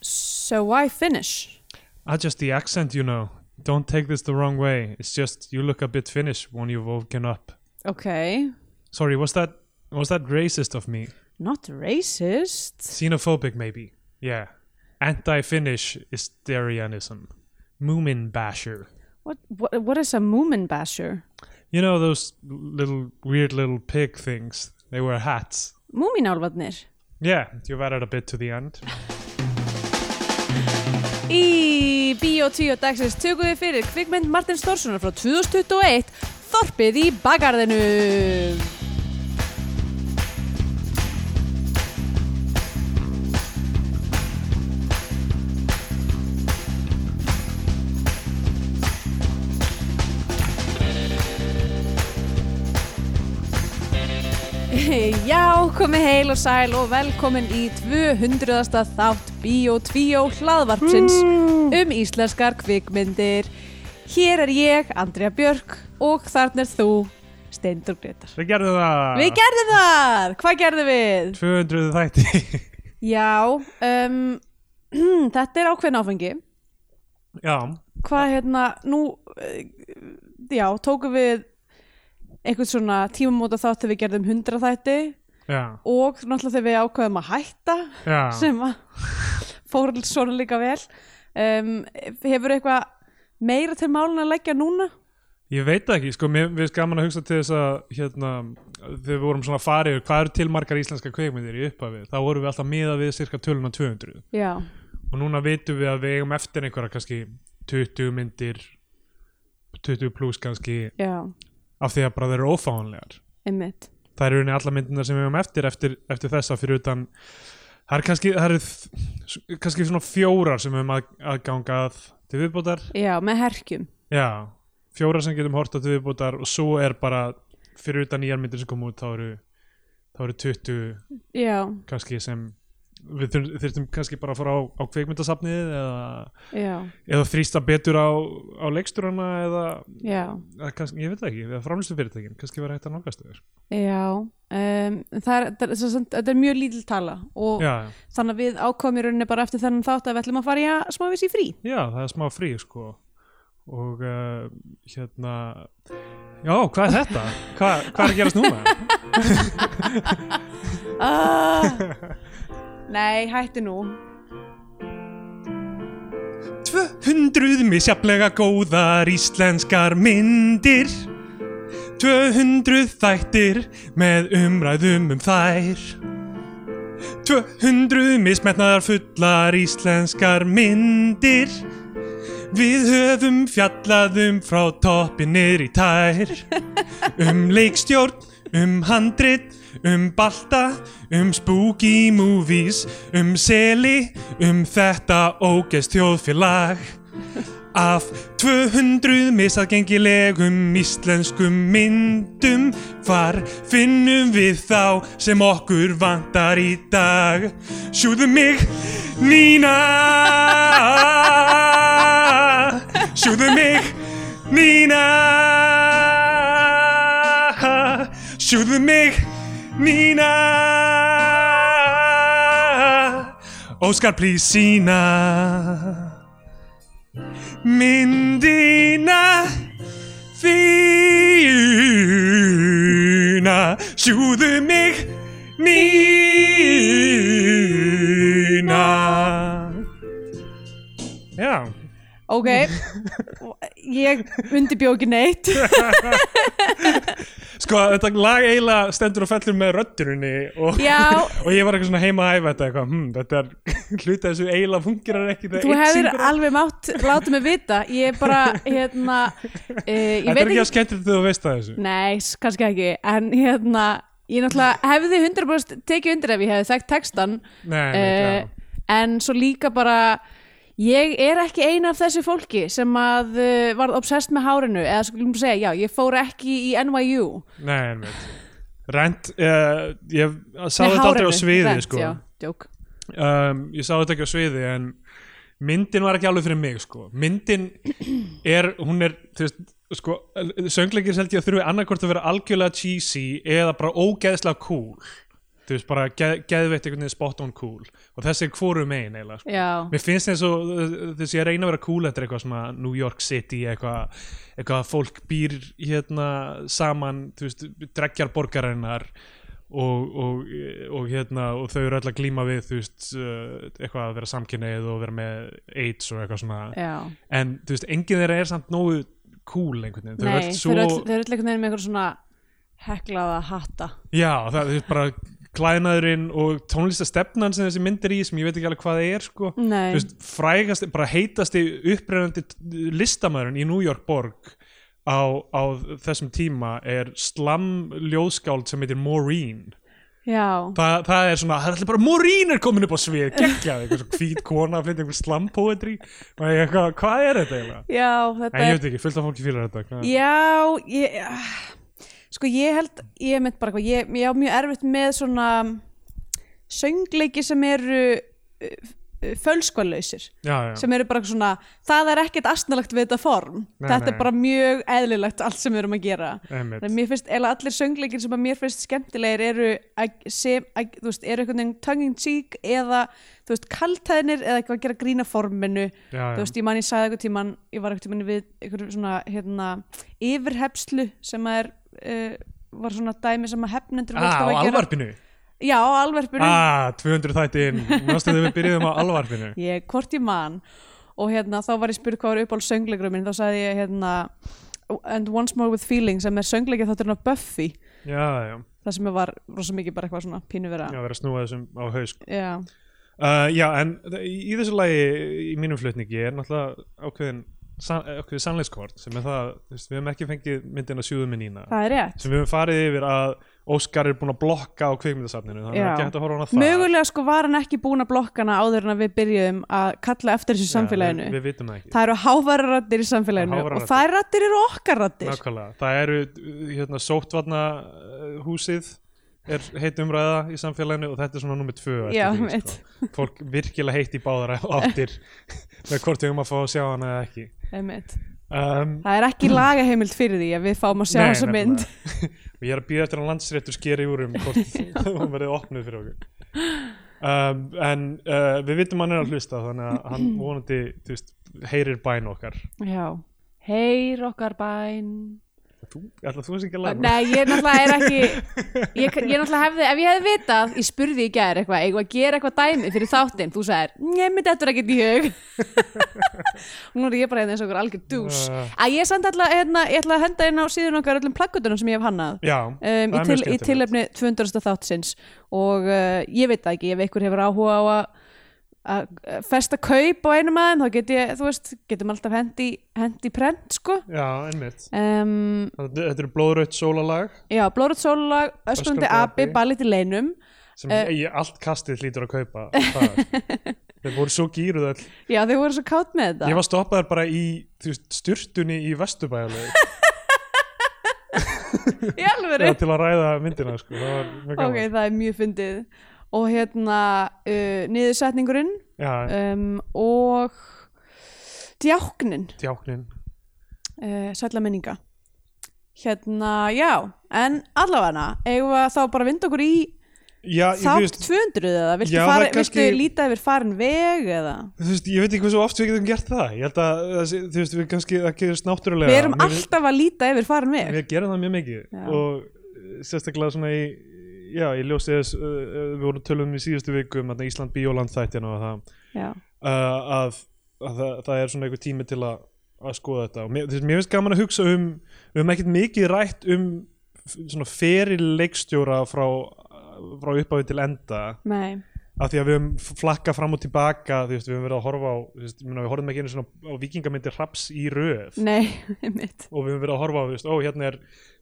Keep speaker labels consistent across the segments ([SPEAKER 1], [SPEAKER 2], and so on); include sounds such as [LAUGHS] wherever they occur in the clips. [SPEAKER 1] So why Finnish?
[SPEAKER 2] Ah, just the accent, you know. Don't take this the wrong way. It's just you look a bit Finnish when you've woken up.
[SPEAKER 1] Okay.
[SPEAKER 2] Sorry, was that was that racist of me?
[SPEAKER 1] Not racist.
[SPEAKER 2] Xenophobic, maybe. Yeah. Anti-Finnish is Darianism. Moomin basher.
[SPEAKER 1] What what what is a Moomin basher?
[SPEAKER 2] You know those little weird little pig things. They wear hats.
[SPEAKER 1] Múminálfarnir.
[SPEAKER 2] Yeah, you've added a bit to the end.
[SPEAKER 1] Í Bíó 10 dagsins tökum við fyrir kvikmynd Martin Stórssonar frá 2021 Þorpið í bagarðinu [LAUGHS] Já, komið heil og sæl og velkomin í 200. þátt Bíó 2 hlaðvarpsins um íslenskar kvikmyndir Hér er ég, Andrea Björk og þarna er þú, Steindur Gretar
[SPEAKER 2] Við gerðum það!
[SPEAKER 1] Við gerðum það! Hvað gerðum við?
[SPEAKER 2] 200 [LAUGHS] þætti.
[SPEAKER 1] Já, um, [CLEARS THROAT] þetta er ákveðin áfengi.
[SPEAKER 2] Já,
[SPEAKER 1] Hvað hérna, nú, eh, já, tókum við einhvern svona tímamóta þátt þegar við gerðum 100 þætti
[SPEAKER 2] já,
[SPEAKER 1] og náttúrulega þegar við ákveðum að hætta
[SPEAKER 2] já.
[SPEAKER 1] sem að fór svona líka vel. Um, hefur eitthvað meira til málun að leggja núna?
[SPEAKER 2] Ég veit það ekki, sko, mér finnst gaman að hugsa til þess að hérna, þegar við vorum svona farið hvað eru til margar íslenska kveikmyndir í upphafið þá vorum við alltaf miðað við cirka töluna 200
[SPEAKER 1] Já,
[SPEAKER 2] og núna vitum við að við eigum eftir einhverja kannski 20 myndir 20 pluss kannski
[SPEAKER 1] já,
[SPEAKER 2] af því að bara þeir eru ófáanlegar
[SPEAKER 1] einmitt.
[SPEAKER 2] það eru henni alla myndirna sem við eigum eftir eftir, eftir þessa fyrir utan það eru kannski, það er kannski svona fjórar sem við eigum að, að ganga að til viðbótar
[SPEAKER 1] Já, með herkjum.
[SPEAKER 2] Já, fjóra sem getum horta til viðbútar og svo er bara fyrir utan nýjar myndir sem kom út þá eru, þá eru 20
[SPEAKER 1] Já,
[SPEAKER 2] kannski sem við þurfum, þurfum kannski bara að fara á, á kveikmyndasafnið eða,
[SPEAKER 1] já,
[SPEAKER 2] eða þrýsta betur á, á leikstúrana eða,
[SPEAKER 1] já.
[SPEAKER 2] eða kannski, ég veit það ekki, eða framlistu fyrirtækin kannski vera hægt að nálgast þér
[SPEAKER 1] Já, um, það er, það er, sem sagt- þetta er mjög lítil tala og
[SPEAKER 2] já,
[SPEAKER 1] þannig að við ákvæmum í rauninni bara eftir þennan þátt að við ætlum að fara í að smá vissi frí.
[SPEAKER 2] já, það er smá frí sko og uh, hérna já, hvað er þetta? hvað, hvað er að gerast núna? [LAUGHS]
[SPEAKER 1] Ah, nei, hætti nú.
[SPEAKER 2] 200 misjaflega góðar íslenskar myndir 200 þættir með umræðum um þær 200 mismetnaðar fullar íslenskar myndir Við höfum fjallaðum frá toppinir í tær Um leikstjórn, um handrit, um balta, um spooky movies Um seli, um þetta ógæst þjóðfélag Af 200 misagengilegum íslenskum myndum Hvar finnum við þá sem okkur vantar í dag Sjúðu mig, Nína Sjúðu mig, Nína Sjúðu mig, Nína Óskar plís sína myndina þína sjúðu mig mína Já, [LAUGHS]
[SPEAKER 1] Ok, ég undirbjó ekki neitt.
[SPEAKER 2] sko þetta lag eiginlega stendur og fellur með röddurinni og,
[SPEAKER 1] Já.
[SPEAKER 2] [LAUGHS] og ég var eitthvað svona heima að æfa þetta eitthvað, hm, þetta er [LAUGHS] hluta þessu eiginlega fungerar ekki
[SPEAKER 1] [LAUGHS]
[SPEAKER 2] þegar
[SPEAKER 1] Þú
[SPEAKER 2] eitt
[SPEAKER 1] hefur
[SPEAKER 2] syngur það.
[SPEAKER 1] alveg mátt láta mig vita. Ég er bara,
[SPEAKER 2] [LAUGHS]
[SPEAKER 1] hérna, uh, ég
[SPEAKER 2] Þetta
[SPEAKER 1] veit
[SPEAKER 2] er ekki
[SPEAKER 1] ekki...
[SPEAKER 2] að skemmtilegt þegar þú veist það þessu
[SPEAKER 1] Nei, s- kannski ekki, en hérna, ég náttúrulega hefði 100% tekið undir ef ég hefði þekkt textan
[SPEAKER 2] Nei,
[SPEAKER 1] Eh,
[SPEAKER 2] uh,
[SPEAKER 1] en svo líka bara ég er ekki eina af þessu fólki sem að uh, varð obsessed með hárinu eða skulum segja, já, ég fór ekki í NYU
[SPEAKER 2] Nei, en veit Rent, uh, ég sá
[SPEAKER 1] Nei,
[SPEAKER 2] þetta aldrei á
[SPEAKER 1] hárinu,
[SPEAKER 2] sviði
[SPEAKER 1] rent,
[SPEAKER 2] sko.
[SPEAKER 1] já, djók.
[SPEAKER 2] um, Ég sá þetta ekki á sviði en myndin var ekki alveg fyrir mig sko. myndin er hún er, þú veist, sko söngleikir held ég að þurfi annarkvort að vera algjörlega cheesy eða bara ógeðslega cool þú veist bara geð, geðveitt einhvern veginn spot on cool og þessi er hvorum einn eiginlega sko.
[SPEAKER 1] Já,
[SPEAKER 2] mér finnst eins og uh, þessi að reyna að vera cool þetta er eitthvað svona New York City eitthvað, eitthvað að fólk býr hérna saman þú veist, dregjar borgarinnar og, og, og hérna og þau eru öll að glíma við þú veist, uh, eitthvað að vera samkynneið og vera með AIDS og eitthvað svona
[SPEAKER 1] já.
[SPEAKER 2] en þú veist, enginn þeirra er samt nógu cool einhvern veginn, þau eru
[SPEAKER 1] Nei,
[SPEAKER 2] öll
[SPEAKER 1] svo...
[SPEAKER 2] svo
[SPEAKER 1] þeir eru öll- þau eru öll einhvern veginn með eitthvað svona heklaða hatta
[SPEAKER 2] Já, það er bara klæðnaðurinn og tónlistastefnan sem þessi mynd er í sem ég veit ekki alveg hvað það er sko
[SPEAKER 1] Nei,
[SPEAKER 2] Þú veist, frægasti, bara heitasti upprennandi listamæðurinn í New York borg á, á þessum tíma er slam ljóðskáld sem heitir Maureen
[SPEAKER 1] já,
[SPEAKER 2] Þa, það er svona, það er allir bara Maureen er komin upp á svið, geggjað eitthvað svo hvít kona að flytja einhver slam poetry og ég eitthvað, hvað er þetta eiginlega?
[SPEAKER 1] já, þetta
[SPEAKER 2] En ég
[SPEAKER 1] er
[SPEAKER 2] veit ekki, fullt af fólki fyrir þetta hvað-
[SPEAKER 1] Já, ég ah, sko ég held, ég mynd bara eitthvað ég, ég á mjög erfitt með svona söngleiki sem eru eh, fölskvalausir
[SPEAKER 2] Já, já,
[SPEAKER 1] sem eru bara svona, það er ekkert astnalagt við þetta form,
[SPEAKER 2] Nei,
[SPEAKER 1] þetta
[SPEAKER 2] nei.
[SPEAKER 1] er bara mjög eðlilegt allt sem við erum að gera
[SPEAKER 2] einmitt
[SPEAKER 1] Þannig að mér finnst, eða allir söngleikir sem að mér finnst skemmtilegir eru að, sem, að, þú veist, eru einhvern veginn tongue in cheek eða, þú veist, kaltæðinir eða eitthvað að gera grína forminu
[SPEAKER 2] Já, já.
[SPEAKER 1] þú veist, ég man ég sagði eitthvað tíman ég var eitthvað tíman við eitthvað svona, hérna, yfirhepslu sem að er uh, var svona dæmi sem að hefnendur voru
[SPEAKER 2] Ah,
[SPEAKER 1] alltaf að
[SPEAKER 2] á
[SPEAKER 1] gera-
[SPEAKER 2] alvarpinu
[SPEAKER 1] Já, á alvarpinu
[SPEAKER 2] Ah, 200 þætti inn, mástu þegar við byrjuðum á alvarfinu
[SPEAKER 1] ég, hvort ég man og hérna, þá var ég spurð hvað var uppáld söngleikur minn, þá sagði ég, hérna And Once More With Feeling sem er söngleikir þátturinn af Buffy
[SPEAKER 2] Já, já,
[SPEAKER 1] það sem var rosa mikið bara eitthvað svona pínu vera
[SPEAKER 2] já, verið að snúa þessum á haus
[SPEAKER 1] Já,
[SPEAKER 2] uh, Já, en í í þessu lagi í mínum flutningi er náttúrulega ákveðin san, eh, ákveðið sannleikskort sem er það, þú veist, við hefum ekki fengið myndina sjúðum minn ína,
[SPEAKER 1] það er rétt
[SPEAKER 2] sem við hefum farið yfir að Óskar er búinn að blokka á kveikmyndasafninu þannig að
[SPEAKER 1] Já.
[SPEAKER 2] geta að horfa á hana það
[SPEAKER 1] Mögulega sko var hann ekki búin að blokka hana áður en að við byrjuðum að kalla eftir þessu samfélaginu
[SPEAKER 2] Já, við, við vitum það ekki
[SPEAKER 1] Það eru háværarattir í samfélaginu
[SPEAKER 2] Háværar raddir.
[SPEAKER 1] og þær rattir eru okkar rattir
[SPEAKER 2] Nákvæmlega, það eru uh, hérna, sóttvarna uh, húsið er heit umræða í samfélaginu og þetta er svona nummið tvö eftir
[SPEAKER 1] Já,
[SPEAKER 2] því,
[SPEAKER 1] mitt.
[SPEAKER 2] sko. fólk virkilega heitt í báðar áttir
[SPEAKER 1] [LAUGHS]
[SPEAKER 2] með hvort við um að fá að sjá hana eða ekki
[SPEAKER 1] Einmitt.
[SPEAKER 2] um,
[SPEAKER 1] Það er ekki lagaheimild fyrir því að við fáum að sjá
[SPEAKER 2] nei,
[SPEAKER 1] þessa mynd
[SPEAKER 2] nefnilega. og [LAUGHS] ég er að býða eftir að landsréttur skeri úr um
[SPEAKER 1] [LAUGHS]
[SPEAKER 2] hvort hún verið opnuð fyrir okkur um, en uh, við vitum að hann er að hlusta þannig að
[SPEAKER 1] [CLEARS THROAT]
[SPEAKER 2] hann vonandi þú veist, heyrir bæn okkar
[SPEAKER 1] Já, heyr okkar bæn
[SPEAKER 2] þú, ætla þú sem ekki að læra
[SPEAKER 1] Nei, ég náttúrulega er ekki ég, ég náttúrulega hefði, ef ég hefði vitað ég spurði í gær eitthvað, eigum við að gera eitthvað dæmi fyrir þáttinn, þú sagðir, nemi þetta er ekkert í
[SPEAKER 2] [LAUGHS]
[SPEAKER 1] hug Nú er ég bara hérna eins og okkur algjör dús
[SPEAKER 2] Ja.
[SPEAKER 1] að ég samt alltaf, hérna, ég ætla að henda inn á síðun okkar öllum plakkutunum sem ég hef hannað
[SPEAKER 2] Já,
[SPEAKER 1] um,
[SPEAKER 2] það
[SPEAKER 1] í,
[SPEAKER 2] er
[SPEAKER 1] til,
[SPEAKER 2] mjög
[SPEAKER 1] í
[SPEAKER 2] skemmtilegt.
[SPEAKER 1] tilefni 200. þáttsins og uh, ég veit það ekki, ef ykkur hefur áhuga á að að festa kaup á einum aðeim þá get ég, þú veist, getum alltaf hendi hendi prent, sko
[SPEAKER 2] Já, einmitt
[SPEAKER 1] um,
[SPEAKER 2] Þetta þetta eru blóðraut sólalag
[SPEAKER 1] já, blórat sólulag, öskrandi
[SPEAKER 2] Öskrandi
[SPEAKER 1] abi
[SPEAKER 2] api.
[SPEAKER 1] ballit í leinum,
[SPEAKER 2] sem
[SPEAKER 1] Uh.
[SPEAKER 2] ég, allt kastið hlýtur að
[SPEAKER 1] [LAUGHS]
[SPEAKER 2] kaupa það. þeir voru svo gýruð all
[SPEAKER 1] já þau voru svo kátt með þetta
[SPEAKER 2] ég var stoppaður bara í þú veist, styrtunni í vesturbæðalegu
[SPEAKER 1] í alvöru,
[SPEAKER 2] til að ræða myndina sko. það var mjög
[SPEAKER 1] [LAUGHS] ok,
[SPEAKER 2] gaman
[SPEAKER 1] það er mjög fyndið og hérna uh, niðursetningurinn
[SPEAKER 2] já,
[SPEAKER 1] um, og djáknin
[SPEAKER 2] djáknin
[SPEAKER 1] uh, sætla minninga hérna, já en allavega, eigum við að þá bara vinda okkur í
[SPEAKER 2] já, ég, þú,
[SPEAKER 1] þátt
[SPEAKER 2] veist,
[SPEAKER 1] 200 eða, viltu,
[SPEAKER 2] Já, það
[SPEAKER 1] fara,
[SPEAKER 2] er kannski-
[SPEAKER 1] viltu líta yfir farin veg eða
[SPEAKER 2] þú veist, ég veit ekki hversu oft við getum gert það ég held að það sé- þú veist, við kannski það gerist náttúrulega
[SPEAKER 1] við erum
[SPEAKER 2] Mér-
[SPEAKER 1] alltaf að líta yfir farin veg
[SPEAKER 2] við gerum það mjög mikið
[SPEAKER 1] Já.
[SPEAKER 2] og eh, sérstaklega svona í já, ég ljósi þess, uh, uh, við vorum tölum í síðustu viku um þarna Ísland Bíóland þættina og það
[SPEAKER 1] já,
[SPEAKER 2] uh, að, að það, það er svona einhver tími til að, að skoða þetta og mér, þess, mér finnst gaman að hugsa um við höfum ekkert mikið rætt um f- svona feril leikstjóra frá, frá upphafi til enda
[SPEAKER 1] nei,
[SPEAKER 2] af því að við höfum flakkað fram og tilbaka þú veist, við höfum verið að horfa á þú veist, ég meina, við horfum ekki einu svona á vikingamyndir hraps í röð
[SPEAKER 1] nei [LAUGHS] mitt,
[SPEAKER 2] og við höfum verið að horfa á, þú veist, ó, hérna er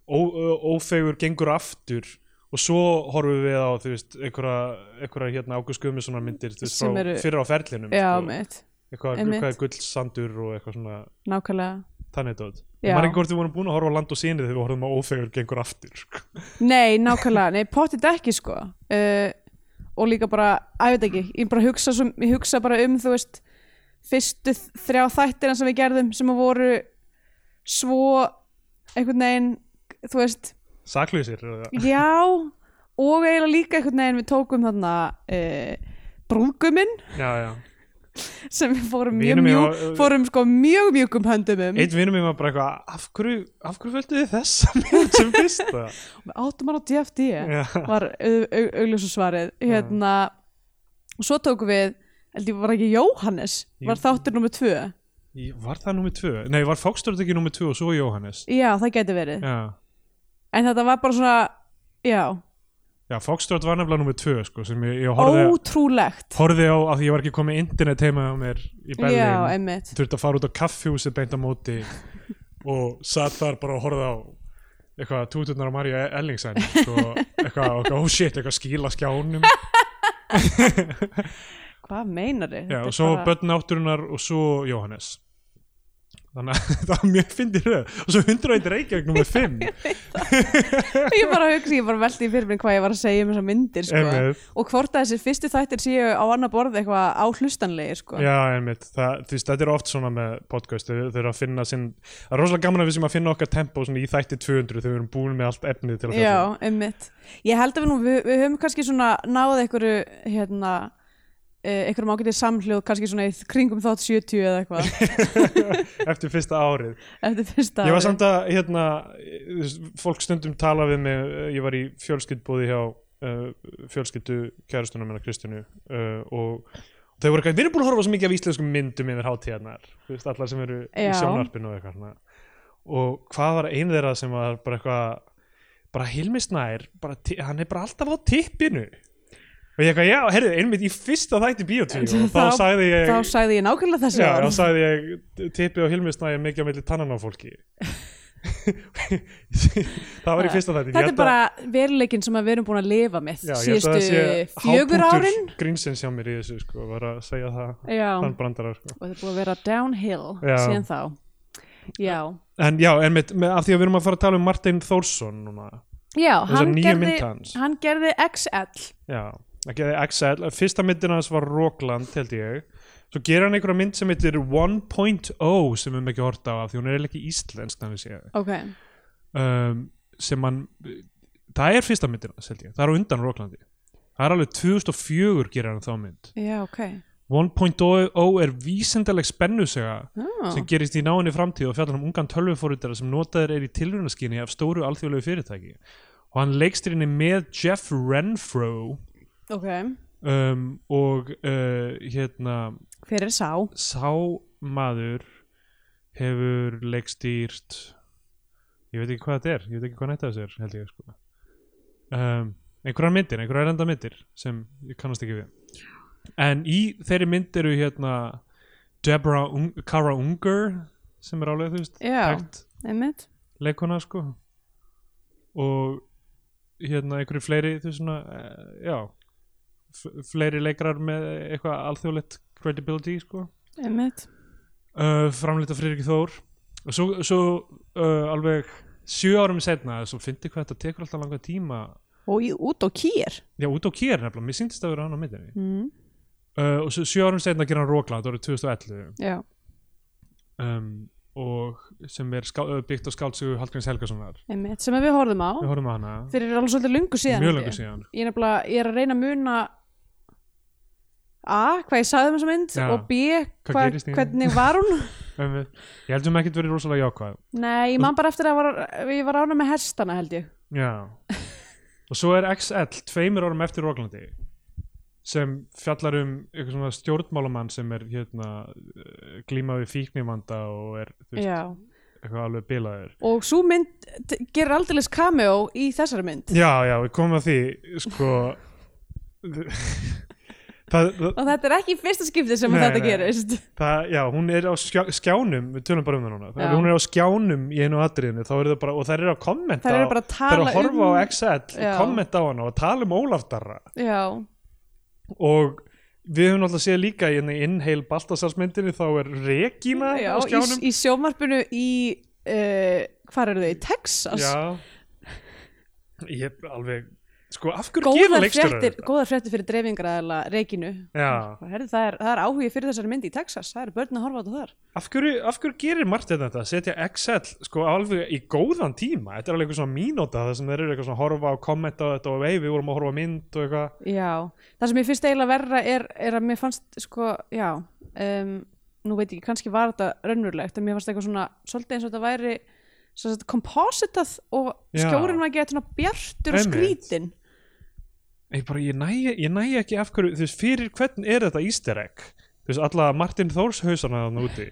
[SPEAKER 2] ó, ö- ófegur gengur aftur og svo horfum við á, þú veist, einhverja, einhverja hérna Ágúst Guðmundssonar myndir, þú veist,
[SPEAKER 1] Sem
[SPEAKER 2] frá
[SPEAKER 1] eru-
[SPEAKER 2] fyrra á ferlinum
[SPEAKER 1] já,
[SPEAKER 2] sko
[SPEAKER 1] mitt
[SPEAKER 2] eitthvað,
[SPEAKER 1] Einmitt.
[SPEAKER 2] eitthvað gullsandur og eitthvað svona
[SPEAKER 1] nákvæmlega
[SPEAKER 2] þannig dót ég
[SPEAKER 1] Já.
[SPEAKER 2] maður ekki hvort við vorum búin að horfa á land og síni þegar við horfum að ófegur gengur aftur sko.
[SPEAKER 1] nei, nákvæmlega, nei, pottit ekki sko uh, og líka bara, að ég veit ekki ég bara hugsa, svo, ég hugsa bara um þú veist, fyrstu þ- þrjá þættina sem við gerðum sem að voru svo einhvern veginn, þú veist
[SPEAKER 2] saklausir eða-
[SPEAKER 1] Já, og eiginlega líka einhvern veginn við tókum þarna e, brúðguminn
[SPEAKER 2] já, já.
[SPEAKER 1] sem við fórum mjög,
[SPEAKER 2] Vinum minn
[SPEAKER 1] mjög,
[SPEAKER 2] var-
[SPEAKER 1] fórum sko mjög mjögum höndum um
[SPEAKER 2] Eitt vinnum mér var bara eitthvað af hverju, af hverju völdu þið þessa mynd sem fyrsta
[SPEAKER 1] Við áttum hann á DFD
[SPEAKER 2] Já.
[SPEAKER 1] var au- au- augljósa svarið hérna, og svo tókum við held ég var ekki Jóhannes
[SPEAKER 2] Jú.
[SPEAKER 1] var þáttur nummer tvö
[SPEAKER 2] Í- Var það nummið tvö? Nei, var Foxtrot ekki nummið tvö og svo Jóhannes?
[SPEAKER 1] já það geti verið
[SPEAKER 2] Já,
[SPEAKER 1] en þetta var bara svona já,
[SPEAKER 2] já Foxtrot var nefnilega nummið tvö sko, sem ég, ég horfði,
[SPEAKER 1] ótrúlegt
[SPEAKER 2] horfði á að ég var ekki komið internet heima á mér í Berlín
[SPEAKER 1] já, einmitt
[SPEAKER 2] þurfti að fara út á kaffihúsi beint á móti og satt þar bara og horfði á eitthvað túturnar á Marja Ellingsen
[SPEAKER 1] [LAUGHS]
[SPEAKER 2] og eitthvað, og eitthvað, oh shit, eitthvað skíla skjánum
[SPEAKER 1] hvað meinar þið?
[SPEAKER 2] já, og svo bara... börn átturinnar og svo Jóhannes þannig að [LAUGHS] það var mjög fyndið röð og svo 101 Reykjavík nummer 5
[SPEAKER 1] ég bara hugsi, ég bara veldi í fyrir mér hvað ég var að segja um þessar myndir sko.
[SPEAKER 2] Einmitt.
[SPEAKER 1] og hvort að þessir fyrstu þættir séu á annar borð eitthvað á hlustanlegir sko.
[SPEAKER 2] já, einmitt, það, þú veist, þetta er oft svona með podcast, þau þau eru að finna sinn það er rosalega gaman að við sem að finna okkar tempo svona í þætti 200 þegar við erum búin með allt efnið til að fjalla um.
[SPEAKER 1] Já, einmitt. Ég held að við nú, við, við höfum kannski svona náð einhverju, hérna, eh, einhverjum ágætið samhljóð, kannski svona í kringum þátt 70 eða
[SPEAKER 2] [LAUGHS]
[SPEAKER 1] eitthvað,
[SPEAKER 2] um. eftir fyrsta árið
[SPEAKER 1] eftir fyrsta
[SPEAKER 2] Ég var
[SPEAKER 1] árið.
[SPEAKER 2] samt að, hérna, þú veist, fólk stundum tala við mig, eh, ég var í fjölskyldbúði hjá uh, fjölskyldu kærastunum minna Kristjánu uh, og þau voru eitthvað, við erum búin að horfa svo mikið af íslenskum myndum yfir hátíðarnar, þú veist, allar sem eru
[SPEAKER 1] Já.
[SPEAKER 2] í sjónvarpinu og eitthvað svona. Og hvað var einu þeirra sem var bara eitthvað, bara Hilmi Snær, bara, ti- hann er bara alltaf á tippinu. Og ég eitthvað, já, herrið, einmitt í fyrsta þætti
[SPEAKER 1] [LAUGHS]
[SPEAKER 2] bíotvíu og þá,
[SPEAKER 1] Þá-
[SPEAKER 2] sagði ég...
[SPEAKER 1] Þá sagði ég nákvæmlega þessi
[SPEAKER 2] Já,
[SPEAKER 1] orð.
[SPEAKER 2] þá sagði ég tippi á Hilmisnæði mikið á milli tannan á fólki [LAUGHS] Það var í fyrsta þættin
[SPEAKER 1] Þetta er bara veruleikin sem að við erum búin að lifa með síðustu fjögur árin.
[SPEAKER 2] Grínsins hjá mér í þessu sko, var að segja það
[SPEAKER 1] Já,
[SPEAKER 2] þann brandara sko.
[SPEAKER 1] og þetta er búin að vera downhill
[SPEAKER 2] Já.
[SPEAKER 1] síðan þá. Já,
[SPEAKER 2] En já, en með, með, af því að við erum að fara að tala um Martin Þórsson núna
[SPEAKER 1] já
[SPEAKER 2] Þessar
[SPEAKER 1] hann,
[SPEAKER 2] nýju
[SPEAKER 1] gerði,
[SPEAKER 2] mynd hans.
[SPEAKER 1] hann gerði XL.
[SPEAKER 2] Já, það gerði XL Fyrsta myndin hans var Rockland, held ég Svo gerir hann einhverja mynd sem heitir 1.0 sem við erum ekki hort á af því hún er eiginlega ekki íslensk þannig séð
[SPEAKER 1] Ok,
[SPEAKER 2] um, sem hann það er fyrsta myndina, held ég, það er á undan Rocklandi það er alveg 2004 gerir hann þá mynd
[SPEAKER 1] já, ok.
[SPEAKER 2] 1.0 er vísindaleg spennusega
[SPEAKER 1] Oh.
[SPEAKER 2] sem gerist í náinni framtíð og fjallar um ungan tölvuforritara sem notaður er í tilrunaskinni af stóru alþjóðlegu fyrirtæki og hann leikst henni með Jeff Renfro
[SPEAKER 1] Oh, Ok,
[SPEAKER 2] um, og uh, hérna
[SPEAKER 1] hver er sá?
[SPEAKER 2] sá maður hefur leikstýrt ég veit ekki hvað þetta er ég veit ekki hvað nætt af þessu er held ég sko. um, einhverjar myndir, einhverjar enda myndir sem ég kannast ekki við en í þeirri mynd eru hérna Deborah Un Cara Unger sem er álega þú veist
[SPEAKER 1] Já.
[SPEAKER 2] þekkt
[SPEAKER 1] Einmitt?
[SPEAKER 2] leikona sko og hérna einhverju fleiri þú veist svona eh, já f- fleiri leikrar með eitthvað alþjóðlegt credibility sko
[SPEAKER 1] Einmitt.
[SPEAKER 2] uh, framleita Friðrik Þór og svo, svo uh, alveg sjö árum setna svo fyndi hvað þetta tekur alltaf langa tíma
[SPEAKER 1] Og í, út á kýr.
[SPEAKER 2] já út á kér nefnilega, mér sýndist að vera hann á myndinni
[SPEAKER 1] Mm.
[SPEAKER 2] uh, og svo sjö árum setna gera hann Rókland árið 2011
[SPEAKER 1] Já.
[SPEAKER 2] um, og sem er ská, uh, byggt á skáldsögu Hallgríms Helgasonar
[SPEAKER 1] Einmitt, sem að við horfum á.
[SPEAKER 2] við horfum að hana
[SPEAKER 1] Fyrir alveg svolítið lungu síðan.
[SPEAKER 2] mjög
[SPEAKER 1] held
[SPEAKER 2] langur
[SPEAKER 1] ég.
[SPEAKER 2] síðan
[SPEAKER 1] Ég er, nefnilega, ég er að reyna að muna A, hvað ég sagði um þessa mynd
[SPEAKER 2] Já.
[SPEAKER 1] og B,
[SPEAKER 2] Hvað
[SPEAKER 1] hva,
[SPEAKER 2] gerist í henni?
[SPEAKER 1] hvernig var hún?
[SPEAKER 2] [LAUGHS] um, ég heldum ekki verið rosalega jákvæð
[SPEAKER 1] Nei, ég man bara eftir að var, ég var ána með hestana held ég.
[SPEAKER 2] Já Og svo er XL tveimur árum eftir Róklandi sem fjallar um eitthvað svona stjórnmálamann sem er hérna eh, glíma við fíknivanda og er þú veist,
[SPEAKER 1] Já.
[SPEAKER 2] eitthvað alveg bilaður
[SPEAKER 1] Og svo mynd t- gerir aldeilis cameo í þessari mynd.
[SPEAKER 2] Já, já, við komum að því sko [LAUGHS] það, það,
[SPEAKER 1] Og þetta er ekki í fyrsta skipti sem
[SPEAKER 2] Nei,
[SPEAKER 1] þetta
[SPEAKER 2] nei.
[SPEAKER 1] gerist.
[SPEAKER 2] það, já, hún er á skjá, skjánum við tölum bara um það núna,
[SPEAKER 1] Já.
[SPEAKER 2] þegar hún er á skjánum í einu atriðinu, þá er það bara, og þær eru að kommenta
[SPEAKER 1] Það er bara
[SPEAKER 2] á-
[SPEAKER 1] að
[SPEAKER 2] þær eru
[SPEAKER 1] tala
[SPEAKER 2] að horfa
[SPEAKER 1] um...
[SPEAKER 2] á XL,
[SPEAKER 1] Já.
[SPEAKER 2] kommenta á hana og tala um Ólaf Darra
[SPEAKER 1] Já.
[SPEAKER 2] og við höfum náttúrulega séð líka í hérna í Inhale Baltasarsmyndinni þá er Regina
[SPEAKER 1] Já,
[SPEAKER 2] á
[SPEAKER 1] í,
[SPEAKER 2] skjánum
[SPEAKER 1] í sjómarpinu í eh, uh, hvar eru þau, í Texas
[SPEAKER 2] Já ég alveg sko, af hverju gefa
[SPEAKER 1] góðar
[SPEAKER 2] leikstjórar
[SPEAKER 1] fréttir,
[SPEAKER 2] þetta? Ah.
[SPEAKER 1] góðar fréttir fyrir dreifingræðala reikinu
[SPEAKER 2] Já.
[SPEAKER 1] Herðu, það, er, það er áhugi fyrir þessari myndi í Texas það eru börn að horfa á þetta þar
[SPEAKER 2] af hverju, af hverju gerir Martin þetta setja Excel sko alveg í góðan tíma þetta er alveg eitthvað svona mínúta það sem þeir eru eitthvað svona að horfa og kommenta á þetta og vei við vorum að horfa á mynd og eitthvað
[SPEAKER 1] já. það sem ég finnst eiginlega verra er, er að mér fannst sko, já um, nú veit ég ekki, kannski var þetta raunverulegt en mér fannst eitthvað svona, svolítið eins og þetta væri svo þetta kompositað og
[SPEAKER 2] Já.
[SPEAKER 1] skjórin var að geta svona bjartur og
[SPEAKER 2] Einmitt.
[SPEAKER 1] skrítin
[SPEAKER 2] ég bara, ég næ, ég næ ekki af hverju þú veist, fyrir hvern er þetta easter egg þú veist, alla Martin Þórs hausana þannig úti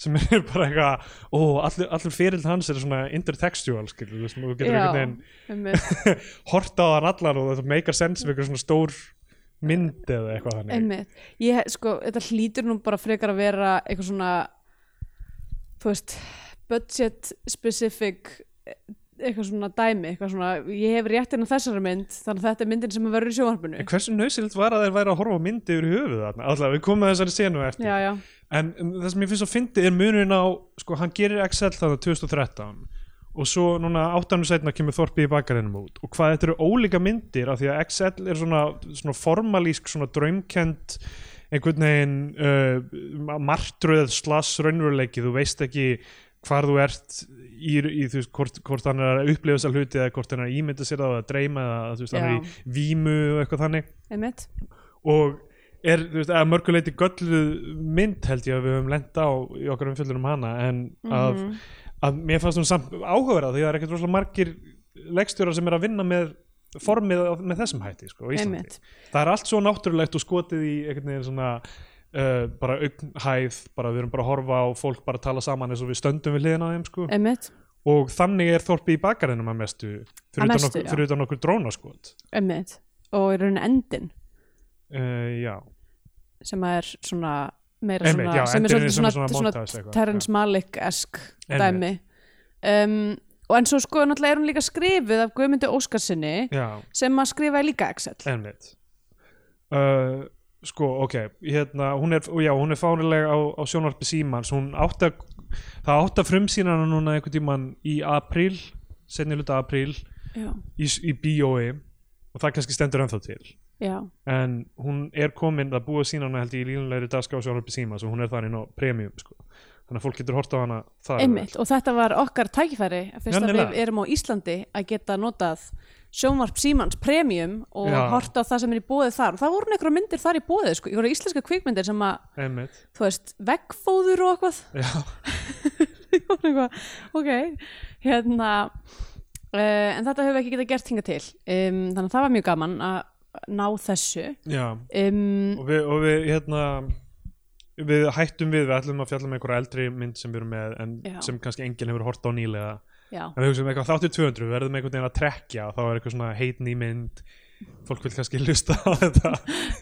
[SPEAKER 2] sem er [LAUGHS] bara eitthvað ó, allur, allur fyrild hans er svona intertextual, skilur, þú veist, þú getur
[SPEAKER 1] Já,
[SPEAKER 2] einhvern veginn [LAUGHS]
[SPEAKER 1] einmitt,
[SPEAKER 2] horta á hann allan og þetta meikar sense við eitthvað svona stór mynd eða eitthvað þannig
[SPEAKER 1] einmitt. Ég, sko, þetta hlýtur nú bara frekar að vera eitthvað svona þú veist, budget specific e- eitthvað svona dæmi, eitthvað svona ég hef réttin á þessari mynd, þannig að þetta er myndin sem verður í sjónvarpinu
[SPEAKER 2] En hversu nöðsilegt var að þeir væri að horfa á myndi yfir höfuð þarna? Alltaf, við komum að þessari senu eftir.
[SPEAKER 1] Já, já,
[SPEAKER 2] En um, það sem ég finnst að fyndi er munurinn á, sko, hann gerir Excel þannig 2013 og svo núna áttanum setna kemur Þorpið í bakarinnum út og hvað þetta eru ólíka myndir af því að Excel er svona, svona formalísk, svona draumkend einhvern veginn uh, martröð slass raunveruleiki, þú veist ekki hvar þú ert í, í þú veist, hvort, hvort hann er að upplifa þessar hluti eða hvort hann er að ímynda sér það eða að dreyma eða þú veist, hann
[SPEAKER 1] Já.
[SPEAKER 2] er í vímu og eitthvað þannig
[SPEAKER 1] einmitt
[SPEAKER 2] og er, þú veist, að mörguleiti gölluð mynd held ég að við höfum lenda á í okkar umfjöldunum um hana en að,
[SPEAKER 1] Mhm.
[SPEAKER 2] að mér fannst hún samt áhugaverða því það er ekkert rosalega margir leikstjórar sem er að vinna með formið af- með þessum hætti sko, á Íslandi
[SPEAKER 1] Einmitt.
[SPEAKER 2] það er allt svo náttúrulegt og skotið í einhvern veginn svona uh, bara augnhæð, bara við erum bara að horfa á fólk bara að tala saman eins og við stöndum við hliðina á þeim sko.
[SPEAKER 1] einmitt,
[SPEAKER 2] og þannig er þorpið í bakarinnum að mestu fyrir,
[SPEAKER 1] Að
[SPEAKER 2] utan,
[SPEAKER 1] mestu,
[SPEAKER 2] okkur,
[SPEAKER 1] já.
[SPEAKER 2] fyrir utan okkur drónaskot
[SPEAKER 1] einmitt og í raunin endin
[SPEAKER 2] uh, já
[SPEAKER 1] sem að er svona meira
[SPEAKER 2] Einmitt,
[SPEAKER 1] svona,
[SPEAKER 2] já,
[SPEAKER 1] sem er
[SPEAKER 2] endurinn er
[SPEAKER 1] svolítið svona,
[SPEAKER 2] svona
[SPEAKER 1] svona,
[SPEAKER 2] montage eitthvað,
[SPEAKER 1] Terrence Malick-esk dæmi
[SPEAKER 2] Einmitt.
[SPEAKER 1] um, og en svo sko náttúrulega er hún líka skrifuð af Guðmundi Óskarsinni
[SPEAKER 2] já
[SPEAKER 1] sem að skrifa líka Excel
[SPEAKER 2] Einmitt uh, Sko, ok hérna, hún, er, og já, hún er fánilega á, á sjónvarpi símans hún átti að það átti að frumsýna hana núna einhvern tímann í apríl, setni hluta apríl
[SPEAKER 1] já,
[SPEAKER 2] í, s- í bíói og það kannski stendur ennþá til
[SPEAKER 1] já,
[SPEAKER 2] en hún er komin að búa að sína hana held ég í línulegri dagská á sjónvarpi símans og hún er þar inn á premium sko. þannig að fólk getur hort á hana þar
[SPEAKER 1] einmitt og þetta var okkar tækifæri fyrst að
[SPEAKER 2] Nefnilega.
[SPEAKER 1] við erum á Íslandi að geta notað sjónvarp símans premium og
[SPEAKER 2] Já.
[SPEAKER 1] horta á það sem er í bóðið þar og það voru einhverja myndir þar í bóðið sko, einhverja íslenska kvikmyndir sem að,
[SPEAKER 2] Einmitt,
[SPEAKER 1] þú veist, veggfóður og eitthvað
[SPEAKER 2] já
[SPEAKER 1] [LAUGHS] Ég var eitthvað, ok hérna uh, en þetta höfum við ekki getað gert hinga til um, þannig að það var mjög gaman að ná þessu
[SPEAKER 2] Já,
[SPEAKER 1] um,
[SPEAKER 2] og við, og við hérna við hættum við, við ætlum að fjalla með einhverja eldri mynd sem við erum með en
[SPEAKER 1] Já.
[SPEAKER 2] sem kannski enginn hefur hort á nýlega
[SPEAKER 1] já,
[SPEAKER 2] en við hugsaum eitthvað þáttu 200, við verðum einhvern veginn að trekja og þá er eitthvað svona heitný mynd fólk vil kannski [LAUGHS] hlusta á þetta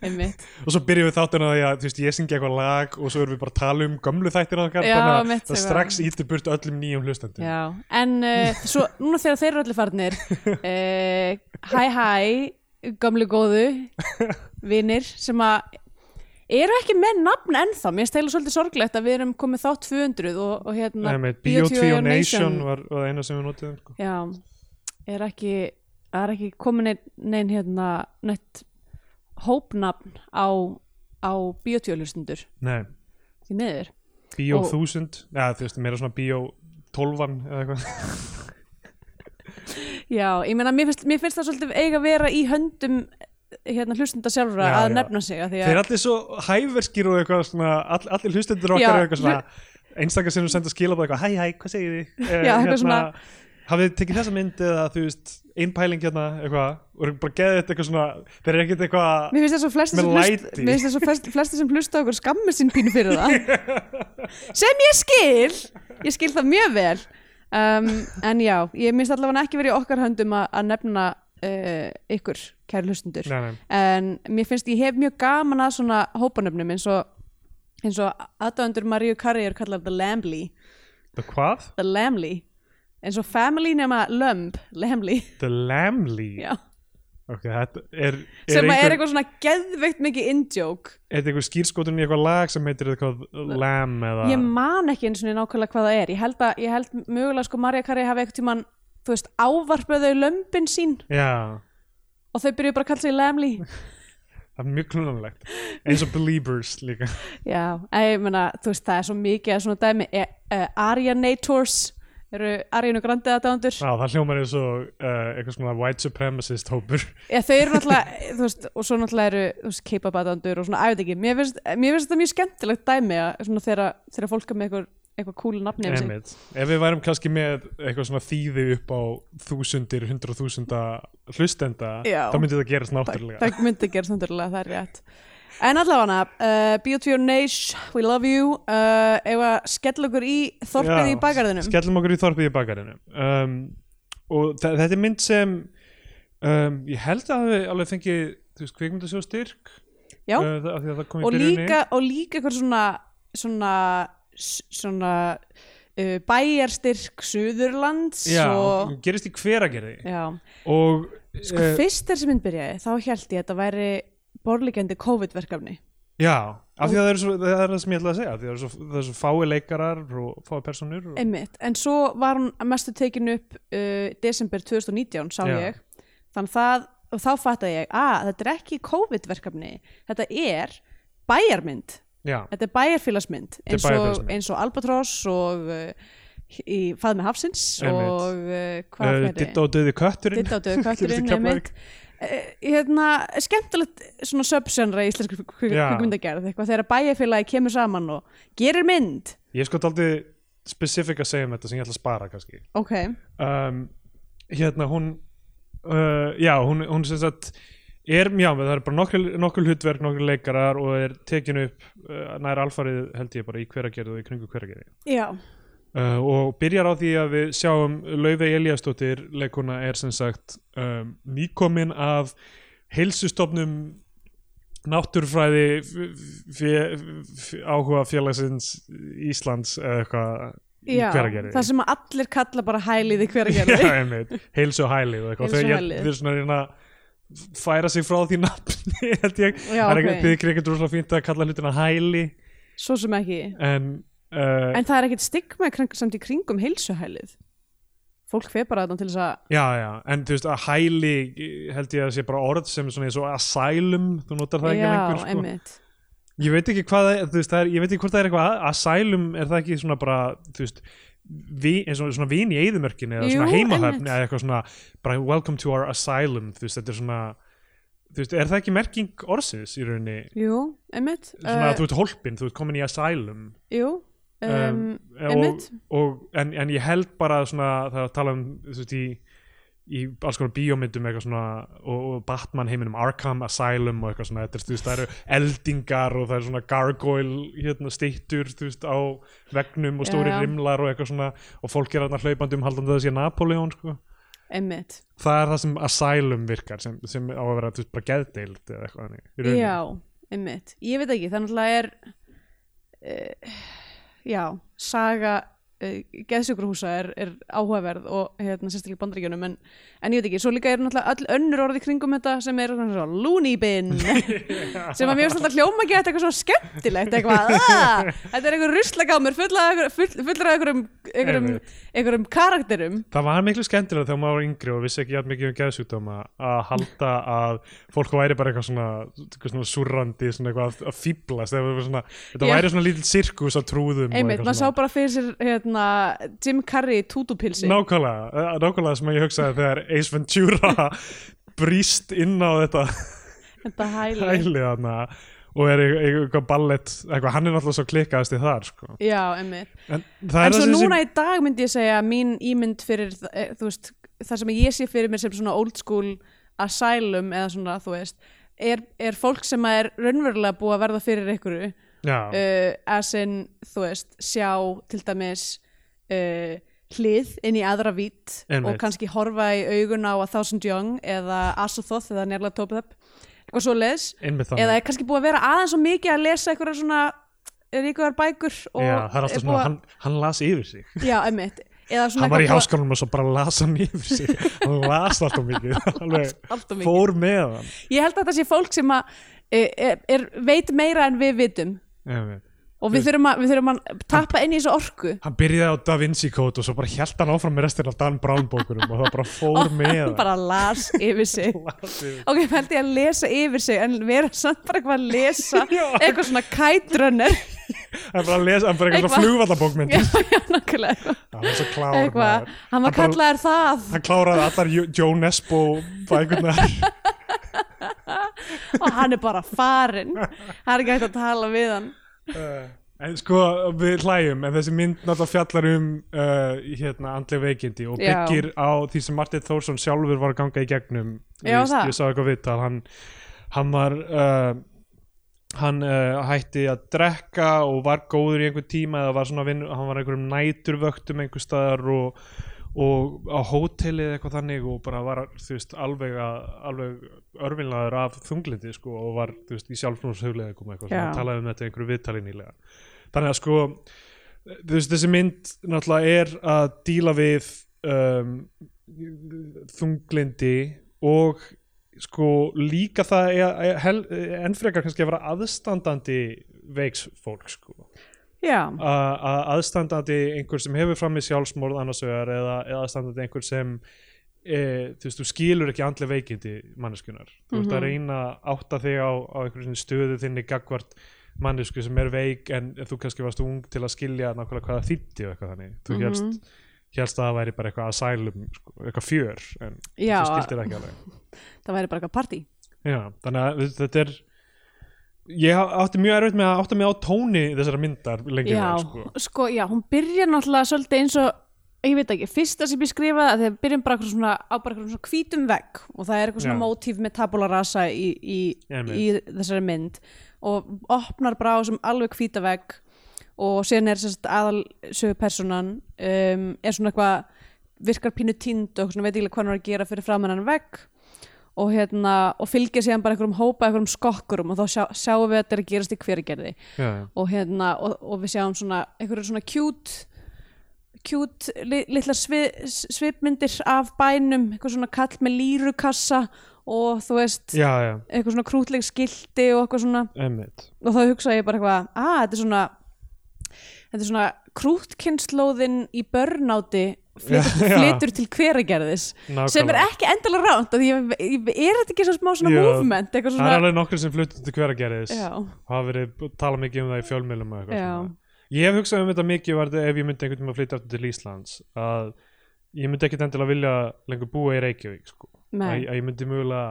[SPEAKER 1] einmitt
[SPEAKER 2] og svo byrjum við þáttina á því að þú veist, ég syngi eitthvað lag og svo erum við bara að tala um gömlu þættina okkar
[SPEAKER 1] Já,
[SPEAKER 2] þannig
[SPEAKER 1] mitt,
[SPEAKER 2] að það
[SPEAKER 1] eitthvað.
[SPEAKER 2] strax ítir burt öllum nýjum hlustendum
[SPEAKER 1] já. en
[SPEAKER 2] [LAUGHS]
[SPEAKER 1] uh, svo, núna þegar þeir eru allir farnir uh, hæ hæ gamlu góðu vinnir sem að eru ekki með nafn ennþá, mér stæla svolítið sorglegt að við erum komið þá 200 og, og hérna
[SPEAKER 2] Nei, með
[SPEAKER 1] Bio
[SPEAKER 2] Bio2
[SPEAKER 1] Nation-
[SPEAKER 2] Nation var, var það eina sem við notiðum sko.
[SPEAKER 1] Já, er ekki það er ekki komin neinn nein, hérna neitt hópnafn á, á biotjólustundur
[SPEAKER 2] Nei,
[SPEAKER 1] því miður
[SPEAKER 2] Bio
[SPEAKER 1] Og-
[SPEAKER 2] 1000 ja, þú veist, meira svona Bio 12 eða eitthvað
[SPEAKER 1] Já, ég meina, mér finnst, mér finnst það svolítið eiga að vera í höndum hérna hlustunda sjálfra
[SPEAKER 2] Já,
[SPEAKER 1] að
[SPEAKER 2] já.
[SPEAKER 1] nefna sig að því
[SPEAKER 2] Þeir
[SPEAKER 1] að
[SPEAKER 2] er allir svo hæverskir og eitthvað svona, all, allir hlustendur okkar
[SPEAKER 1] Já,
[SPEAKER 2] eru eitthvað svona einstakar sem senda skilabóð eitthvað hæ hæ, hvað segir þið? Eh,
[SPEAKER 1] Já, eitthvað svona-
[SPEAKER 2] Hafið þið tekið þessa mynd eða þú veist einpæling hérna eitthvað og eru bara geðið eitthvað svona þeir eru ekkert eitthvað
[SPEAKER 1] Mér finnst það svo flesti
[SPEAKER 2] Með
[SPEAKER 1] sem, hlust,
[SPEAKER 2] læti.
[SPEAKER 1] mér finnst það svo flest, flesti sem hlusta á okkur skammir sín pínu fyrir
[SPEAKER 2] [LAUGHS]
[SPEAKER 1] það sem ég skil ég skil það mjög vel um, en já, ég minnst allavega ekki verið í okkar höndum að, að nefna uh, ykkur kæri hlustundur
[SPEAKER 2] Nei, nei,
[SPEAKER 1] en mér finnst ég hef mjög gaman að svona hópanöfnum eins og eins og aðdöðendur Maríu Karri er kallað The Lambly,
[SPEAKER 2] the hvað?
[SPEAKER 1] The Lambly eins og Family nema Lumb Lambly,
[SPEAKER 2] The Lamley
[SPEAKER 1] já
[SPEAKER 2] Ok, þetta er, er
[SPEAKER 1] sem að er
[SPEAKER 2] einhver,
[SPEAKER 1] eitthvað svona geðveikt mikið indjók
[SPEAKER 2] er þetta einhver skýrskotun í eitthvað lag sem heitir eitthvað Lam eða
[SPEAKER 1] ég man ekki eins og niður nákvæmlega hvað það er ég held að, ég held mögulega sko Maríu Karri hafi eitthvað tíman þú veist, ávarpaðu þau lömbin sín
[SPEAKER 2] Já,
[SPEAKER 1] og þau byrjuðu bara að kalla sig
[SPEAKER 2] [LAUGHS]
[SPEAKER 1] Lemley
[SPEAKER 2] það er mjög klunanlegt eins og Believers líka
[SPEAKER 1] Já, að ég meina, þú veist, það er svo mikið að svona dæmi, e, e, Arianators eru Arianu Grande aðdándur
[SPEAKER 2] Já, það hljómar eins og uh, eitthvað svona white supremacist hópur
[SPEAKER 1] Já, þau eru náttúrulega, þú veist, og svo náttúrulega eru, þú veist, K-pop aðdándur og svona, að ég veit ekki, mér finnst, mér finnst þetta mjög skemmtilegt dæmi að svona þegar, þegar fólk er með eitthvað, eitthvað cool nafni yfir sig.
[SPEAKER 2] Einmitt. Ef við værum kannski með eitthvað svona þýði upp á þúsundir, hundra þúsunda hlustenda
[SPEAKER 1] Já.
[SPEAKER 2] þá myndi það gerast náttúrulega
[SPEAKER 1] það, það myndi gera samtörulega, það er rétt En allavega uh, Beauty Your Nation, we love you uh, Ef að skella okkur í þorpið
[SPEAKER 2] Já,
[SPEAKER 1] í bakarðinum
[SPEAKER 2] Skellum okkur í þorpið í bakarinu um, og þe- þetta er mynd sem um, ég held að við alveg fengið þú veist, kvikmyndasjóð styrk
[SPEAKER 1] Já.
[SPEAKER 2] uh, það, af því að það kom í
[SPEAKER 1] og
[SPEAKER 2] byrjunni
[SPEAKER 1] líka, og líka eitthvað svona svona, s- svona uh, bæjarstyrk Suðurlands
[SPEAKER 2] Já,
[SPEAKER 1] og,
[SPEAKER 2] gerist í hveragerði
[SPEAKER 1] já.
[SPEAKER 2] og
[SPEAKER 1] Sko,
[SPEAKER 2] eh,
[SPEAKER 1] fyrst þessi mynd byrjaði þá held ég að þetta væri borlíkjandi COVID-verkefni
[SPEAKER 2] Já, af því að það er, svo, það er það sem ég ætla að segja af því að það er svo, það er svo fái leikarar og fái personur og,
[SPEAKER 1] einmitt, en svo var hún að mestu tekin upp uh, desember 2019 sá
[SPEAKER 2] Já.
[SPEAKER 1] ég þannig það, og þá fattaði ég að ah, þetta er ekki COVID-verkefni þetta er bæjarmynd
[SPEAKER 2] Já,
[SPEAKER 1] þetta er bæjarfélagsmynd
[SPEAKER 2] er
[SPEAKER 1] eins og,
[SPEAKER 2] bæjarfélagsmynd.
[SPEAKER 1] eins og Albatross og uh, í Faðmi Hafsins
[SPEAKER 2] Einmitt.
[SPEAKER 1] og uh, hvað
[SPEAKER 2] uh,
[SPEAKER 1] uh,
[SPEAKER 2] Ditta og döði kötturinn
[SPEAKER 1] Ditta og Dauði
[SPEAKER 2] Gerist í
[SPEAKER 1] kötturinn,
[SPEAKER 2] Keflavík.
[SPEAKER 1] einmitt. Eh, hérna, skemmtilegt svona subgenre í íslenskri
[SPEAKER 2] Já.
[SPEAKER 1] kvikmyndagerð eitthvað þegar bæjarfélagi kemur saman og gerir mynd
[SPEAKER 2] Ég er sko aldrei specifík að segja um þetta sem ég ætla að spara kannski
[SPEAKER 1] ok,
[SPEAKER 2] um, Hérna, hún uh, Já, hún, hún sem sagt er, já, það er bara nokkur, nokkur hlutverk nokkur leikarar og er tekin upp uh, nær alfarið held ég bara í hveragerði og í kringu hveragerði
[SPEAKER 1] já
[SPEAKER 2] uh, og byrjar á því að við sjáum Laufey Eliasdóttir leikuna er sem sagt um, nýkomin af heilsustofnum náttúrfræði f- f- f- áhuga félagsins Íslands eða eitthvað í
[SPEAKER 1] Já,
[SPEAKER 2] Hveragerði. [LAUGHS]
[SPEAKER 1] það sem að allir kalla bara hælið í hverjargerði
[SPEAKER 2] Já, einmitt, heilsu og hæli og eitthvað
[SPEAKER 1] Heilsu og
[SPEAKER 2] þegar
[SPEAKER 1] hæli.
[SPEAKER 2] þeir eru svona að reyna að færa sig frá því [LAUGHS] nafni held ég,
[SPEAKER 1] Já,
[SPEAKER 2] það er
[SPEAKER 1] ok.
[SPEAKER 2] ekki þið ekkert rosalega fínt að kalla hlutina hæli
[SPEAKER 1] svo sem ekki
[SPEAKER 2] en, uh,
[SPEAKER 1] en það er ekkit stigma í kring- samt í kringum heilsuhælið fólk fer bara þarna til þess að
[SPEAKER 2] Já, já, en þú veist að hæli eh, held ég að sé bara orð sem svona eins og asylum, þú notar það ekki lengur
[SPEAKER 1] já,
[SPEAKER 2] sko.
[SPEAKER 1] einmitt
[SPEAKER 2] Ég veit ekki hvað það er, þú veist, það er, ég veit ekki hvort það er eitthvað að- asylum, er það ekki svona bara, þú veist vi, eins og svona vin í eyðumörkinni eða
[SPEAKER 1] Jú,
[SPEAKER 2] svona heimahöfn
[SPEAKER 1] einmitt.
[SPEAKER 2] eða eitthvað svona bara welcome to our asylum, þú veist, þetta er svona þú veist, er það ekki merking orðsins í rauninni,
[SPEAKER 1] jú, einmitt
[SPEAKER 2] svona
[SPEAKER 1] uh,
[SPEAKER 2] að þú ert holpin, þú ert komin í asylum
[SPEAKER 1] jú, um,
[SPEAKER 2] um, og,
[SPEAKER 1] einmitt.
[SPEAKER 2] og, en, en ég held bara svona, það er að tala um þú veist, í, í alls konar bíómyndum eitthvað svona, og, og Batman heiminum Arkham Asylum og eitthvað svona þetta, er, þú veist, það eru eldingar og það eru svona gargoyle hérna, stýttur veist, á vegnum og stóri
[SPEAKER 1] Já, já.
[SPEAKER 2] rimlar og eitthvað svona og fólk er þarna hlaupandi um haldandi að það sé Napoleon sko.
[SPEAKER 1] einmitt
[SPEAKER 2] það er það sem Asylum virkar sem, sem á að vera þú veist, bara geðdeild eða eitthvað þannig, í rauninni.
[SPEAKER 1] já, einmitt, ég veit ekki þannig að er uh, já, saga uh, geðsjúkurhúsa er, er áhugaverð og hérna sérstaklega í bandaríkjunum en, en ég veit ekki, svo líka er náttúrulega öll önnur orði kringum þetta sem er svona svo loony
[SPEAKER 2] [LAUGHS]
[SPEAKER 1] bin sem að mér finnst alltaf hljóma gett eitthvað svona skemmtilegt eitthvað, "Ah, þetta er eitthvað ruslagámur fulla, af einhver- full, fullur af einhverjum einhverjum,
[SPEAKER 2] Einmitt.
[SPEAKER 1] einhverjum karakterum
[SPEAKER 2] Það var miklu skemmtilega þegar maður var yngri og vissi ekki jafn mikið um geðsjúkdóma að halda að fólk væri bara eitthvað svona, eitthvað svona surrandi, svona eitthvað að- að fýblast eða eitthvað svona, þetta
[SPEAKER 1] Já.
[SPEAKER 2] væri svona lítill sirkus á trúðum og
[SPEAKER 1] einmitt,
[SPEAKER 2] eitthvað
[SPEAKER 1] maður sá bara fyrir sér hérna, Jim Carrey tútupilsi
[SPEAKER 2] Nákvæmlega, eh, nákvæmlega sem ég hugsaði þegar Ace Ventura [LAUGHS] brýst inn á þetta
[SPEAKER 1] þetta hæli
[SPEAKER 2] hæli þarna og er eitthvað- eitthvað ballett, eitthvað, hann er náttúrulega svo klikkaðast í þar sko.
[SPEAKER 1] já, einmitt
[SPEAKER 2] En það er
[SPEAKER 1] en
[SPEAKER 2] það
[SPEAKER 1] svo
[SPEAKER 2] sem-
[SPEAKER 1] núna í dag myndi ég segja að mín ímynd fyrir þ- eh, þú veist, það sem ég sé fyrir mér sem svona old school asylum eða svona, þú veist er, er fólk sem er raunverulega búið að verða fyrir einhverju
[SPEAKER 2] Já,
[SPEAKER 1] uh, as in, þú veist, sjá til dæmis uh, hlið inn í aðra vít
[SPEAKER 2] Einmitt.
[SPEAKER 1] og kannski horfa í augun á A Thousand Young eða Asothoth eða Nerla Topethep eitthvað svo leis
[SPEAKER 2] einmitt þannig.
[SPEAKER 1] eða er kannski búið að vera aðeins og mikið að lesa eitthvað svona ríkuðar bækur og
[SPEAKER 2] Já, það er alltaf svona,
[SPEAKER 1] búið að-
[SPEAKER 2] hann, hann las yfir sig.
[SPEAKER 1] já, emmitt eða svona
[SPEAKER 2] hann var í
[SPEAKER 1] eitthvað búið-
[SPEAKER 2] háskólanum og svo bara las hann yfir sig hann las
[SPEAKER 1] [LAUGHS]
[SPEAKER 2] alltaf mikið alveg
[SPEAKER 1] allt og mikið.
[SPEAKER 2] fór með hann
[SPEAKER 1] e, ég held að það sé fólk sem að, eh, er, er, veit meira en við vitum
[SPEAKER 2] Einmitt.
[SPEAKER 1] og við þurfum, að, við þurfum að tappa inn í þessu orku
[SPEAKER 2] hann byrjaði á Da Vinci Code og svo bara held hann áfram með restin af Dan Brown bókunum og það bara
[SPEAKER 1] [LAUGHS]
[SPEAKER 2] fór
[SPEAKER 1] og
[SPEAKER 2] með
[SPEAKER 1] hann bara las yfir
[SPEAKER 2] [LAUGHS]
[SPEAKER 1] sig
[SPEAKER 2] Lasið.
[SPEAKER 1] ok, ég held ég að lesa yfir sig en vera samt bara eitthvað að
[SPEAKER 2] [LAUGHS]
[SPEAKER 1] lesa eitthvað svona kætrunner
[SPEAKER 2] hann bara les, hann bara eitthvað
[SPEAKER 1] Eitthvað.
[SPEAKER 2] flugvallabókmynd
[SPEAKER 1] já, já, nákvæmlega
[SPEAKER 2] hann var svo klár
[SPEAKER 1] eitthvað,
[SPEAKER 2] maður.
[SPEAKER 1] hann var
[SPEAKER 2] bara-
[SPEAKER 1] kallaður það
[SPEAKER 2] [LAUGHS] hann kláraði allar Jó- Joe Nesbo bækurnar
[SPEAKER 1] og hann er bara farinn það er ekki hægt að tala við hann
[SPEAKER 2] Eh, en sko við hlæjum en þessi mynd náttúrulega fjallar um uh, hérna andlega veikindi og
[SPEAKER 1] Já.
[SPEAKER 2] byggir á því sem Martin Þórsson sjálfur var að ganga í gegnum Þú
[SPEAKER 1] Já,
[SPEAKER 2] veist,
[SPEAKER 1] það.
[SPEAKER 2] ég sá eitthvað viðtal hann, hann var uh, hann uh, hætti að drekka og var góður í einhver tíma eða var svona vinn, hann var á einhverjum næturvöktum einhver staðar og, og á hóteli eða eitthvað þannig og bara var þú veist alveg, að, alveg örfinlaður af þunglindi sko og var þú veist í sjálfsmúlshuglega eitthvað eitthvað
[SPEAKER 1] Já.
[SPEAKER 2] svona, talaði um þetta í einhverju viðtali nýlega þannig að sko þú veist þessi mynd náttúrulega er að díla við um, þunglindi og sko líka það er, er, hel, enn frekar kannski að vera aðstandandi veiks fólk sko
[SPEAKER 1] já,
[SPEAKER 2] A- að aðstandandi einhver sem hefur fram í sjálfsmorð annars vegar eða, eða aðstandandi einhver sem e, þú veist, þú skilur ekki andlega veikindi manneskunar þú ert að reyna að átta þig á, á einhverjum stöðu þinni gagvart mannesku sem er veik en þú kannski varst ung til að skilja nákvæmlega hvað það þýtti og eitthvað þannig þú helst, helst að það væri bara eitthvað asylum, sko, eitthvað fjör en
[SPEAKER 1] Já.
[SPEAKER 2] þú skildir það ekki alveg
[SPEAKER 1] það væri bara eitthvað partí
[SPEAKER 2] Já, þannig að þú- þetta er ég átti mjög erfitt með að átta mig á tóni þessara myndar lengi
[SPEAKER 1] já,
[SPEAKER 2] vel, sko.
[SPEAKER 1] sko, já, hún byrjar náttúrulega svolítið eins og, ég veit ekki, fyrsta sem ég skrifaði að þegar byrjum bara eitthvað svona á bara eitthvað svona hvítum vegg og það er eitthvað svona
[SPEAKER 2] Já.
[SPEAKER 1] mótíf með tabula rasa í, í,
[SPEAKER 2] Einmitt.
[SPEAKER 1] í þessari mynd og opnar bara á sem alveg hvíta vegg og síðan er sérst aðal sögu personan um, er svona eitthvað virkar pínu tínd og eitthvað svona veit ekki alveg hvað hann er að gera fyrir framannan vegg og, hérna, og fylgja síðan bara einhverjum hópa einhverjum skokkurum og þá sjá, sjáum við að þetta er að gerast í hveragerði
[SPEAKER 2] Já, já.
[SPEAKER 1] og hérna og, og við sjáum svona einhverju svona cute cute li, litlar svi, svipmyndir af bænum eitthvað svona kall með lírukassa og þú veist
[SPEAKER 2] já, já,
[SPEAKER 1] eitthvað svona krútleg skilti og eitthvað svona
[SPEAKER 2] einmitt
[SPEAKER 1] og þá hugsaði ég bara eitthvað að þetta er svona þetta er svona krútkynnslóðin í börnáti flytur,
[SPEAKER 2] Já, já.
[SPEAKER 1] flytur til hveragerðis
[SPEAKER 2] Nákvæmlega.
[SPEAKER 1] sem er ekki endalega ránt af því ég, ég, er þetta ekki svo smá svona
[SPEAKER 2] Já.
[SPEAKER 1] movement eitthvað
[SPEAKER 2] Það er
[SPEAKER 1] svona
[SPEAKER 2] alveg nokkur sem fluttu til hveragerðis
[SPEAKER 1] Já.
[SPEAKER 2] hafa verið tala mikið um það í fjölmiðlum og eitthvað
[SPEAKER 1] Já.
[SPEAKER 2] svona. Ég hef hugsað um þetta mikið var þetta ef ég myndi einhvern tímann að flytja aftur til Íslands að ég myndi ekkit endilega vilja lengur búa í Reykjavík sko. að,
[SPEAKER 1] Nei.
[SPEAKER 2] að ég myndi mögulega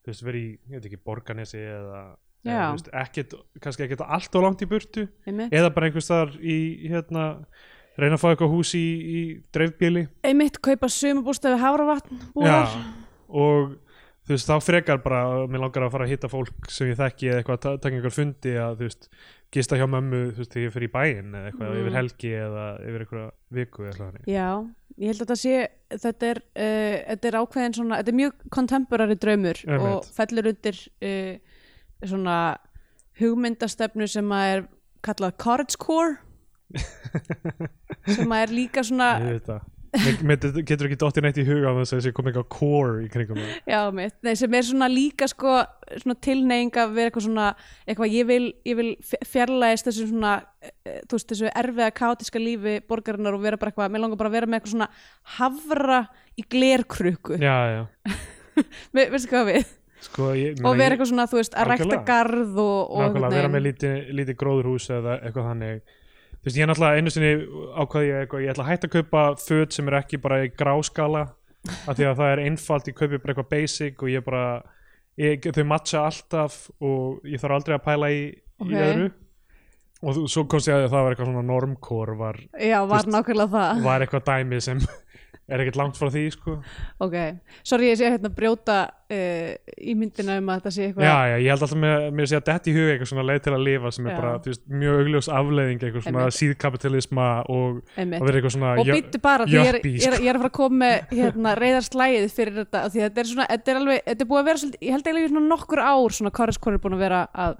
[SPEAKER 2] þú veist, verið í, ég veit ekki, Borganesi eða, eða
[SPEAKER 1] Já.
[SPEAKER 2] þú veist, ekkit, kannski ekkit allt og langt í burtu
[SPEAKER 1] einmitt,
[SPEAKER 2] eða bara einhvers þar í hérna, reyna að fá eitthvað hús í, í dreifbíli
[SPEAKER 1] einmitt kaupa sumabústafi hafravatn búar
[SPEAKER 2] Já, og þú veist, þá frekar bara mér langar að fara að hitta fólk sem ég þekki eða eitthvað að ta- taka einhver fundi að þú veist, gista hjá mömmu þú veist, þegar ég fyrir í bæinn eða eitthvað
[SPEAKER 1] Mm.
[SPEAKER 2] yfir helgi eða yfir einhverja viku eða eitthvað þannig.
[SPEAKER 1] Já, ég held að það sé þetta er, uh, þetta er ákveðin svona þetta er mjög contemporary draumur
[SPEAKER 2] Einmitt.
[SPEAKER 1] og fellur undir uh, svona hugmyndastefnu sem að er kallað college
[SPEAKER 2] [LAUGHS]
[SPEAKER 1] core sem að er líka svona
[SPEAKER 2] Ég veit það. Mér- Mér det- getur ekki dottir neitt í huga á þess að ég kom eitthvað core í
[SPEAKER 1] [LAUGHS]
[SPEAKER 2] kringum það.
[SPEAKER 1] já, mitt, nei, sem er svona líka sko, svona tilneying að vera eitthvað svona eitthvað, ég vil, ég vil fj- fjarlægist þessu svona, eh, þú veist, þessu erfiða kaotiska lífi borgarinnar og vera bara eitthvað, mér langar bara að vera með eitthvað svona hafra í glerkrukku
[SPEAKER 2] Já, já.
[SPEAKER 1] Ve- veistu hvað við
[SPEAKER 2] Sko, ég,
[SPEAKER 1] og
[SPEAKER 2] meina,
[SPEAKER 1] vera eitthvað svona, þú veist, að rækta
[SPEAKER 2] Algjörlega.
[SPEAKER 1] garð og, og
[SPEAKER 2] nákvæmlega vera
[SPEAKER 1] einhvern
[SPEAKER 2] með
[SPEAKER 1] veginn.
[SPEAKER 2] lítið, lítið gróðurhús eða eitthvað þannig þú veist ég er náttúrulega einu sinni ákvað ég eitthvað ég ætla að hætta að kaupa föt sem er ekki bara í gráskala af því að það er einfalt ég kaupi bara eitthvað basic og ég bara ég, þau matcha alltaf og ég þarf aldrei að pæla í,
[SPEAKER 1] Ok.
[SPEAKER 2] í öðru og þú, svo komst ég að því að það var eitthvað svona normkor var,
[SPEAKER 1] já, var
[SPEAKER 2] veist,
[SPEAKER 1] nákvæmlega það
[SPEAKER 2] var eitthvað dæmi sem [LAUGHS] er ekkert langt frá því sko
[SPEAKER 1] ok, sorry ég sé hérna að brjóta uh, í myndina um að þetta sé eitthvað
[SPEAKER 2] Já, já, ég held alltaf með, með að segja að detti í huga eitthvað svona leið til að lifa sem er
[SPEAKER 1] Já.
[SPEAKER 2] bara þú veist, mjög augljós afleiðing eitthvað svona
[SPEAKER 1] Einmitt.
[SPEAKER 2] síðkapitalisma og
[SPEAKER 1] Einmitt.
[SPEAKER 2] að vera eitthvað svona
[SPEAKER 1] og
[SPEAKER 2] jö-
[SPEAKER 1] býttu bara, því ég er,
[SPEAKER 2] jöppi,
[SPEAKER 1] ég, er,
[SPEAKER 2] sko.
[SPEAKER 1] ég er að fara að koma með hérna, reyðarslægið fyrir þetta af því þetta er svona, þetta er alveg, þetta er búið að vera svolítið, ég held eiginlega í svona nokkur ár svona korreskonur er búin að vera að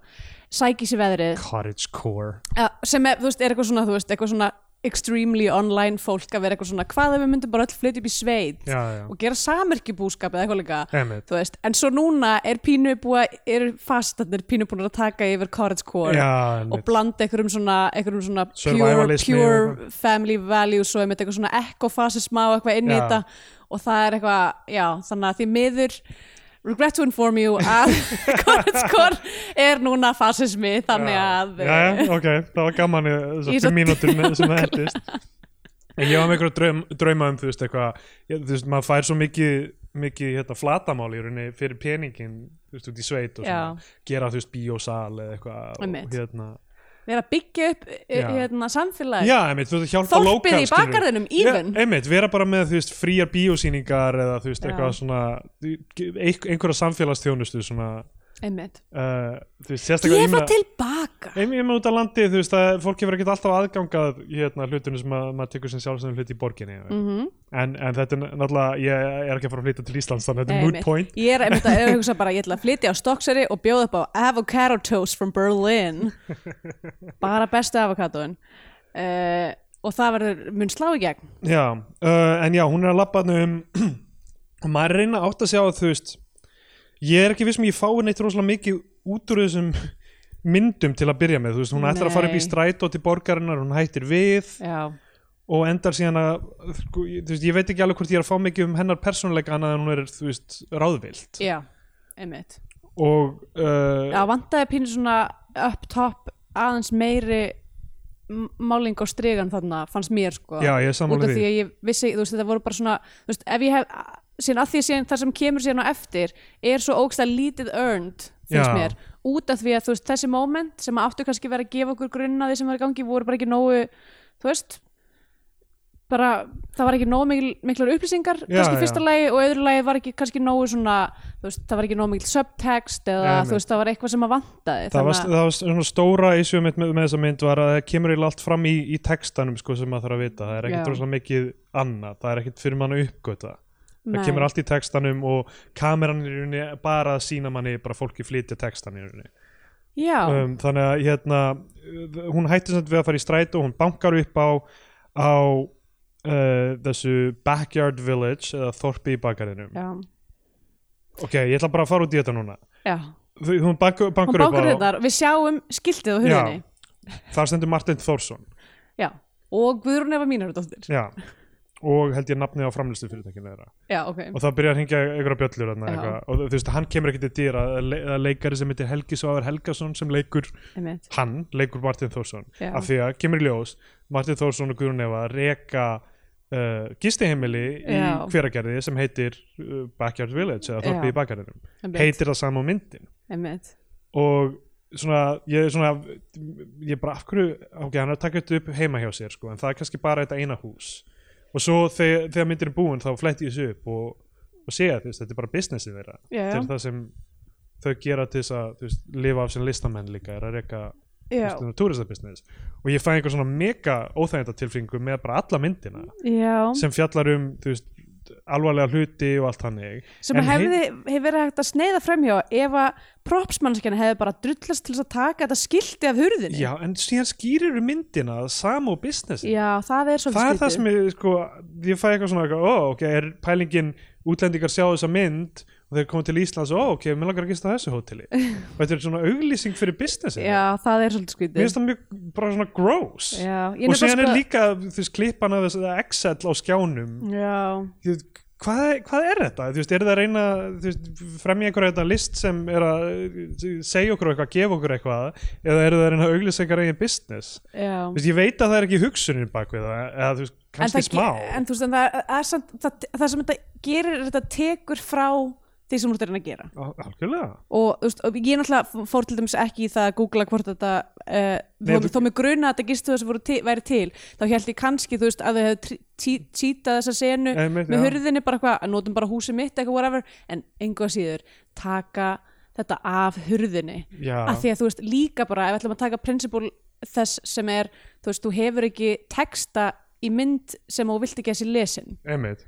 [SPEAKER 1] sækja sér veðrið
[SPEAKER 2] Cottage core
[SPEAKER 1] Eh, sem er, þú veist, er eitthvað svona, þú veist, eitthvað svona extremely online fólk að vera eitthvað svona hvað ef við myndum bara öll flytja upp í sveit
[SPEAKER 2] já, já,
[SPEAKER 1] og gera samerkjubúskap eða eitthvað líka
[SPEAKER 2] emitt
[SPEAKER 1] þú veist, en svo núna er pínu búa, er fastarnir pínu búin að taka yfir Courage Core
[SPEAKER 2] já,
[SPEAKER 1] og
[SPEAKER 2] einmitt.
[SPEAKER 1] blanda einhverjum svona, einhverjum svona pure,
[SPEAKER 2] Survivalismi og
[SPEAKER 1] pure family values og einmitt eitthvað svona ekofasisma og eitthvað inn í
[SPEAKER 2] Já.
[SPEAKER 1] þetta og það er eitthvað, já, þannig að því miður regret to inform you
[SPEAKER 2] [LAUGHS]
[SPEAKER 1] að Courage Core er núna fasismi þannig að
[SPEAKER 2] já, já, ok, það var gaman í
[SPEAKER 1] Í
[SPEAKER 2] þessar
[SPEAKER 1] svo-
[SPEAKER 2] fimm mínútur með-
[SPEAKER 1] [LAUGHS]
[SPEAKER 2] sem það heldist en ég var með einhverja draum, drauma um þú veist eitthvað, ég- þú veist, maður fær svo mikið mikið hérna, flatamál í rauninni fyrir peningin, þú veist, út í sveit og
[SPEAKER 1] Já.
[SPEAKER 2] svona, gera þú veist bíósal eða eitthvað
[SPEAKER 1] Einmitt.
[SPEAKER 2] og hérna,
[SPEAKER 1] vera að byggja upp eh,
[SPEAKER 2] Já.
[SPEAKER 1] hérna, samfélag
[SPEAKER 2] já, einmitt, þú veist, hjálpa
[SPEAKER 1] Þorpið
[SPEAKER 2] lokal,
[SPEAKER 1] í
[SPEAKER 2] skilurðu.
[SPEAKER 1] bakgarðinum,
[SPEAKER 2] Já,
[SPEAKER 1] even.
[SPEAKER 2] einmitt, vera bara með, þú veist, fríar bíósýningar eða, þú veist,
[SPEAKER 1] Já.
[SPEAKER 2] eitthvað svona eik- einhverja samfélagstjónustu svona,
[SPEAKER 1] einmitt,
[SPEAKER 2] uh, þú veist, sérstaklega
[SPEAKER 1] gefa
[SPEAKER 2] ímynda-
[SPEAKER 1] tilbaka
[SPEAKER 2] einmitt út á landi þú veist að fólk hefur ekkert alltaf aðgangað hérna hlutunum sem að, maður tekur sem sjálfsögum hlut í borginni mm
[SPEAKER 1] Mhm.
[SPEAKER 2] -hmm. en, en þetta er náttúrulega ég er ekki að fara að flytja til Íslands þannig að þetta er moot
[SPEAKER 1] Einmitt.
[SPEAKER 2] point
[SPEAKER 1] Ég er einmitt að hugsa bara, ég ætla að flytja á Stokkseri og bjóða upp á avocado toast from
[SPEAKER 2] [LAUGHS]
[SPEAKER 1] Berlin bara bestu avokadoin uh, og það verður mun slá í gegn
[SPEAKER 2] já, uh, en já, hún er að labba þarna um [CLEARS THROAT] og maður er að reyna að átta sig á að þú veist ég er ekki viss um að ég fái neitt rosalega mikið út úr þessum myndum til að byrja með, þú veist, hún ætlar að fara upp í
[SPEAKER 1] Nei.
[SPEAKER 2] strætó til borgarinnar, hún hættir við
[SPEAKER 1] Já,
[SPEAKER 2] og endar síðan að sko, ég- þú veist, ég veit ekki alveg hvort ég er að fá mikið um hennar persónuleika annað en hún er, þú veist, ráðvilt
[SPEAKER 1] já, einmitt
[SPEAKER 2] og uh,
[SPEAKER 1] Já, vantaði pínu svona up top aðeins meiri m- máling á strigan þarna, fannst mér sko
[SPEAKER 2] Já, ég er sammála
[SPEAKER 1] út af
[SPEAKER 2] því.
[SPEAKER 1] því að ég vissi, þú veist, þetta voru bara svona þú veist, ef ég hef, síðan að því síðan það sem kemur síðan á eftir, er svo ógstlega lítið earned, finnst
[SPEAKER 2] Já.
[SPEAKER 1] mér út af því að þú veist, þessi moment sem áttu kannski verið að gefa okkur grunna því sem var í gangi voru bara ekki nógu, þú veist bara, það var ekki nógu mikil, miklar upplýsingar,
[SPEAKER 2] Já,
[SPEAKER 1] kannski
[SPEAKER 2] já.
[SPEAKER 1] í fyrsta lagi og öðru lagi var ekki kannski nógu svona þú veist, það var ekki nógu mikil subtext eða
[SPEAKER 2] Einmitt.
[SPEAKER 1] þú veist, það var eitthvað sem að vantaði
[SPEAKER 2] það, var,
[SPEAKER 1] þannig að-
[SPEAKER 2] það var svona stóra issue mitt með, með þessa mynd var að það kemur eiginlega allt fram í, í textanum sko, sem maður þarf að vita, það er ekkert
[SPEAKER 1] Já.
[SPEAKER 2] rosalega mikið annað, það er ekkert fyrir mann að uppgöta
[SPEAKER 1] Nei.
[SPEAKER 2] það kemur allt í textanum og kameran er í rauninni bara að sína manni bara fólki flytja textan í rauninni
[SPEAKER 1] Já,
[SPEAKER 2] um, þannig að hérna, uh, hún hættir sem við að fara í strætó hún bankar upp á, á uh, þessu backyard village eða þorpi í bakarinum
[SPEAKER 1] já,
[SPEAKER 2] ok, ég ætla bara að fara út í þetta núna
[SPEAKER 1] já
[SPEAKER 2] hún bankur,
[SPEAKER 1] Hún
[SPEAKER 2] bankur
[SPEAKER 1] bákar
[SPEAKER 2] upp á
[SPEAKER 1] þetta, við sjáum skiltið á hurðinni
[SPEAKER 2] þar stendur Martin Thorsson
[SPEAKER 1] já. og Guðrún Eva Mínardóttir
[SPEAKER 2] Já, og held ég nafnið á framlistu fyrirtækinu þeirra
[SPEAKER 1] Já, ok,
[SPEAKER 2] og það byrja að hringja einhverja bjöllur þarna,
[SPEAKER 1] Já.
[SPEAKER 2] eitthvað. og þú veist, hann kemur ekkert til dýra að le- að leikari sem heitir Helgi Svavar Helgason sem leikur
[SPEAKER 1] einmitt
[SPEAKER 2] hann, leikur Martin Þórsson
[SPEAKER 1] Já.
[SPEAKER 2] af því að kemur í ljós Martin Þórsson og Guðrún Eva reka uh, gistiheimili í
[SPEAKER 1] Já.
[SPEAKER 2] hveragerði sem heitir uh, Backyard Village eða
[SPEAKER 1] Já.
[SPEAKER 2] Þorpi í Backyardinum
[SPEAKER 1] einmitt,
[SPEAKER 2] heitir það sama á myndin
[SPEAKER 1] einmitt.
[SPEAKER 2] og svona, ég er svona ég er bara af hverju, ok, hann er að taka þetta upp heima hjá sér, sko, en það er kannski bara þetta eina hús og svo þegar, þegar myndir er búin þá fletti ég þessu upp og, og segja, þú veist, þetta er bara businessið þeirra
[SPEAKER 1] Já, já.
[SPEAKER 2] til það sem þau gera til þess að, þú veist, lifa af sem listamenn líka er að reyka, þú
[SPEAKER 1] Já,
[SPEAKER 2] veist, túristabusiness og ég fæ einhver svona mega óþægjenda tilfinningu með bara alla myndina
[SPEAKER 1] já
[SPEAKER 2] sem fjallar um, þú veist alvarlega hluti og allt hannig
[SPEAKER 1] sem
[SPEAKER 2] En
[SPEAKER 1] hefði, hefði verið hægt að sneiða framhjá ef að propsmannskjana hefði bara drullast til þess að taka þetta skilti af hurðinni
[SPEAKER 2] Já, en síðan skýrir myndina sama og businessið
[SPEAKER 1] Já, það er svolítið
[SPEAKER 2] það er það sem ég sko ég fæ eitthvað svona, eitthvað, ó, ok, er pælingin útlendingar sjá þessa mynd og þeir koma til Íslands, ó, ok, mér langar að gista á þessu
[SPEAKER 1] [LAUGHS]
[SPEAKER 2] hóteli og þetta er svona auglýsing fyrir businessi
[SPEAKER 1] Já, það er svolítið
[SPEAKER 2] mér
[SPEAKER 1] skvítið
[SPEAKER 2] finnst það mjög bara svona gross
[SPEAKER 1] Já, ég nefnilega
[SPEAKER 2] og síðan er
[SPEAKER 1] sko-
[SPEAKER 2] líka þú veist, klippan af þessu Excel á skjánum
[SPEAKER 1] Já,
[SPEAKER 2] Þú veist, hvað, hvað er þetta? Þú veist, er það að reyna þú veist, fremja einhverja þetta list sem er að eh, segja okkur eitthvað, gefa okkur eitthvað eða eru það að reyna að auglýsa einhverja eigin business?
[SPEAKER 1] já
[SPEAKER 2] Þú veist, ég veit að það er ekki hugsunin bak við það eða þú veist,
[SPEAKER 1] en
[SPEAKER 2] kannski
[SPEAKER 1] það,
[SPEAKER 2] smá
[SPEAKER 1] ge- en þú veist, en það, er- er samt, það, það sem þetta gerir er þetta tekur frá því sem þú ert að reyna að gera
[SPEAKER 2] Al- Algjörlega
[SPEAKER 1] og, þú veist, og ég náttúrulega fór til dæmis ekki í það að googla hvort þetta uh,
[SPEAKER 2] Nei,
[SPEAKER 1] þó,
[SPEAKER 2] þú-
[SPEAKER 1] þó mig gruna að þetta gistu þess að voru til, væri til þá held ég kannski þú veist að þau hefðu títið þessa senu
[SPEAKER 2] Einmitt,
[SPEAKER 1] með
[SPEAKER 2] já.
[SPEAKER 1] hurðinni bara eitthvað að notum bara húsið mitt eitthvað whatever en einhvað síður taka þetta af hurðinni
[SPEAKER 2] Já.
[SPEAKER 1] af því að þú veist líka bara ef við ætlum að taka prinsipól þess sem er þú veist þú hefur ekki texta í mynd sem þú vilt ekki að sé lesin
[SPEAKER 2] Einmitt.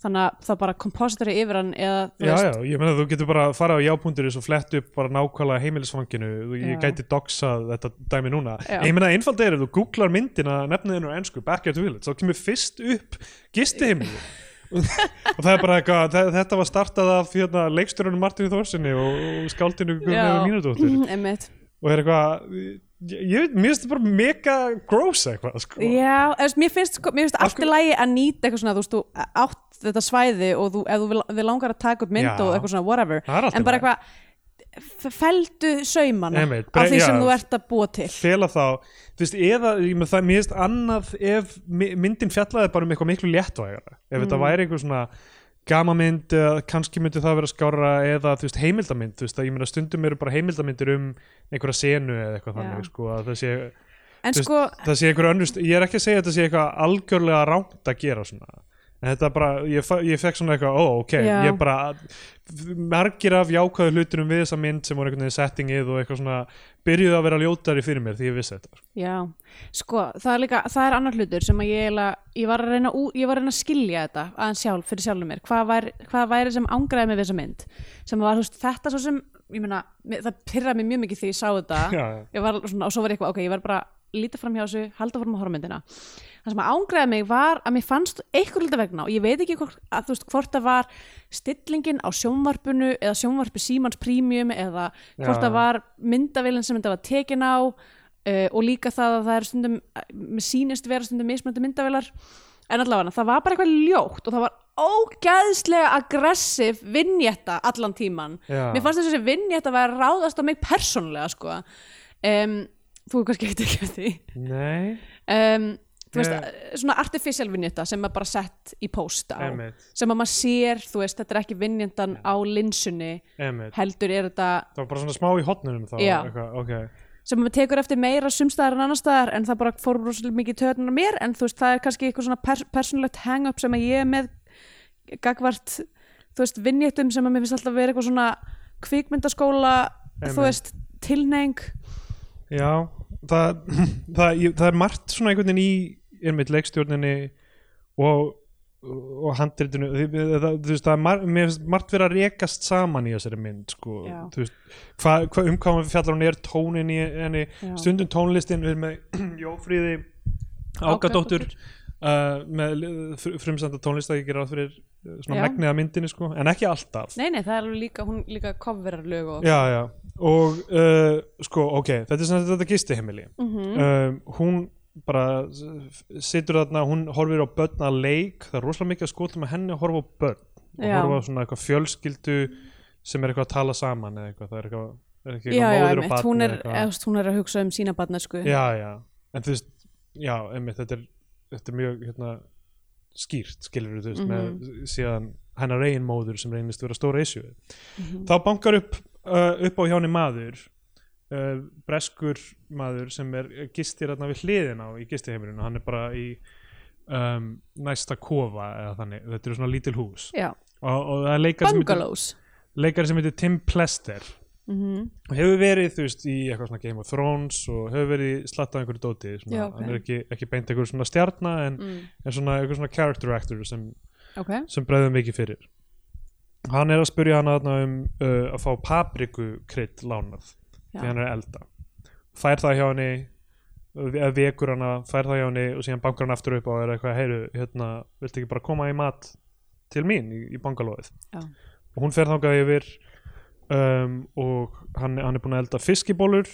[SPEAKER 1] þannig að það bara kompositori yfir hann eða þú
[SPEAKER 2] Já,
[SPEAKER 1] veist,
[SPEAKER 2] já, ég meina þú getur bara að fara á jápunduris og flett upp bara nákvæmlega heimilisfanginu Þú- ég
[SPEAKER 1] Já.
[SPEAKER 2] gæti doxað þetta dæmi núna
[SPEAKER 1] Já.
[SPEAKER 2] en ég meina einfalda er ef þú googlar myndina nefniðinu á ennsku, Backyard Village, þá kemur fyrst upp gistiheimili
[SPEAKER 1] [LAUGHS]
[SPEAKER 2] og það er bara eitthvað, þe- þetta var startað af hérna, leikstjörunum Martinu Þórsinni og, og skáldinu Guðnæðu Mínudóttur
[SPEAKER 1] [LAUGHS] einmitt.
[SPEAKER 2] og er eitthvað ég, ég mér finnst þetta bara mega gross eitthvað sko.
[SPEAKER 1] Já, eða, þú veist, mér finnst, sko, mér finnst
[SPEAKER 2] Af
[SPEAKER 1] allt í lagi að nýta eitthvað svona, þú veist, þú átt þetta svæði og þú, ef þú vil- við langar að taka upp mynd
[SPEAKER 2] Já.
[SPEAKER 1] og eitthvað svona, whatever,
[SPEAKER 2] Það er allt í
[SPEAKER 1] en bara
[SPEAKER 2] lagi.
[SPEAKER 1] eitthvað f- felldu saumana
[SPEAKER 2] Einmitt,
[SPEAKER 1] af
[SPEAKER 2] bre-
[SPEAKER 1] því sem
[SPEAKER 2] já.
[SPEAKER 1] þú ert að búa til
[SPEAKER 2] fela þá, þú veist, eða ég með það, mér finnst annað ef mi- myndin fjallaði bara um eitthvað miklu léttvægara ef
[SPEAKER 1] Mm.
[SPEAKER 2] þetta væri einhver svona gamamynd, eh, kannski myndi það vera skára eða, þú veist, heimildamynd, þú veist, að ég meina stundum eru bara heimildamyndir um einhverja senu eða eitthvað
[SPEAKER 1] Já.
[SPEAKER 2] þannig, sko, að það sé
[SPEAKER 1] en
[SPEAKER 2] þú veist,
[SPEAKER 1] sko,
[SPEAKER 2] það sé einhver önnust, ég er ekki að segja að þetta sé eitthvað algjörlega rámt að gera svona en þetta bara, ég, fa- ég fekk svona eitthvað ó, ok,
[SPEAKER 1] Já.
[SPEAKER 2] ég bara margir af jákvæðu hlutunum við þessa mynd sem voru einhvern veginn settingið og eitthvað svona byrjuðu að vera ljótari fyrir mér því ég vissi þetta
[SPEAKER 1] já sko, það er líka, það er annar hlutur sem að ég eiginlega, ég var að reyna, ú, ég var að reyna að skilja þetta aðeins sjálf, fyrir sjálfum mér hvað, var, hvað væri sem ángraði mig við þessa mynd sem var, þú veist, þetta svo sem ég meina, mér- það pyrraði mig mjög mikið því ég sá þetta
[SPEAKER 2] Já, já.
[SPEAKER 1] ég var svona, og svo var ég eitthvað, ok, ég var bara að líta fram hjá þessu, halda fram á horfmyndina það sem að ángræða mig var að mér fannst eitthvað hluta vegna og ég veit ekki hvort, að, þú veist, hvort það var stillingin á sjónvarpinu eða sjónvarpi símans prímjum eða hvort
[SPEAKER 2] Já.
[SPEAKER 1] það var myndavélinn sem þetta var tekin á uh, og líka það að það er stundum með sýnist vera stundum mismöndi myndavélar en allavega það var bara eitthvað ljótt og það var ógæðslega aggressiv vinnjetta allan tíman
[SPEAKER 2] Já.
[SPEAKER 1] mér fannst þessi vinn ég þetta var að ráðast á mig persónulega sko um, þú kannski eitthvað ekki eftir því
[SPEAKER 2] Nei,
[SPEAKER 1] um, þú veist, eh,
[SPEAKER 2] Nei.
[SPEAKER 1] svona artificial vinnjöta sem er bara sett í post á
[SPEAKER 2] Einmitt.
[SPEAKER 1] sem að maður sér, þú veist, þetta er ekki vinnjöndan á linsunni,
[SPEAKER 2] emitt
[SPEAKER 1] heldur er þetta
[SPEAKER 2] Það var bara svona smá í hotnunum þá
[SPEAKER 1] Já.
[SPEAKER 2] eitthvað, ok,
[SPEAKER 1] sem maður tekur eftir meira sumstaðar en annarstaðar en það bara fór rosalega mikið í töðunar mér en þú veist, það er kannski eitthvað svona pers persónulegt hang-up sem að ég er með gagvart, þú veist, vinnjötum sem að mér finnst alltaf vera eitthvað svona kvikmyndaskóla,
[SPEAKER 2] Einmitt.
[SPEAKER 1] þú veist tilneying
[SPEAKER 2] Já, það, [CLEARS THROAT] það, ég, það er margt svona einhvern veginn í einmitt leikstjórninni og, og handritinu Þi- það, það, þú veist, það er mar, mér finnst margt verið að rekast saman í þessari mynd sko.
[SPEAKER 1] Já.
[SPEAKER 2] Þú veist, hva, hva, um hvað hún fjallar hún er tónin í henni,
[SPEAKER 1] Já.
[SPEAKER 2] stundum tónlistin við erum með [CLEARS THROAT] Jófríði
[SPEAKER 1] Ágadóttur.
[SPEAKER 2] Ágadóttur uh, með frumsenda tónlist að ég gera ráð fyrir uh, svona
[SPEAKER 1] Já.
[SPEAKER 2] megnið af myndinni sko, en ekki alltaf
[SPEAKER 1] Nei, nei, það er alveg líka, hún líka coverar lög og...
[SPEAKER 2] já, já. og uh, sko, ok, þetta er sem sagt þetta gistiheimili
[SPEAKER 1] Mhm.
[SPEAKER 2] um, hún bara s- situr þarna, hún horfir á börn að leik, það er rosalega mikið að skotum að henni að horfa á börn og
[SPEAKER 1] Já.
[SPEAKER 2] horfa á svona eitthvað fjölskyldu sem er eitthvað að tala saman eða eitthvað, það er eitthvað, er ekki
[SPEAKER 1] já, já,
[SPEAKER 2] eitthvað móðir og
[SPEAKER 1] einmitt,
[SPEAKER 2] barn
[SPEAKER 1] hún
[SPEAKER 2] eða
[SPEAKER 1] er, eða, þú veist, hún er að hugsa um sína barnesku.
[SPEAKER 2] já, já, en þú veist já, einmitt, þetta er, þetta er mjög hérna, skýrt, skilur þú veist,
[SPEAKER 1] Mhm.
[SPEAKER 2] með síðan hennar eigin móður sem reynist vera stóra issue
[SPEAKER 1] Mhm.
[SPEAKER 2] þá bankar upp, uh, upp á hjáni maður uh, breskur maður sem er gistir hérna við hliðina á í gistiheimurinn og hann er bara í um, næsta kofa eða þannig, þetta eru svona lítil hús
[SPEAKER 1] Já,
[SPEAKER 2] og, og það er leikari sem, heitir,
[SPEAKER 1] bungalows.
[SPEAKER 2] leikari sem heitir Tim Plester
[SPEAKER 1] Mm
[SPEAKER 2] og hefur verið þú veist í eitthvað svona Game of Thrones og hefur verið slatt af einhverju dóti svona,
[SPEAKER 1] Já, ok.
[SPEAKER 2] hann er ekki, ekki beint einhverju svona stjarna en,
[SPEAKER 1] Mm.
[SPEAKER 2] en svona einhverju svona character actor sem,
[SPEAKER 1] Ok,
[SPEAKER 2] sem bregðum mikið fyrir hann er að spyrja hann aðna um uh, að fá paprikukrydd lánað
[SPEAKER 1] Já.
[SPEAKER 2] því hann er að elda fær það hjá henni eða vekur hana, fær það hjá henni og síðan bankar hann aftur upp á og er eitthvað, heyru, hérna viltu ekki bara koma í mat til mín í, í bankalóðið
[SPEAKER 1] já.
[SPEAKER 2] og hún fer þangað yfir um, og hann, hann er búin að elda fiskibólur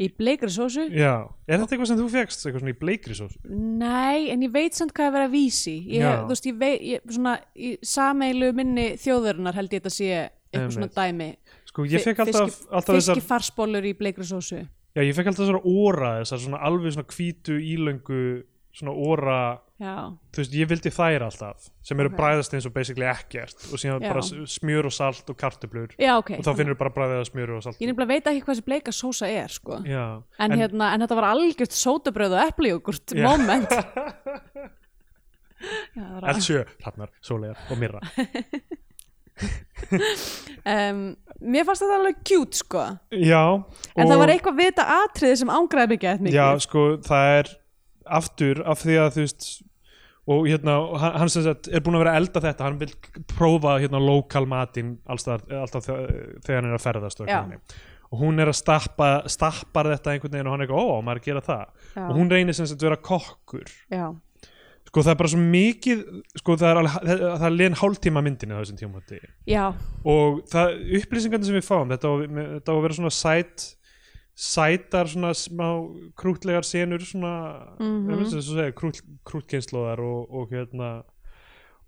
[SPEAKER 1] Í bleikri sósu?
[SPEAKER 2] já, er þetta eitthvað sem þú fegst eitthvað svona í bleikri sós
[SPEAKER 1] Nei, en ég veit samt hvað er að vera vísi. Ég,
[SPEAKER 2] Já.
[SPEAKER 1] þú veist, ég veit, ég, svona, í sameilu minni þjóðurinnar held ég þetta sé eitthvað svona
[SPEAKER 2] Einmitt.
[SPEAKER 1] dæmi.
[SPEAKER 2] sko ég
[SPEAKER 1] Fi-
[SPEAKER 2] fekk alltaf,
[SPEAKER 1] fiski-
[SPEAKER 2] alltaf þessar
[SPEAKER 1] Fiskifarsbollur í bleikri sósu.
[SPEAKER 2] já, ég fekk alltaf þessar óra þessar svona alveg svona hvítu ílöngu svona óra
[SPEAKER 1] Já,
[SPEAKER 2] þú veist, ég vildi þær alltaf sem eru
[SPEAKER 1] Ok.
[SPEAKER 2] okay. bræðast eins og basically ekkert og síðan
[SPEAKER 1] Já.
[SPEAKER 2] bara s- smjör og salt og kartöblur
[SPEAKER 1] já, ok.
[SPEAKER 2] og þá finnur bara bræðið að smjöru og salt
[SPEAKER 1] Ég nefnilega veit ekki hvað þessi bleika sósa er, sko.
[SPEAKER 2] já,
[SPEAKER 1] En, hérna, en þetta var algjört sótabröð og epljókurt
[SPEAKER 2] Já. [LAUGHS]
[SPEAKER 1] moment Já, það var-
[SPEAKER 2] Eldsjö, Hrafnar, Sólegar og
[SPEAKER 1] [LAUGHS]
[SPEAKER 2] Mirra
[SPEAKER 1] um, Mér fannst þetta alveg cute sko en
[SPEAKER 2] já, og-
[SPEAKER 1] það var eitthvað við þetta atriði sem ángræði mikið eftir mikið
[SPEAKER 2] Já, sko, það er aftur af því að þú veist og hérna, og hann hann sem sagt er búin að vera að elda þetta, hann vil prófa hérna lokal matinn alltaf, alltaf þe- þegar hann er að ferðast
[SPEAKER 1] Já.
[SPEAKER 2] og, eitthvað þannig. og hún er að stappa, stappar þetta einhvern veginn og hann er eitthvað, ó, á maður að gera það
[SPEAKER 1] Já.
[SPEAKER 2] og hún reynir sem sagt að vera kokkur
[SPEAKER 1] já,
[SPEAKER 2] sko það er bara svo mikið sko það er, alveg, það, það er len hálftíma myndinni á þessum tímati
[SPEAKER 1] já,
[SPEAKER 2] og það, upplýsingarnir sem við fáum þetta á, með- þetta á að vera svona sæt sætar svona smá krútlegar senur svona
[SPEAKER 1] Mhm.
[SPEAKER 2] mm -hmm. krút, krútkynnslóðar og, og hérna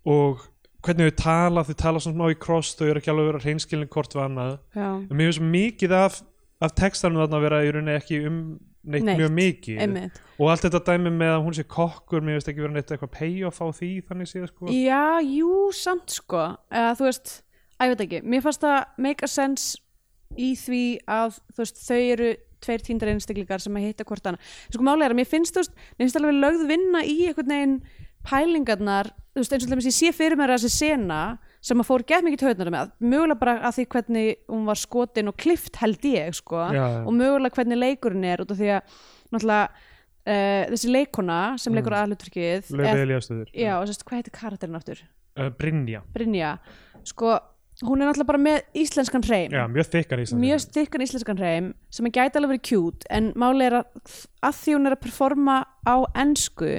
[SPEAKER 2] og hvernig þau tala, þau tala svona smá í kross þau eru ekki alveg að vera hreinskilin hvort við annað
[SPEAKER 1] já,
[SPEAKER 2] en mér finnst svo mikið af, af textanum þarna að vera í rauninni ekki um neitt,
[SPEAKER 1] Neitt,
[SPEAKER 2] mjög mikið
[SPEAKER 1] einmitt
[SPEAKER 2] og allt þetta dæmi með að hún sé kokkur mér finnst ekki vera neitt eitthvað payoff á því þannig séð sko
[SPEAKER 1] já, jú, samt sko eða þú veist, að ég veit ekki mér fannst það make a sense í því að þú veist, þau eru tveir tíndar einstaklingar sem að hitta hvort hana sko málega er að mér finnst þú veist mér finnst alveg lögð vinna í einhvern veginn pælingarnar, þú veist eins og þess að ég sé fyrir mér að þessi sena sem að fór gett mikið tautunar með, mögulega bara að því hvernig hún var skotin og klift held ég sko,
[SPEAKER 2] Já, já.
[SPEAKER 1] og mögulega hvernig leikurinn er út af því að náttúrulega uh, þessi leikona sem leikur aðhlutverkið
[SPEAKER 2] Mm. Laufey Elíasdóttir.
[SPEAKER 1] já, og sérst, hvað heitir karakterinn aftur?
[SPEAKER 2] Uh, Brynja,
[SPEAKER 1] Brynja, sko hún er náttúrulega bara með íslenskan hreim
[SPEAKER 2] já, mjög þykkar í þessu.
[SPEAKER 1] mjög styrkan íslenskan hreim sem er gæti alveg verið cute en máli er að að því hún er að performa á ensku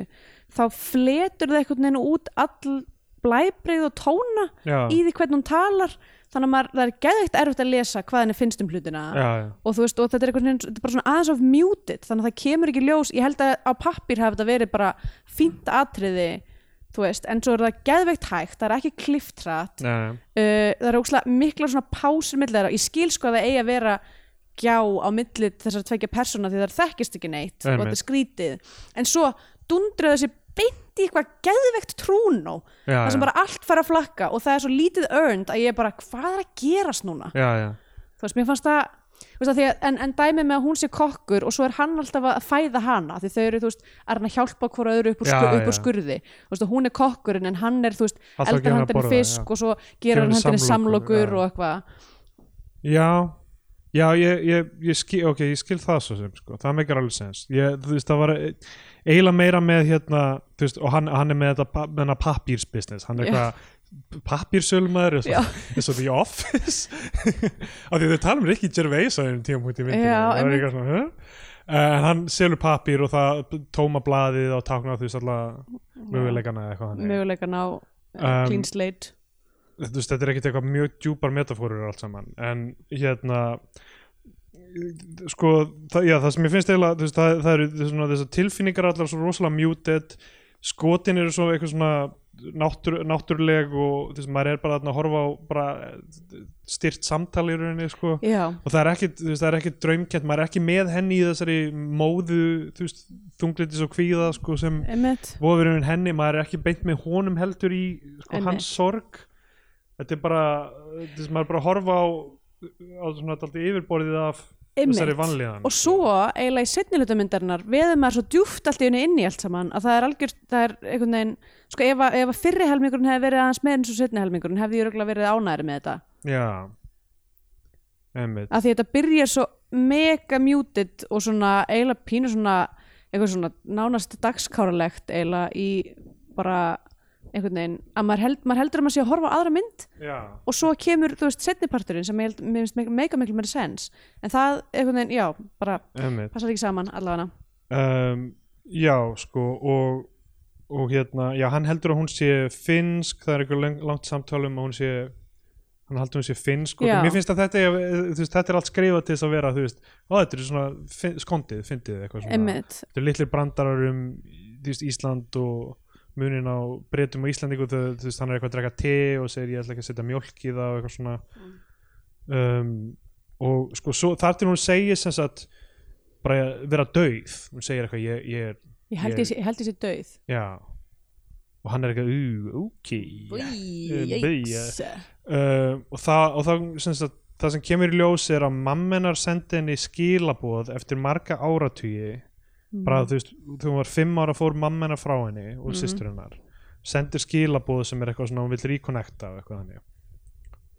[SPEAKER 1] þá fletur það einhvern veginn út all blæbrið og tóna
[SPEAKER 2] já,
[SPEAKER 1] í því hvernig hún talar þannig að maður, það er geðveikt erfitt að lesa hvað henni finnst um hlutina
[SPEAKER 2] já, já,
[SPEAKER 1] og þú veist, og þetta er eitthvað svona, þetta er bara svona aðeins of muted, þannig að það kemur ekki í ljós ég held að á pappir hafi þetta verið bara fínt atriði, þú veist en svo er það geðveikt hægt, það er ekki kliftrætt
[SPEAKER 2] já, já.
[SPEAKER 1] uh, það eru ókslega mikla svona pásur millir þeirra, ég skil sko að það eigi að vera gjá á milli þessar tvekja persóna því það þekkist ekki neitt og
[SPEAKER 2] Einmitt.
[SPEAKER 1] þetta er skrítið, en svo dundra þessi beint í eitthvað geðveikt trúnó,
[SPEAKER 2] Já,
[SPEAKER 1] það sem
[SPEAKER 2] já.
[SPEAKER 1] bara allt fara að flakka og það er svo lítið earned að ég er bara, hvað er að gerast núna
[SPEAKER 2] já, já.
[SPEAKER 1] þú veist, mér fannst það þú veist, að því að, en, en dæmið með að hún sé kokkur og svo er hann alltaf að fæða hana því þau eru, þú veist, að hann að hjálpa hvora öðru upp úr,
[SPEAKER 2] Já,
[SPEAKER 1] skur, upp úr
[SPEAKER 2] já.
[SPEAKER 1] skurði þú veist, og hún er kokkurinn en hann er, þú veist,
[SPEAKER 2] Alltaf að gefa
[SPEAKER 1] eldar
[SPEAKER 2] henni að
[SPEAKER 1] handinni
[SPEAKER 2] borða,
[SPEAKER 1] fisk
[SPEAKER 2] já.
[SPEAKER 1] og svo
[SPEAKER 2] Gefa
[SPEAKER 1] gerur hann
[SPEAKER 2] henni
[SPEAKER 1] handinni
[SPEAKER 2] samlokur,
[SPEAKER 1] samlokur
[SPEAKER 2] já.
[SPEAKER 1] og eitthvað
[SPEAKER 2] Já, já, ég, ég, ég skil, ok, ég skil það svo sem, sko, það meikar alveg sens. Ég, þú veist, það var e- eiginlega meira með hérna, þú veist, og hann, hann er með þetta pa- með hennar pappírsbusiness, hann er
[SPEAKER 1] Já.
[SPEAKER 2] eitthvað pappírsölmaður, eins
[SPEAKER 1] Já.
[SPEAKER 2] og- eins og The Office, [LAUGHS] af því þau tala um Ricky Gervais á einum tíum út í myndinu,
[SPEAKER 1] Já,
[SPEAKER 2] það er
[SPEAKER 1] einmitt.
[SPEAKER 2] eitthvað svona, huh? En hann selur pappír og það tóma blaðið og tákna þú veist alla möguleikana eða eitthvað hann
[SPEAKER 1] möguleikan á
[SPEAKER 2] Um,
[SPEAKER 1] um, clean slate
[SPEAKER 2] þú veist, þetta er ekkert eitthvað mjög djúpar metafórur allt saman, en hérna sko það, já, það sem ég finnst eiginlega, þú veist, það, það eru svona, þessar tilfinningar allar svo rosalega muted skotin eru svo eitthvað svona náttúr, náttúruleg og þú veist, maður er bara þarna að horfa á bara styrt samtal í rauninni, sko
[SPEAKER 1] já,
[SPEAKER 2] og það er ekkit, þú veist, það er ekkit draumkjent maður er ekki með henni í þessari móðu þú veist, þunglitis og kvíða sko, sem
[SPEAKER 1] emmitt
[SPEAKER 2] vofurinn henni, maður er ekki beint með honum heldur í sko,
[SPEAKER 1] Einmitt.
[SPEAKER 2] hans sorg þetta er bara þetta er maður er bara að horfa á, á svona alltaf yfirborðið af þessari vanlíðan
[SPEAKER 1] og svo eiginlega í setni hlutamyndarinnar veður maður svo djúft allt í henni inn í allt saman að það er algjör, það er einhvern veginn sko ef, að- ef að fyrri helmingurinn hefði verið aðeins með eins og setni helmingurinn hefði ég röglega verið ánæri með þetta
[SPEAKER 2] já Einmitt.
[SPEAKER 1] að því þetta byrjar svo mega muted og svona eiginlega pínu svona eitthvað svona nánast dagskáralegt eiginlega í bara einhvern veginn að maður, held, maður heldur að maður sé að horfa á aðra mynd
[SPEAKER 2] já,
[SPEAKER 1] og svo kemur þú veist setniparturinn sem ég held mér finnst mega, mega miklu meira sens en það einhvern veginn, já, bara
[SPEAKER 2] einmitt
[SPEAKER 1] passar ekki saman allavega
[SPEAKER 2] um, já, sko og, og hérna, já, hann heldur að hún sé finnsk, það er einhver löng- langt samtala um að hún sé hann heldur að hún sé finnsk og
[SPEAKER 1] Já.
[SPEAKER 2] mér finnst að þetta, er- þú veist, þetta er allt skrifað til þess að vera, þú veist, ó, þetta er svona fin- skondið, fyndið eitthvað svona
[SPEAKER 1] einmitt,
[SPEAKER 2] þetta eru litlir brandarar um þú veist, Ísland og munin á breytum og Íslandingu þau, þú veist, hann er eitthvað að draka te og segir ég ætla ekki að setja mjólk í það og eitthvað svona um, og sko svo, þar til hún segir sem sagt bara vera dauð, hún segir eitthvað ég, ég er,
[SPEAKER 1] ég held
[SPEAKER 2] Ég-
[SPEAKER 1] ég, ég, held ég sé döið
[SPEAKER 2] já og hann er eitthvað, ú, ok
[SPEAKER 1] Bý,
[SPEAKER 2] Bý,
[SPEAKER 1] yikes.
[SPEAKER 2] uh, og það, og það, sem sagt, það sem kemur í ljós er að mammenar sendi henni skilaboð eftir marga áratugi bara þú veist, þegar hún var fimm ára fór mammenar frá henni og
[SPEAKER 1] Mm.
[SPEAKER 2] mm
[SPEAKER 1] Mhm.
[SPEAKER 2] systur hennar sendir skilaboð sem er eitthvað svona hún vill reconnecta og eitthvað þannig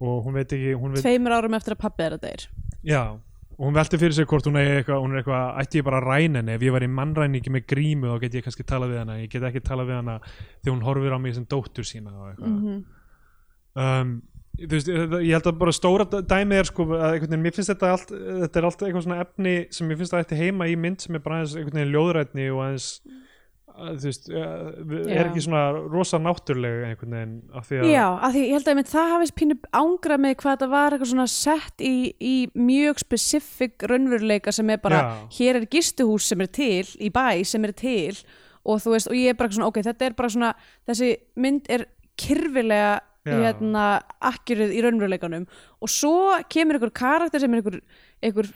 [SPEAKER 2] og hún veit ekki, hún veit,
[SPEAKER 1] tveimur árum eftir að pabbi er að deyr
[SPEAKER 2] já og hún velti fyrir sig hvort hún, eigi eitthvað, hún er eitthvað ætti ég bara að ræna henni, ef ég var í mannræningi með grímu þá get ég kannski talað við hana ég get ekki talað við hana því hún horfir á mig sem dóttur sína og eitthvað um, þú veist, ég ég held að bara stóra d- dæmið er sko að einhvern veginn, mér finnst þetta allt þetta er allt eitthvað svona efni sem mér finnst að þetta heima í mynd sem er bara aðeins einhvern veginn ljóðrætni og aðeins að, þú veist, að,
[SPEAKER 3] Já.
[SPEAKER 2] er ekki svona rosa náttúruleg einhvern veginn af því að
[SPEAKER 1] Já, af því ég held að einmitt það hafi pínu ángra með hvað þetta var eitthvað svona sett í, í mjög specifik raunveruleika sem er bara,
[SPEAKER 2] Já.
[SPEAKER 1] hér er gistuhús sem er til, í bæ sem er til og þú veist, og ég er bara eitthvað svona, ok, þetta er bara svona, þessi mynd er kyrfilega
[SPEAKER 2] Já.
[SPEAKER 1] hérna akkuruð í raunveruleikanum og svo kemur einhver karakter sem er einhver, einhver,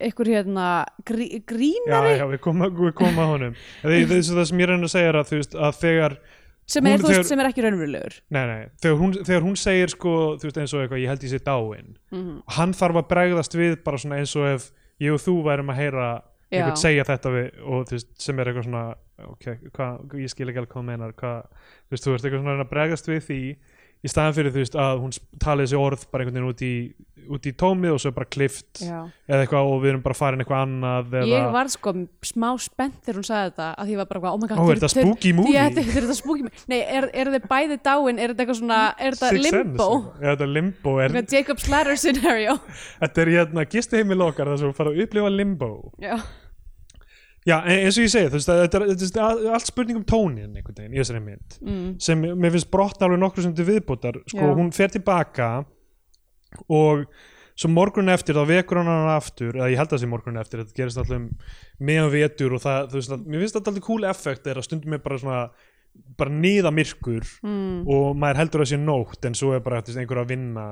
[SPEAKER 1] einhver hérna grí,
[SPEAKER 2] Já,
[SPEAKER 1] grínari
[SPEAKER 2] já, við komum að- við komum að honum Því- því- því- Það sem ég reyna að segja er að, þú veist, að þegar
[SPEAKER 1] sem er,
[SPEAKER 2] hún-
[SPEAKER 1] þú veist,
[SPEAKER 2] þegar-
[SPEAKER 1] sem er ekki raunverulegur
[SPEAKER 2] Nei, nei, þegar hún, þegar hún segir sko, þú veist, eins og eitthvað, ég held ég sér dáin
[SPEAKER 1] Mhm.
[SPEAKER 2] hann þarf að bregðast við bara svona eins og ef ég og þú værum að heyra
[SPEAKER 1] Já.
[SPEAKER 2] einhvern segja þetta við og þú veist, sem er eitthvað svona ok, hva, ég skil ekki alveg hvað þú meinar hvað, þú veist, þú veist, eitthvað svona að reyna að bregðast við því í staðan fyrir, þú veist, að hún sp- tali þessi orð bara einhvern veginn út í, út í tómið og svo bara klift eða eitthvað og við erum bara farin eitthvað annað eða,
[SPEAKER 1] Ég var sko smá spennt þegar hún sagði þetta að því ég var bara, eitthvað, oh my god
[SPEAKER 2] Ó, er
[SPEAKER 1] þeir-
[SPEAKER 2] þetta
[SPEAKER 1] þeir-
[SPEAKER 2] spooky movie?
[SPEAKER 1] Já, [LAUGHS] þetta þetta er spooky movie Nei, er, er þið bæði dáin, er þetta eitthvað svona er þetta
[SPEAKER 2] Sixth Sense,
[SPEAKER 1] limbo?
[SPEAKER 2] eitthvað. Já, þetta er limbo er,
[SPEAKER 1] Eitthvað Jacob's Ladder
[SPEAKER 2] [LAUGHS]
[SPEAKER 1] scenario
[SPEAKER 2] þetta er hérna gistiheimil okkar þar sem við fara að upplifa limbo
[SPEAKER 1] Já,
[SPEAKER 2] Já, en- eins og ég segi, þú veist, að þetta er, þetta er allt spurning um tónin einhvern veginn í þessari mynd mm. sem mér finnst brotna alveg nokkru sem til viðbútar, sko,
[SPEAKER 1] Já.
[SPEAKER 2] hún fer tilbaka og svo morgun eftir þá vekur hann hann aftur eða ég held að það sé morgun eftir, þetta gerist allum meðan vetur og það, þú veist, að, mér finnst þetta alltaf cool effekt er að stundum er bara svona bara niða myrkur
[SPEAKER 1] Hmm.
[SPEAKER 2] mm. og maður heldur að sé nótt en svo er bara þú veist, einhver að vinna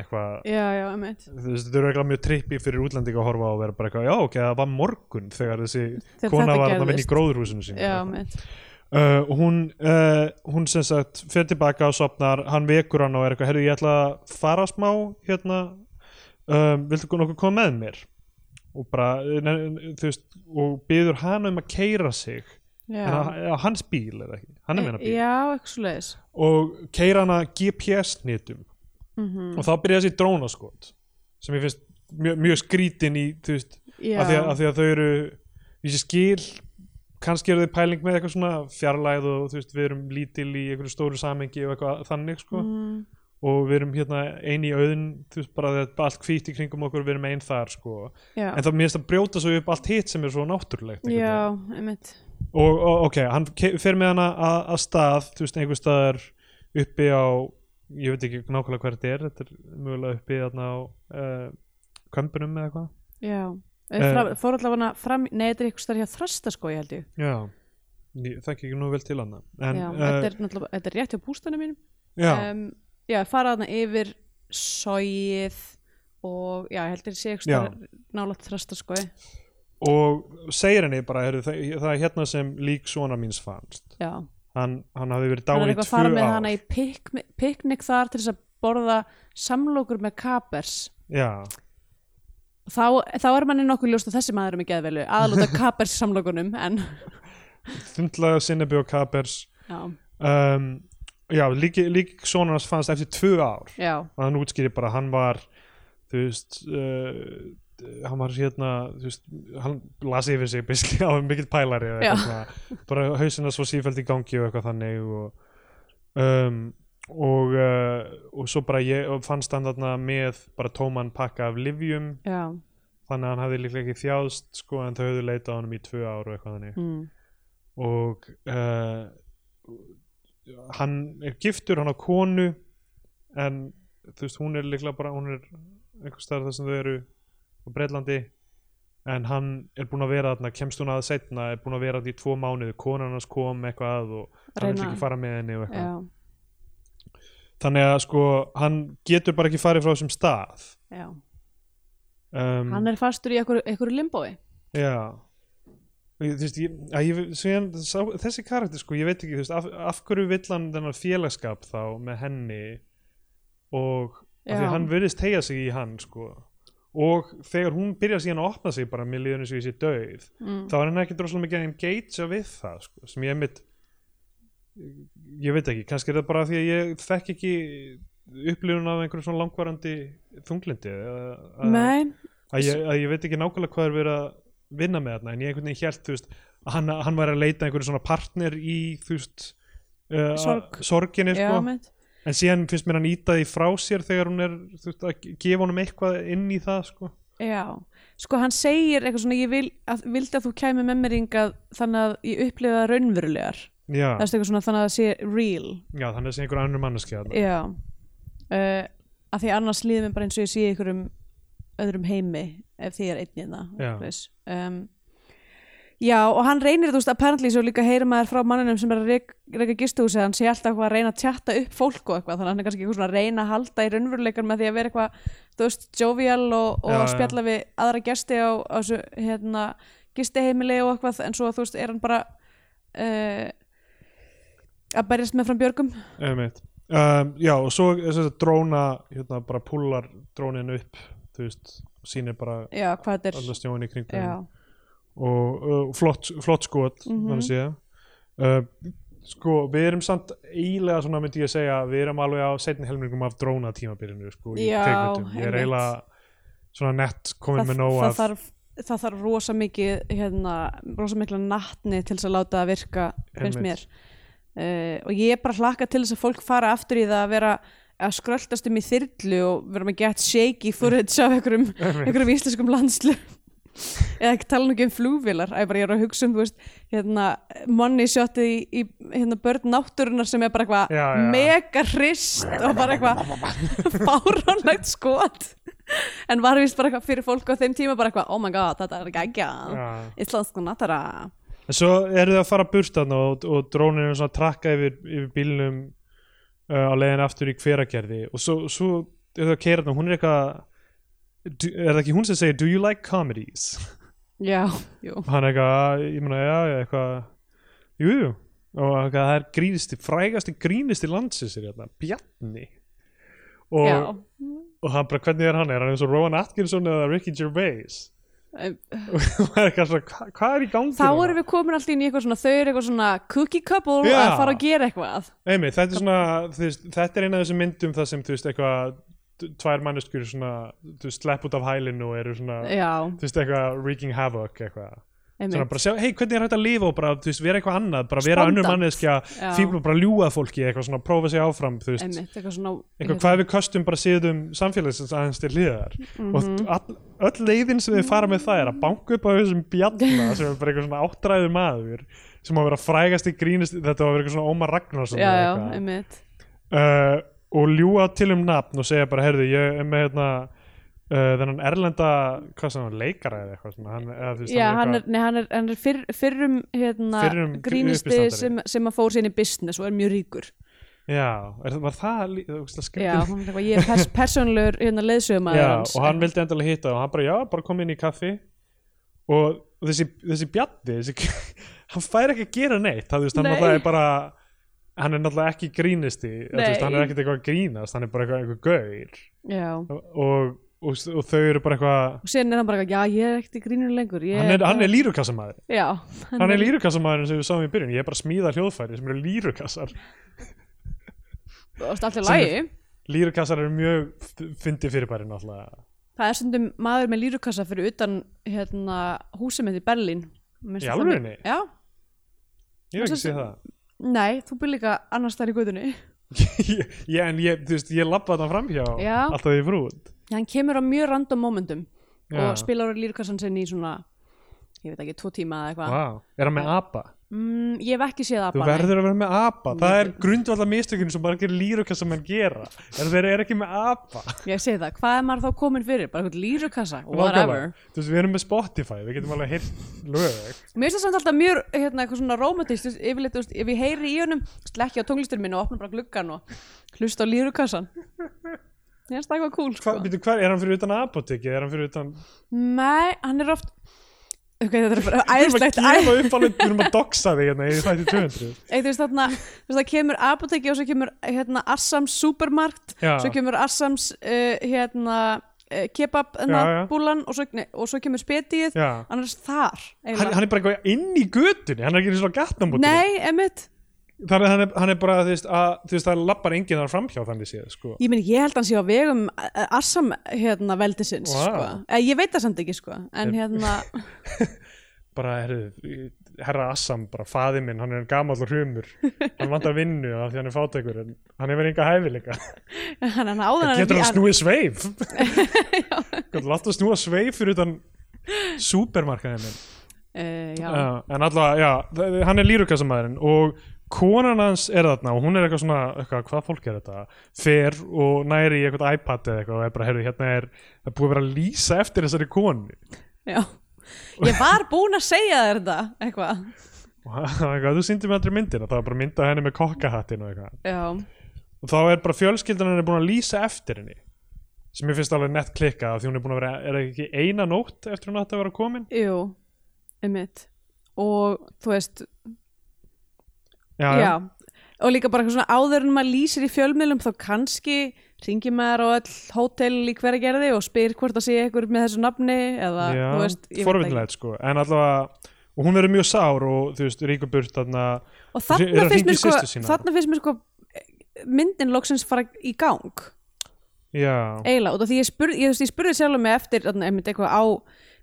[SPEAKER 2] eitthvað
[SPEAKER 1] já, já, emitt
[SPEAKER 2] þú veist, þetta eru eitthvað mjög trippi fyrir útlendinga að horfa á og vera bara eitthvað, já ok, það var morgun þegar þessi
[SPEAKER 1] Þegar
[SPEAKER 2] kona
[SPEAKER 1] þetta
[SPEAKER 2] var þarna að vinna í
[SPEAKER 1] gerðist.
[SPEAKER 2] gróðurhúsinu sínu
[SPEAKER 1] Já,
[SPEAKER 2] uh,
[SPEAKER 1] emitt
[SPEAKER 2] og hún, uh, hún sem sagt fer tilbaka og sopnar, hann vekur hann og er eitthvað, heyrðu ég ætla að fara smá hérna, um, viltu nokkuð koma með mér og bara, eh, ne- ne- þú veist og byður hann um að keira sig
[SPEAKER 1] Já,
[SPEAKER 2] en á- á hans bíl eða ekki, hann er meina bíl
[SPEAKER 1] já eitthvað svo leiðis
[SPEAKER 2] og keira hana GPS-nitum
[SPEAKER 1] Mhm.
[SPEAKER 2] og þá byrja þessi drónaskot sem ég finnst mjög, mjög skrítin í þú veist,
[SPEAKER 1] Já,
[SPEAKER 2] af því, að, af því að þau eru ég sé skil, kannski eru þau pæling með eitthvað svona fjarlæð og þú veist, við erum lítil í einhverju stóru samengi og eitthvað þannig sko
[SPEAKER 1] Mm. Hmm.
[SPEAKER 2] og við erum hérna ein í auðin þú veist bara þetta er allt hvít í kringum okkur við erum ein þar sko
[SPEAKER 1] já,
[SPEAKER 2] en það mér finnst að brjóta svo upp allt hitt sem er svo náttúrulegt einhvern
[SPEAKER 1] já
[SPEAKER 2] veginn
[SPEAKER 1] emitt
[SPEAKER 2] og, og ok, hann ke- fer með hana að, að stað, þú veist, einhver staðar uppi á, ég veit ekki nákvæmlega hvað þetta er, þetta er mjögulega uppi þarna á uh, kömbunum eða eitthvað
[SPEAKER 1] Já,
[SPEAKER 2] Eh.
[SPEAKER 1] uh, fór allavega fram Nei, þetta er eitthvað starf hjá þrasta sko, ég held ég
[SPEAKER 2] já, ég þekki ekki nú vel til hana en,
[SPEAKER 1] Já,
[SPEAKER 2] eh,
[SPEAKER 1] þetta er náttúrulega, þetta er rétt hjá bústæðinu mínum
[SPEAKER 2] já,
[SPEAKER 1] um, já fara þarna yfir sóið og já, ég heldur sé ekki
[SPEAKER 2] Já.
[SPEAKER 1] nálaðt þrasta sko
[SPEAKER 2] og segir henni bara, heru, það, það er hérna sem lík svona míns fannst
[SPEAKER 1] já,
[SPEAKER 2] hann, hann hafði verið
[SPEAKER 1] hann er
[SPEAKER 2] dáin í
[SPEAKER 1] eitthvað að
[SPEAKER 2] tvö
[SPEAKER 1] fara með
[SPEAKER 2] ár
[SPEAKER 1] hana í pikmi- piknik þar til þess að borða samlokur með kapers
[SPEAKER 2] já,
[SPEAKER 1] þá, þá er manni nokkuð ljóst að þessi maður er með geðvelu aðlúta
[SPEAKER 2] [LAUGHS]
[SPEAKER 1] kapers samlokunum en
[SPEAKER 2] þundlaða sinnebi og kapers
[SPEAKER 1] já,
[SPEAKER 2] um, já, lík, lík svona hans fannst eftir tvö ár
[SPEAKER 1] já,
[SPEAKER 2] og hann útskýri bara að hann var þú veist uh, hann var hérna þú veist, hann las yfir sig [LAUGHS] biski á mikill pælari eða
[SPEAKER 1] Já.
[SPEAKER 2] eitthvað svona. bara hausina svo sífælt í gangi og eitthvað þannig og um, og, uh, og svo bara ég og fannst hann þarna með bara tóman pakka af livjum
[SPEAKER 1] já
[SPEAKER 2] þannig að hann hafði líklega ekki þjáðst sko en þau höfðu leitað á honum í tvö ár og eitthvað þannig
[SPEAKER 1] mm.
[SPEAKER 2] og uh, hann er giftur, hann á konu en þú veist hún er líklega bara, hún er einhvers staðar þar sem þau eru á Breitlandi en hann er búinn að vera þarna, kemst hún að setna er búinn að vera þarna í tvo mánuði, konan hans kom eitthvað að og hann vil
[SPEAKER 1] Reyna-
[SPEAKER 2] ekki fara með henni og eitthvað
[SPEAKER 1] já,
[SPEAKER 2] þannig að sko, hann getur bara ekki farið frá þessum stað
[SPEAKER 1] já
[SPEAKER 2] um,
[SPEAKER 1] hann er fastur í einhverju, einhverju limbói
[SPEAKER 2] Já Ég- Þú veist, ég, að ég, síðan, sá, þessi karakter sko, ég veit ekki, þú veist, af, af hverju vill hann þennan félagskap þá með henni og af því
[SPEAKER 1] Já.
[SPEAKER 2] að hann virðist tegja sig í hann sko og þegar hún byrjar síðan að opna sig bara með liðunum sem ég sé döið
[SPEAKER 1] mm.
[SPEAKER 2] þá er hann ekki droslega mikið að engagea við það sko, sem ég mitt ég veit ekki, kannski er það bara af því að ég þekk ekki upplifun af einhverjum svona langvarandi þunglindi eða- að-
[SPEAKER 1] nei,
[SPEAKER 2] að ég, að ég veit ekki nákvæmlega hvað er verið að vinna með þarna en ég einhvern veginn hélt þú veist, að hann, hann var að leita einhverju svona partner í þú veist uh,
[SPEAKER 1] Sorg.
[SPEAKER 2] sorginni
[SPEAKER 1] já,
[SPEAKER 2] sko.
[SPEAKER 1] mynd.
[SPEAKER 2] en síðan finnst mér hann íta því frá sér þegar hún er þú veist, að gefa honum eitthvað inn í það sko.
[SPEAKER 1] Já, sko hann segir eitthvað svona ég vil, að, vildi að þú kæmi með mér hingað þannig að ég upplifa það raunverulegar það
[SPEAKER 2] já,
[SPEAKER 1] er eitthvað svona þannig að það sé real
[SPEAKER 2] já, þannig að sé einhver annar manneski þarna.
[SPEAKER 1] Já uh, að því annars líðum bara eins og ég sé í einhverjum öðrum heimi ef því er einn hérna, í
[SPEAKER 2] Já.
[SPEAKER 1] það um, Já, og hann reynir, þú veist, apparently svo líka heyrir maður frá manninum sem er að rek- reka gistuhúsið, hann sé alltaf eitthvað að reyna að tjatta upp fólk og eitthvað, þannig að hann er kannski eitthvað svona að reyna að halda í raunveruleikar með því að vera eitthvað, þú veist, jovial og, og
[SPEAKER 2] Já, já.
[SPEAKER 1] spjalla við aðra gesti á, á þessu, hérna, gistiheimili og eitthvað, en svo, þú veist, er hann bara uh, að berjast með fram björgum.
[SPEAKER 2] Einmitt. Um, já og svo þess að dróna hérna bara púlar drónin upp þú veist, sýnir bara
[SPEAKER 1] Já, hvað þetta er,
[SPEAKER 2] alla snjóin í kringum
[SPEAKER 1] já,
[SPEAKER 2] og uh, flott, flott skot
[SPEAKER 1] Mhm.
[SPEAKER 2] þannig séð uh, sko við erum samt eiginlega svona myndi ég segja við erum alveg á setni helmingum af dróna tímabilinu sko í
[SPEAKER 1] Já,
[SPEAKER 2] kvikmyndum ég er
[SPEAKER 1] einmitt.
[SPEAKER 2] eiginlega svona nett komin með
[SPEAKER 1] það,
[SPEAKER 2] nóg
[SPEAKER 1] það
[SPEAKER 2] af
[SPEAKER 1] þarf það þarf rosa mikið hérna, rosa mikla nattni til þess að láta það virka finnst mér
[SPEAKER 2] Einmitt.
[SPEAKER 1] uh, og ég er bara hlakka til þess að fólk fara aftur í það að vera að skröltast um í þyrlu og vera með gett shaky footage af einhverjum,
[SPEAKER 2] [LAUGHS]
[SPEAKER 1] einhverjum íslenskum landslu [LAUGHS] eða ekki tala nú ekki um flugvilar ég, bara, ég er að hugsa um, þú veist, hérna money shotið í, í hérna, börn náttúrunar sem er bara
[SPEAKER 2] Já,
[SPEAKER 1] eitthvað
[SPEAKER 2] já.
[SPEAKER 1] mega hrist og bara eitthvað [LAUGHS] fáránlegt skot en var vist bara eitthvað fyrir fólk á þeim tíma bara eitthvað, oh my god, þetta er gægja
[SPEAKER 2] Já.
[SPEAKER 1] íslensku nattara
[SPEAKER 2] en svo eru þið að fara burt þarna og, og drónin er svona að trakka yfir, yfir bílnum uh, á leiðin aftur í hveragerði og svo, svo er það að keira þarna hún er eitthvað do, er það ekki hún sem segir do you like comedies
[SPEAKER 1] já, jú,
[SPEAKER 2] og hann eitthvað, ég meina, já, já, eitthvað jú, jú, og eitthvað, það er grínisti, frægasti grínisti landsins er hérna, Bjarni
[SPEAKER 1] já
[SPEAKER 2] og, og hann bara, hvernig er hann, er hann eins og Rowan Atkinson eða Ricky Gervais [LAUGHS]
[SPEAKER 1] Um,
[SPEAKER 2] og það er eitthvað svona, hva, hvað er í gangi
[SPEAKER 1] þá erum við komin alltaf inn í eitthvað svona þau eru eitthvað svona cookie couple
[SPEAKER 2] Já.
[SPEAKER 1] að fara að gera eitthvað
[SPEAKER 2] Einmi, þetta er svona, þú veist, þetta er eina af þessum myndum það sem, þú veist, eitthvað t- tvær manneskjur svona, þú veist, slepp út af hælinu og eru svona,
[SPEAKER 1] já,
[SPEAKER 2] þú veist, eitthvað wreaking havoc, eitthvað svona
[SPEAKER 1] einmitt,
[SPEAKER 2] bara sjá, hei, hvernig er hægt að lifa og bara, þú veist, vera eitthvað annað, bara vera
[SPEAKER 1] Spontant.
[SPEAKER 2] önnur manneskja
[SPEAKER 1] Já.
[SPEAKER 2] fíbl bara ljúga að fólki, eitthvað svona prófa sig áfram, þú veist,
[SPEAKER 1] einmitt eitthvað svona
[SPEAKER 2] eitthvað hvað við köstum bara síðum samfélagsins aðeins til hliðar
[SPEAKER 1] Mhm.
[SPEAKER 2] og all, öll leiðin sem við fara með það er að banka upp á þessum bjalla sem er bara eitthvað svona áttræður maður sem á að vera frægasti grínist þetta á að vera eitthvað svona Ómar Ragnarsson
[SPEAKER 1] já,
[SPEAKER 2] eða
[SPEAKER 1] já,
[SPEAKER 2] eitthvað.
[SPEAKER 1] einmitt
[SPEAKER 2] uh, og ljúga til um nafn og segja bara, heyrðu, ég er með hérna Uh, þennan erlenda, hvað sem hann, leikara eða eitthvað svona, hann, eða, þú veist,
[SPEAKER 1] já, hann
[SPEAKER 2] eitthvað-
[SPEAKER 1] er, nei, hann er, hann er fyrr, fyrrum hérna,
[SPEAKER 2] Fyrrum
[SPEAKER 1] grínisti
[SPEAKER 2] uppistandari.
[SPEAKER 1] sem, sem að fór síðan í business og er mjög ríkur
[SPEAKER 2] Já, er, var það lí- það var
[SPEAKER 1] já,
[SPEAKER 2] ógeðslega skrítið
[SPEAKER 1] hann er eitthvað, ég er pers persónlegur hérna leðsögum
[SPEAKER 2] Já, og hann vildi endalega hitta og hann bara, já, bara kom inn í kaffi og þessi, þessi bjaddi þessi, [LAUGHS] hann fær ekki að gera neitt það, þú veist, hann
[SPEAKER 1] Nei.
[SPEAKER 2] náttúrulega er bara hann er náttúrulega ekki grínisti eða, þú veist,
[SPEAKER 1] Nei.
[SPEAKER 2] hann er ekkert eitthvað að grínast, hann er bara eitthvað, eitthvað
[SPEAKER 1] já
[SPEAKER 2] gaur og, og, og þau eru bara eitthvað
[SPEAKER 1] og síðan er hann bara, eitthvað, já, ég er ekkert í grínur lengur ég,
[SPEAKER 2] hann er, hann er lírukassamæður
[SPEAKER 1] já,
[SPEAKER 2] hann er lírukassamæður sem við sáum í byrjun ég er bara að smíða hljóðfæri sem eru lírukassar
[SPEAKER 1] þú veist, allt í
[SPEAKER 2] sem er-
[SPEAKER 1] lagi
[SPEAKER 2] lírukassar eru mjög fyndi fyrirbæri náttúrulega
[SPEAKER 1] það er stundum maður með lírukassa fyrir utan hérna, húsið mitt í Berlín Mér finnst
[SPEAKER 2] Í
[SPEAKER 1] það
[SPEAKER 2] alvörunni?
[SPEAKER 1] þannig. já,
[SPEAKER 2] ég hef
[SPEAKER 1] Svo
[SPEAKER 2] ekki séð
[SPEAKER 1] sem-
[SPEAKER 2] það
[SPEAKER 1] nei, þú byrð líka annars þar í guðunni
[SPEAKER 2] ég, [LAUGHS] ég- en ég, þú veist, ég labba þarna framhjá
[SPEAKER 1] Já.
[SPEAKER 2] alltaf í frúð
[SPEAKER 1] hann kemur á mjög random momentum
[SPEAKER 2] Já.
[SPEAKER 1] og spilar á lírukassan sinn í svona ég veit ekki, tvo tíma eða eitthvað
[SPEAKER 2] wow. er hann með apa?
[SPEAKER 1] mm, ég hef ekki séð
[SPEAKER 2] þú
[SPEAKER 1] apa nei.
[SPEAKER 2] verður að vera með apa það er grundvallar mistökun sem bara gerir lírukassa menn gera er þeir eru ekki með apa
[SPEAKER 1] ég segi það, hvað er maður þá komin fyrir bara eitthvað lírukassa, whatever
[SPEAKER 2] Nákvæmlega. þú veist, við erum með Spotify, við getum alveg heyrt lög
[SPEAKER 1] mér finnst það samt alltaf mjög hérna, eitthvað svona romantist yfirleitt, þú veist, ef ég heyri í honum slekki á tónlistur minn og opna bara gluggan og hlusta á lírukassan ég finnst það eitthvað cool
[SPEAKER 2] Hva,
[SPEAKER 1] sko.
[SPEAKER 2] býtu, hver, er hann fyrir utan apotekið, er hann fyrir utan
[SPEAKER 1] Nei, hann er oft Ok, þetta er bara
[SPEAKER 2] við erum að
[SPEAKER 1] æðislegt æ-
[SPEAKER 2] gefa upp alveg, við erum að doxa þig hérna í þætti 200
[SPEAKER 1] Ei, Þú veist þarna, þú veist það kemur apoteki og svo kemur hérna Assams supermarkt
[SPEAKER 2] Já.
[SPEAKER 1] svo kemur Assams uh, hérna uh, kebab
[SPEAKER 2] Já,
[SPEAKER 1] hérna,
[SPEAKER 2] já.
[SPEAKER 1] búlan og svo, nei, og svo kemur spetiðið
[SPEAKER 2] Já.
[SPEAKER 1] hann er þar
[SPEAKER 2] hann, hann er bara eitthvað inn í götunni hann er ekki eins og gatnamótið
[SPEAKER 1] Nei, emitt
[SPEAKER 2] þannig að hann er, hann er bara þú veist, að, þú veist, það lappar enginn þar framhjá þannig séð sko.
[SPEAKER 1] Ég meni, ég held hans ég á vegum eh, Assam hérna veldisins,
[SPEAKER 2] Vá.
[SPEAKER 1] sko. Eh, Ég veit það samt ekki, sko. En hérna, [LAUGHS]
[SPEAKER 2] bara herru, herra Assam bara faði minn, hann er gamall og hrumur hann vantar vinnu af því hann er fátækur en hann hefur enga hæfileika
[SPEAKER 1] hann hann áður hann
[SPEAKER 2] getur hann snúið sveif
[SPEAKER 1] [LAUGHS]
[SPEAKER 2] getur látt að snúa sveif fyrir utan supermarkaðin minn
[SPEAKER 1] Uh, já,
[SPEAKER 2] já, en alltaf, já, þ- hann er lýrukassamæðurinn og konan hans er þarna og hún er eitthvað svona, eitthvað, hvað fólk er þetta fer og næri í eitthvað iPad eða eitthvað og er bara, heyrðu, hérna er það er búið að vera að lýsa eftir þessari konu
[SPEAKER 1] já. Ég var búin að segja þér þetta, eitthvað.
[SPEAKER 2] og hann er eitthvað, þú sýndir mér aldrei myndina það var bara mynda henni með kokkahattin og eitthvað
[SPEAKER 1] Já.
[SPEAKER 2] og þá er bara fjölskyldan henni búin að lýsa eftir henni sem ég finnst alveg nett klikkað af því hún er búin að vera, er það ekki eina nótt eftir hún átti að vera komin
[SPEAKER 1] Jú, einmitt. Og þú veist,
[SPEAKER 2] já,
[SPEAKER 1] já. Og líka bara eitthvað svona áður en maður lýsir í fjölmiðlum þá kannski ringir maður á all hótel í hverja gerði og spyr hvort það sé einhver með þessu nafni eða,
[SPEAKER 2] Já,
[SPEAKER 1] þú veist, ég veit ekki.
[SPEAKER 2] forvinnilegt sko en allavega, og hún verður mjög sár og þú veist, ríkur burt þarna
[SPEAKER 1] Og
[SPEAKER 2] Er
[SPEAKER 1] þarna
[SPEAKER 2] að
[SPEAKER 1] finnst
[SPEAKER 2] hringja
[SPEAKER 1] mér
[SPEAKER 2] í
[SPEAKER 1] sko,
[SPEAKER 2] systur sína?
[SPEAKER 1] þarna finnst mér sko myndin loksins fara í gang.
[SPEAKER 2] já,
[SPEAKER 1] eiginlega, út af því ég spurði, ég, þú veist, ég spurði sjálf mig eftir þarna, einmitt, eitthvað á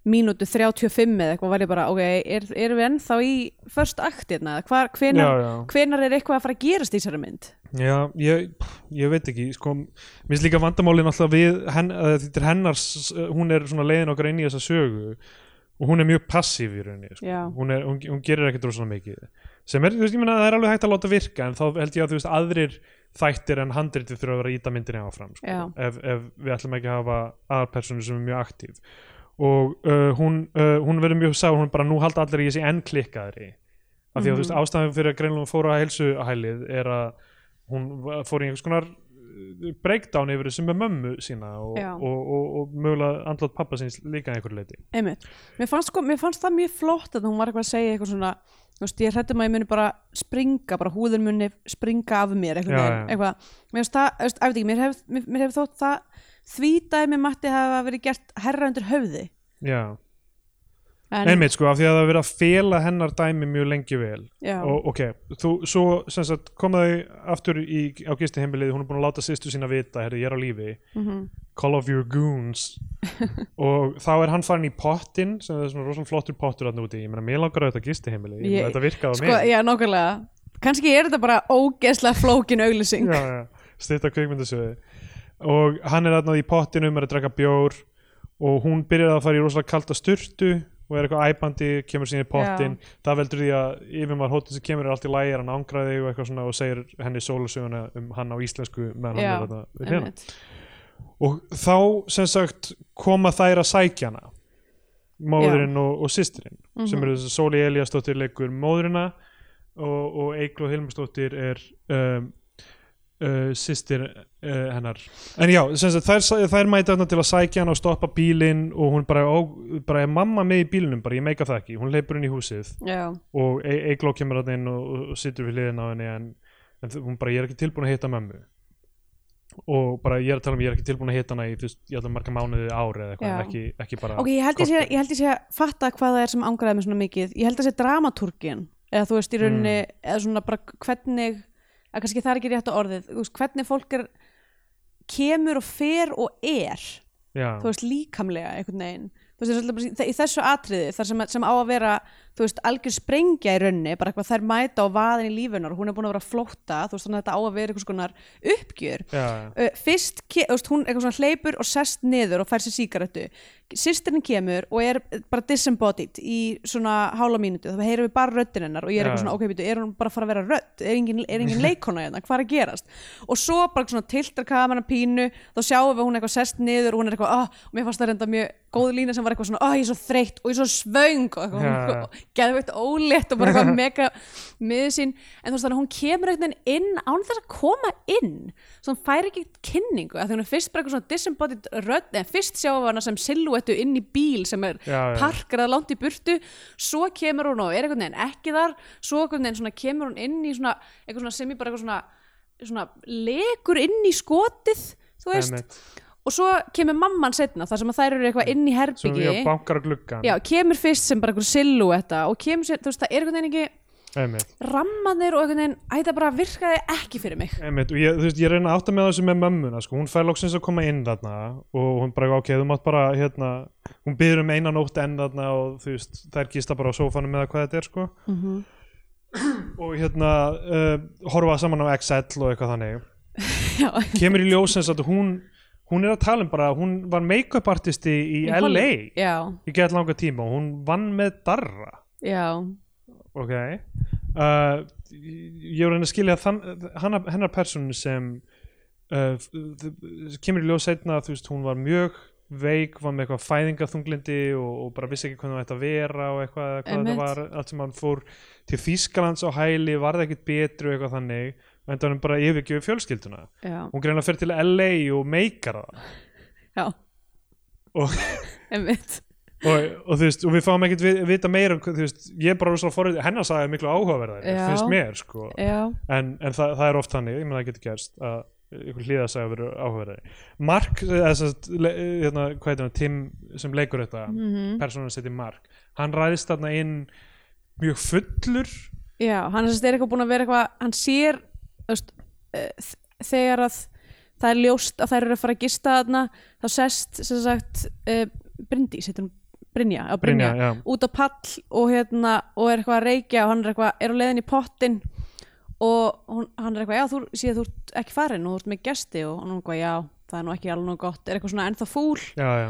[SPEAKER 1] mínútu 35 eða eitthvað var ég bara, ok, er, erum við ennþá í först aktirna, hvar, hvenar,
[SPEAKER 2] já, já.
[SPEAKER 1] hvenar er eitthvað að fara að gerast í þessari mynd?
[SPEAKER 2] já ég, ég veit ekki sko, mér finnst líka vandamálin alltaf við henn, að þetta er hennars, hún er svona leiðin okkar inn í þessa sögu og hún er mjög passív í rauninni sko.
[SPEAKER 1] Já.
[SPEAKER 2] hún, er, hún, hún gerir ekkert rosalega mikið sem er, þú veist, ég meina það er alveg hægt að láta virka en þá held ég að þú veist, aðrir þættir en handritið þurfa að vera að íta myndinni áfram sko,
[SPEAKER 1] Já.
[SPEAKER 2] ef, ef við ætlum ekki að hafa aðalpersonu sem er mjög aktív og uh, hún, uh, hún verður mjög sá hún er bara nú halda allir í þessi enn klikkaðri af því að þú
[SPEAKER 1] Mhm.
[SPEAKER 2] veist ástæðan fyrir að greinlega hún fór á heilsuhælið er að hún va- fór í einhvers konar uh, breakdown yfir þessu með mömmu sína og,
[SPEAKER 1] Já.
[SPEAKER 2] og, og, og, mögulega andlátt pappa síns líka að einhverju leiti
[SPEAKER 1] Einmitt. Mér fannst, sko, mér fannst það mjög flott að hún var eitthvað að segja eitthvað svona þú veist, ég hrættum að ég muni bara springa bara húður muni springa af mér eitthvað,
[SPEAKER 2] Já,
[SPEAKER 1] já,
[SPEAKER 2] já.
[SPEAKER 1] eitthvað. mér finnst það, þú veist, ef ekki mér hef, mér, mér hef þótt það því dæmi mætti hafa verið gert herra undir höfði
[SPEAKER 2] Já,
[SPEAKER 1] en,
[SPEAKER 2] einmitt sko, af því að það er verið að fela hennar dæmi mjög lengi vel
[SPEAKER 1] já,
[SPEAKER 2] og ok, þú, svo sem sagt, kom þau aftur í, á gistiheimilið hún er búin að láta sýstu sína vita, herri, ég er á lífi
[SPEAKER 1] mhm,
[SPEAKER 2] call of your
[SPEAKER 1] [LAUGHS]
[SPEAKER 2] goons og þá er hann farin í pottin sem er svona rosalega flottur pottur hann úti ég meina, mér langar auðvitað gistiheimili ég, meina,
[SPEAKER 1] Ég-
[SPEAKER 2] þetta virkaði á
[SPEAKER 1] Sko,
[SPEAKER 2] mig
[SPEAKER 1] já, nákvæmlega. Kannski er þetta bara ógeðslega flókin auglýsing.
[SPEAKER 2] já, já, stýta kvikmyndasöðu og hann er þarna í pottinum er að drekka bjór og hún byrjar að fara í rosalega kalda sturtu og er eitthvað æpandi, kemur sín í pottin það veldur því að yfirmaður hóttin sem kemur er allt í lægi, er hann ángraði og eitthvað svona og segir henni sólusöguna um hann á íslensku meðan hann
[SPEAKER 1] Já,
[SPEAKER 2] er þarna við hliðina.
[SPEAKER 1] einmitt.
[SPEAKER 2] og þá sem sagt koma þær að sækja hana móðurinn og, og sýstirinn sem eru þess að Sóli Eliasdóttir leikur móðurina og, og Eiklo Hilmarsdóttir er um, uh, sýstir uh, hennar en já, sem sagt, þær, sæ- þær mæta þarna til að sækja hana og stoppa bílinn og hún bara, ó, bara er mamma með í bílinum bara, ég meika það ekki, hún leipur inn í húsið
[SPEAKER 1] Já,
[SPEAKER 2] og E- Eygló kemur hann inn og, og- og situr við hliðin á henni en, en þ- hún bara, ég er ekki tilbúin að hitta mömmu og bara ég er að tala um ég er ekki tilbúin að hitta hana í, þú veist, ég ætla marga mánuði ári eða eitthvað,
[SPEAKER 1] Já.
[SPEAKER 2] en ekki, ekki bara
[SPEAKER 1] ok, ég held ég, sé,
[SPEAKER 2] korter.
[SPEAKER 1] ég held ég sé að fatta hvað það er sem ángraði mig svona mikið. Ég held að sé dramatúrgin, eða þú veist í rauninni, eða svona bara hvernig, að kannski það er ekki rétt á orðið, þú veist, hvernig fólk er, kemur og fer og er,
[SPEAKER 2] Já,
[SPEAKER 1] þú veist, líkamlega einhvern veginn. Þú veist, það er svolítið bara í- í þessu atriði, þar sem, sem á að vera, þú veist, algjör sprengja í rauninni, bara eitthvað þær mæta á vaðin í lífunar, hún er búin að vera flótta, þú veist, þannig að þetta á að vera einhvers konar uppgjör.
[SPEAKER 2] já, já,
[SPEAKER 1] uh, fyrst, ke- þú veist, hún eitthvað svona hleypur og sest niður og fær sér sígarettu sýstirinn kemur og er eh, bara disembodied í svona hála mínútu þá heyrum við bara röddin hennar og ég er
[SPEAKER 2] Já.
[SPEAKER 1] eitthvað svona ok, býtu, er hún bara að fara að vera rödd er engin, er engin leikona hérna, hvað er að gerast og svo bara svona tiltar kamera pínu þá sjáum við hún eitthvað sest niður og hún er eitthvað, ah, og mér fannst það reynda mjög góð lína sem var eitthvað svona, ah, ég er svo þreytt og ég er svo svöng og
[SPEAKER 2] Já, já.
[SPEAKER 1] eitthvað, geðveikt ólétt og bara
[SPEAKER 2] [LAUGHS]
[SPEAKER 1] eitthvað mega miður sín en þú veist þannig að hún kemur einhvern veginn inn án þess að koma inn svo hún fær ekki kynningu að því hún er fyrst bara eitthvað svona disembodied rödd en fyrst sjáum við hana sem silhuettu inn í bíl sem er
[SPEAKER 2] Já, já.
[SPEAKER 1] parkrað langt í burtu svo kemur hún og er einhvern veginn ekki þar svo einhvern veginn svona kemur hún inn í svona eitthvað svona sem ég bara eitthvað svona, svona legur inn í skotið þú veist
[SPEAKER 2] einmitt.
[SPEAKER 1] og svo kemur mamman setna þar sem að þær eru eitthvað inn í
[SPEAKER 2] Svo
[SPEAKER 1] herbyggi
[SPEAKER 2] já, bankar á gluggan
[SPEAKER 1] já, kemur fyrst sem bara einhver silhúetta og kemur sér, þú veist, það er einhvern veginn ekki
[SPEAKER 2] einmitt,
[SPEAKER 1] rammanir og einhvern veginn æ, það bara virkaði ekki fyrir mig
[SPEAKER 2] einmitt. og ég, þú veist, ég reyna að átta með þessu með mömmuna sko. hún fær loksins að koma inn þarna og hún bara, ok, þú mátt bara hérna, hún byrður um eina nótt enn þarna og þú veist, þær gista bara á sófanum eða hvað þetta er sko og hérna uh, horfa saman á XL og eitthvað þannig
[SPEAKER 1] Já.
[SPEAKER 2] kemur í ljósins að hún hún er að tala um bara, hún var make-up artisti í
[SPEAKER 1] Í
[SPEAKER 2] LA
[SPEAKER 1] Hollywood. já,
[SPEAKER 2] í gett langa tíma og hún vann með darra
[SPEAKER 1] já,
[SPEAKER 2] ok uh, ég voru henni að skilja þann, hana, hennar persónu sem uh, f- þ- kemur í ljós seinna að þú veist hún var mjög veik, var með eitthvað fæðingaþunglindi og, og bara vissi ekki hvernig það ætti að vera og eitthvað, hvað
[SPEAKER 1] Einmitt.
[SPEAKER 2] þetta var allt sem hann fór til Þýskalands á hæli, var það ekkit betru eitthvað þannig, en það hann bara yfirgjöf fjölskylduna,
[SPEAKER 1] já,
[SPEAKER 2] hún greina að fyrir til LA og meikar það
[SPEAKER 1] já
[SPEAKER 2] Og-
[SPEAKER 1] [LAUGHS] einmitt
[SPEAKER 2] og, og þú veist, og við fáum ekkert vi- vita meira um, hvað- þú veist, ég er bara rosalega forrið hennar sagði miklu áhugaverðari,
[SPEAKER 1] Já.
[SPEAKER 2] finnst mér sko.
[SPEAKER 1] já,
[SPEAKER 2] en, en það, það er oft þannig, ég menn það getur gerst að ykkur hlýða að segja verið áhugaverðari Mark, eh, eða sem sagt, le- hérna, hvað heitir hann, Tim sem leikur þetta mm
[SPEAKER 1] Mhm.
[SPEAKER 2] -hmm. persónan seti Mark, hann ræðist þarna inn mjög fullur
[SPEAKER 1] já hann er sem sagt er eitthvað búin að vera eitthvað hann sér þú veist, eh, þ- þegar að það er ljóst að þær eru að fara að gista þarna þá sest sem sagt uh, Bryndís, heitir hún Brynja, já, Brynja,
[SPEAKER 2] Brynja, já.
[SPEAKER 1] út á pall og hérna og er eitthvað að reykja og hann er eitthvað er á leiðin í pottin og hún, hann er eitthvað, já, þú síðan þú ert ekki farin og þú ert með gesti og hann er eitthvað, já það er nú ekki alveg nú gott, er eitthvað svona ennþá fúl
[SPEAKER 2] já, já,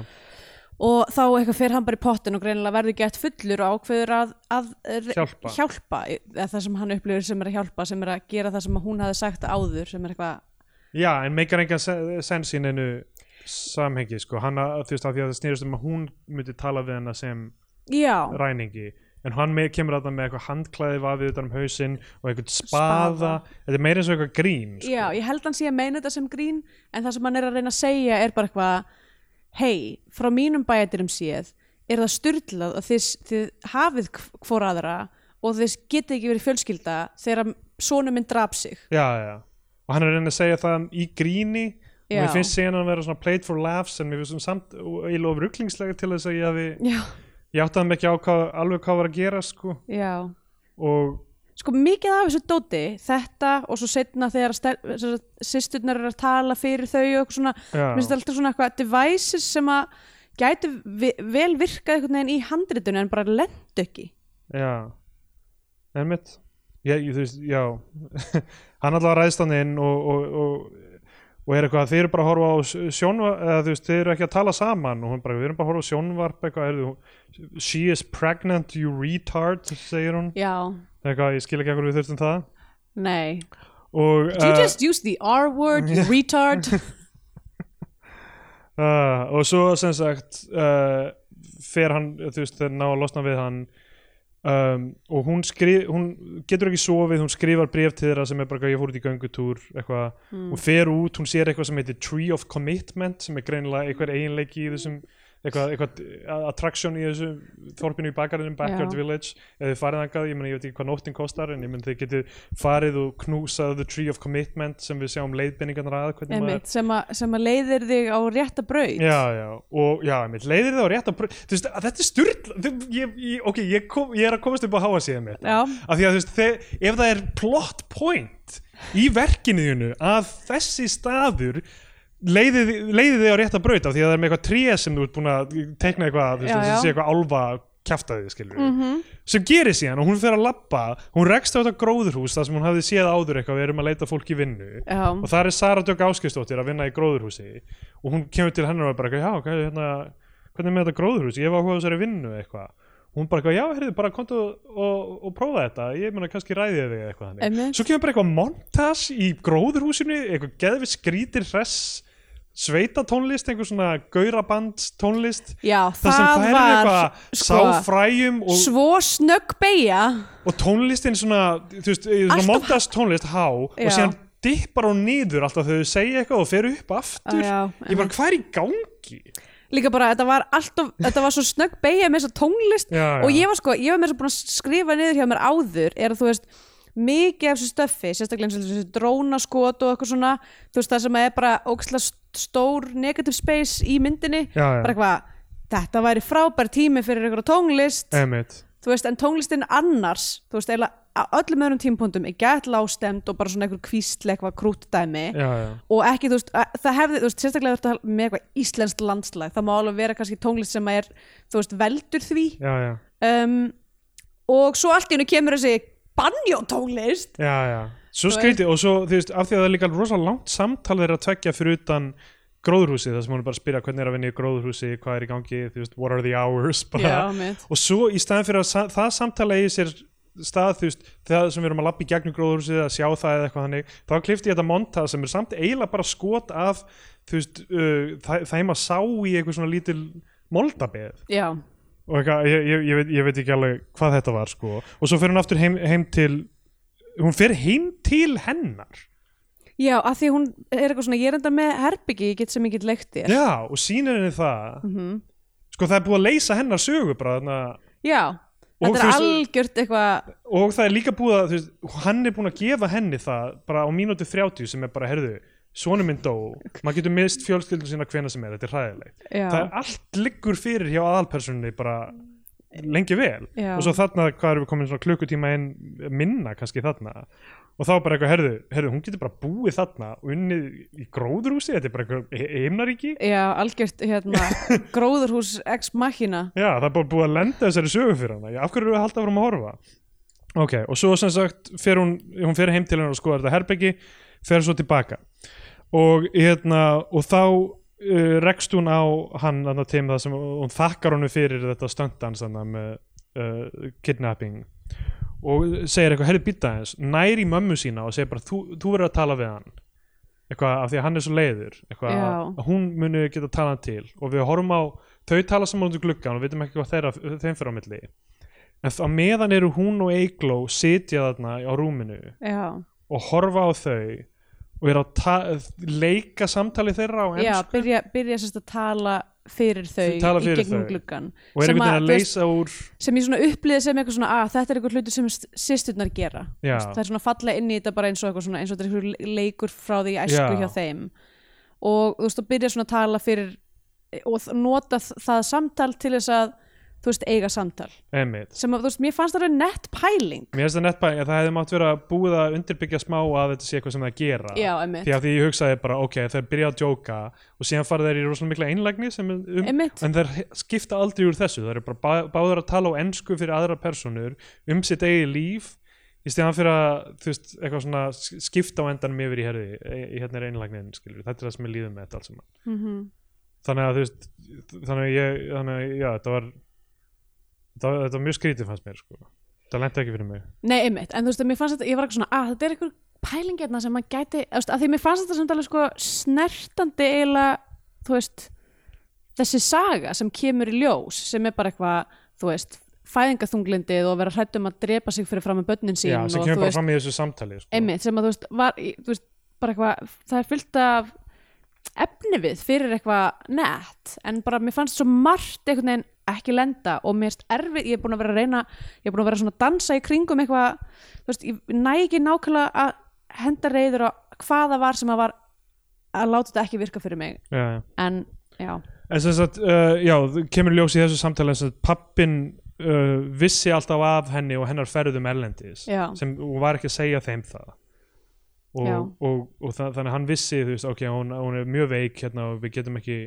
[SPEAKER 1] og þá eitthvað fer hann bara í pottin og greinilega verður gett fullur og ákveður að, að re-
[SPEAKER 2] Hjálpa.
[SPEAKER 1] hjálpa eða það sem hann upplifur sem er að hjálpa sem er að gera það sem að hún hafi sagt áður sem er eitthvað,
[SPEAKER 2] já en meikar engan se- sens í neinu samhengi, sko, hann að, þú veist, af því að það snýrist um að hún myndi tala við hana sem
[SPEAKER 1] já,
[SPEAKER 2] ræningi en hann með, kemur að það með eitthvað handklæði vafið utan um hausinn og eitthvað spaða,
[SPEAKER 1] Spaða.
[SPEAKER 2] þetta er meira eins og eitthvað grín sko.
[SPEAKER 1] já, ég held hann sé að meina þetta sem grín en það sem hann er að reyna að segja er bara eitthvað hei, frá mínum bæjadirum séð er það styrlað að þið, þið hafið hvora aðra og þið getið ekki verið fjölskylda þegar sonu minn draf sig
[SPEAKER 2] já, já. og hann er að reyna að segja það í gríni og
[SPEAKER 1] Já.
[SPEAKER 2] mér finnst síðan að vera svona played for laughs en mér finnst svona samt og ég lof ruglingslega til þess að ég hafi
[SPEAKER 1] já,
[SPEAKER 2] ég áttaði mig ekki á hvað, alveg hvað var að gera sko
[SPEAKER 1] já
[SPEAKER 2] og
[SPEAKER 1] sko mikið af þessu dóti þetta og svo setna þegar stel- sem sagt, systurnar eru að tala fyrir þau og eitthvað svona,
[SPEAKER 2] Já.
[SPEAKER 1] minnst alltaf svona eitthvað devices sem að gætu vi- vel virkað einhvern veginn í handritun en bara lendu ekki
[SPEAKER 2] Já, einmitt Já, ég, þú veist, já [LAUGHS] Hann allavega ræðst hann inn og, og, og, og er eitthvað að þeir eru bara að horfa á sjónvarp, eða þú veist, þeir eru ekki að tala saman og hún bara, við erum bara að horfa á sjónvarp eitthvað, er, she is pregnant you retard, segir hún
[SPEAKER 1] já,
[SPEAKER 2] eitthvað, ég skil ekki ekkur við þurftum það
[SPEAKER 1] nei
[SPEAKER 2] og,
[SPEAKER 1] you
[SPEAKER 2] eh,
[SPEAKER 1] just use the R
[SPEAKER 2] [LAUGHS]
[SPEAKER 1] word, you retard
[SPEAKER 2] uh, og svo sem sagt uh, fer hann, þú veist, þeir ná að losna við hann um, og hún, skrif, hún getur ekki sofið, hún skrifar bref til þeirra sem er bara eitthvað, ég fór út í göngutúr eitthvað,
[SPEAKER 1] Hmm.
[SPEAKER 2] hún fer út, hún sér eitthvað sem heitir Tree of Commitment sem er greinilega einhver eiginleiki í þessum eitthvað, eitthvað attraction í þessu þorpinu í bakarinnum, Backyard
[SPEAKER 1] Já.
[SPEAKER 2] Village eða þið farið þangað, ég meni ég veit ekki hvað nóttin kostar en ég meni þið getið farið og knúsað The Tree of Commitment sem við sjáum leiðbendingarnar að hvernig maður
[SPEAKER 1] Einmitt, sem, að, sem að leiðir þig á rétta braut
[SPEAKER 2] já, já, og já, mitt leiðir það á rétt að, brau- þú veist, að þetta er styrla ég, ég, ok, ég, kom, ég er að komast upp á háa síðan mitt,
[SPEAKER 1] Já.
[SPEAKER 2] af því að þú veist þe, ef það er plot point í verkinu þínu að þessi staður leiði, leiði þig á rétt að braut af því að það er með eitthvað tré sem þú ert búin að teikna eitthvað, þú veist,
[SPEAKER 1] Já,
[SPEAKER 2] þessi
[SPEAKER 1] já. Mhm.
[SPEAKER 2] sé eitthvað álfa kjaftaði, skilur við, sem gerir síðan og hún fer að labba, hún rekst á þetta gróðurhús þar sem hún hafði séð áður eitthvað, við erum að leita fólk í vinnu
[SPEAKER 1] Já.
[SPEAKER 2] og þar er Sara Dögg Áskistóttir að vinna í gróðurhúsi og hún kemur til hennar og er bara eitthvað, já, hvað, hérna, hvernig er með þetta gróðurhús ég hef áhugað á þessari vinnu eitthvað hún bara eitthvað, já, heyrðu, bara komdu og, og, og prófa þetta ég meina kannski ræðið þig eða eitthvað
[SPEAKER 1] Einmitt.
[SPEAKER 2] þannig svo kemur bara eitthvað montas í gróðurhúsinu eitthvað geðvið skrítir hress sveitatónlist, einhver svona gauraband tónlist
[SPEAKER 1] Já,
[SPEAKER 2] það sem
[SPEAKER 1] það
[SPEAKER 2] færir
[SPEAKER 1] var,
[SPEAKER 2] eitthvað
[SPEAKER 1] sko,
[SPEAKER 2] sá fræjum og,
[SPEAKER 1] svo snögg beigja
[SPEAKER 2] og tónlistin svona, þú veist, eh, svona
[SPEAKER 1] Alltaf
[SPEAKER 2] montas tónlist há
[SPEAKER 1] Já.
[SPEAKER 2] og síðan dippar hún niður alltaf þegar þau segja eitthvað og fer upp aftur
[SPEAKER 1] Já,
[SPEAKER 2] ég bara, hvað er í gangi?
[SPEAKER 1] líka bara, þetta var alltaf, þetta var svo snögg beigja með þessa tónlist
[SPEAKER 2] Já, já.
[SPEAKER 1] og ég var sko, ég var með þess að búin að skrifa niður hjá mér áður, er að þú veist mikið af þessu stöffi, sérstaklega eins og þessu drónaskot og eitthvað svona þú veist það sem er bara ógæslega stór negative space í myndinni
[SPEAKER 2] Já, já. Eh.
[SPEAKER 1] bara eitthvað, þetta væri frábær tími fyrir eitthvað tónlist
[SPEAKER 2] Emmett
[SPEAKER 1] þú veist, en tónlistin annars þú veist, eiginlega á öllum öðrum tímpundum er gett lágstemd og bara svona einhver kvísl eitthvað krúttdæmi
[SPEAKER 2] já, já,
[SPEAKER 1] og ekki, þú veist, að- það hefði, þú veist, sérstaklega þú veist, með eitthvað íslenskt landslag, það má alveg vera kannski tónlist sem er, þú veist, veldur því
[SPEAKER 2] já, já,
[SPEAKER 1] um, og svo allt í hennu kemur þessi banjótónlist
[SPEAKER 2] já, já. Svo
[SPEAKER 1] Þú
[SPEAKER 2] skrítið og svo, þú veist, af því að það er líka rosalega langt samtal þeirra að tvekja fyrir utan gróðurhúsið, þar sem hún er bara að spyrja hvernig er að vinna í gróðurhúsi, hvað er í gangi, þú veist, what are the hours, bara,
[SPEAKER 1] mitt
[SPEAKER 2] og svo í staðan fyrir að sa það samtala eigi sér stað þú veist, það sem við erum að lappa í gegnum gróðurhúsið að sjá það eða eitthvað þannig þá klifti ég þetta monta sem er samt eiginlega bara skot af þú veist, uh, þa- þeim að sá í eitthvað svona lítil moldabeð
[SPEAKER 1] Já,
[SPEAKER 2] og eitthvað, ég, ég, ég, veit, ég veit ekki alveg hvað þetta var sko og svo fer hún aftur heim, heim til hún fer heim til hennar
[SPEAKER 1] já, að því hún er eitthvað svona, ég er enda með herbyggi, ég get sem ég get leikt þér
[SPEAKER 2] já og sýnir henni það sko það er búið að leysa hennar sögu bara þarna
[SPEAKER 1] Já,
[SPEAKER 2] Og
[SPEAKER 1] þetta
[SPEAKER 2] þú
[SPEAKER 1] er
[SPEAKER 2] veist-
[SPEAKER 1] algjört eitthvað
[SPEAKER 2] og það er líka búið að þú veist, hann er búin að gefa henni það bara á mínútu 30 sem er bara, herðu sonum minn dó, maður getur mist fjölskyldun sína hvena sem er, þetta er hræðilegt
[SPEAKER 1] Já.
[SPEAKER 2] það er allt liggur fyrir hjá aðalpersonni bara lengi vel
[SPEAKER 1] Mm. Já.
[SPEAKER 2] og svo þarna, hvað erum við komin svona klukkutíma inn minna kannski þarna og þá bara eitthvað, herðu, herðu, hún getur bara búið þarna og unnið í gróðrúsi þetta er bara eitthvað heimnaríki
[SPEAKER 1] Já, algjört
[SPEAKER 2] [LAUGHS]
[SPEAKER 1] hérna gróðurhús ex machina
[SPEAKER 2] Já, það er bara búið að lenda þessari sögu fyrir hana Já, Af hverju eru við að halda frá að horfa? Ok, og svo sem sagt fer hún, hún fer heim til hennar og skoðar þetta herbyggi fer svo tilbaka og, hérna, og þá uh, rekst hún á hann þarna til það sem hún þakkar honum fyrir þetta stöndans þannig með uh, kidnapping og segir eitthvað, herri býta hans nær í mömmu sína og segir bara þú, þú verður að tala við hann eitthvað af því að hann er svo leiður eitthvað
[SPEAKER 1] Já.
[SPEAKER 2] að að hún muni geta talað til og við horfum á, þau tala saman út í gluggan og vitum ekki hvað þeirra, þeim fyrir á milli en þá meðan eru hún og Eigló sitja þarna á rúminu
[SPEAKER 1] Já,
[SPEAKER 2] og horfa á þau og eru að ta- leika samtali þeirra á
[SPEAKER 1] já
[SPEAKER 2] ensku
[SPEAKER 1] byrja, byrja sérst að tala fyrir þau
[SPEAKER 2] Tala fyrir
[SPEAKER 1] í gegnum
[SPEAKER 2] þau.
[SPEAKER 1] gluggan
[SPEAKER 2] og eru
[SPEAKER 1] sem,
[SPEAKER 2] einhvern veginn
[SPEAKER 1] þú
[SPEAKER 2] að
[SPEAKER 1] veist,
[SPEAKER 2] leysa úr
[SPEAKER 1] sem ég svona upplýði sem eitthvað svona að þetta er eitthvað hlutur sem sýsturnar gera
[SPEAKER 2] Já.
[SPEAKER 1] Þú veist, það er svona falla inn í þetta bara eins og eitthvað svona eins og þetta er eitthvað leikur frá því í æsku
[SPEAKER 2] Já.
[SPEAKER 1] hjá þeim og þú veist, þú byrja svona að tala fyrir og þ- nota þ- það samtal til þess að þú veist, eiga samtal
[SPEAKER 2] einmitt
[SPEAKER 1] sem að, þú veist, mér fannst það alveg nett pæling
[SPEAKER 2] Mér finnst það nettbæðing að það hefði mátt vera búið að undirbyggja smá að þetta sé eitthvað sem það gera
[SPEAKER 1] Já, einmitt.
[SPEAKER 2] Því að því ég hugsaði bara, ok, þeir byrja að djóka og síðan fara þeir í rosalega mikla einlægni sem, er um,
[SPEAKER 1] Einmitt.
[SPEAKER 2] en þeir skipta aldrei úr þessu þeir eru bara bá, báður að tala á ensku fyrir aðra personur um sitt eigi líf í stíðan fyrir að þú veist, eitthvað svona sk- skipta á endanum yfir í herði í, í hérna er einlægnin, skilur, þetta er það sem ég líðum með þetta allt saman
[SPEAKER 1] Mhm.
[SPEAKER 2] þannig að þú veist þannig að ég, þannig að, já, þetta var þetta var, þetta var mjög skrítið fannst mér, sko það lenti ekki fyrir mig
[SPEAKER 1] Nei, einmitt, en þú veist, mér fannst þetta, ég var eitthvað svona að þetta er eitthvað pælingarna sem maður gæti þú veist, að því mér fannst þetta samt alveg sko snertandi eiginlega, þú veist þessi saga sem kemur í ljós sem er bara eitthvað, þú veist fæðingaþunglindið og vera hrætt um að drepa sig fyrir fram með börnin sín
[SPEAKER 2] Já, sem
[SPEAKER 1] og þú
[SPEAKER 2] kemur bara
[SPEAKER 1] veist,
[SPEAKER 2] fram í þessu samtali sko.
[SPEAKER 1] einmitt sem að þú veist, var, í- þú veist bara eitthvað, það er fullt af efni við fyrir eitthvað nett en bara mér fannst svo margt einhvern veginn ekki lenda og mér erst erfið ég er búin að vera að reyna, ég er búin að vera svona að dansa í kringum eitthvað, þú veist, ég næ ekki nákvæmlega að henda reyður á hvaða var sem að var að láta þetta ekki virka fyrir mig,
[SPEAKER 2] Já, já.
[SPEAKER 1] en já,
[SPEAKER 2] En sem sagt, uh, já, þú kemur ljós í þessu samtali að pappin uh, vissi alltaf af henni og hennar ferðum erlendis
[SPEAKER 1] Já.
[SPEAKER 2] sem hún var ekki að segja þeim það og,
[SPEAKER 1] Já.
[SPEAKER 2] og, og, þa þannig að hann vissi þú veist, ok, hún, hún er mjög veik hérna og við getum ekki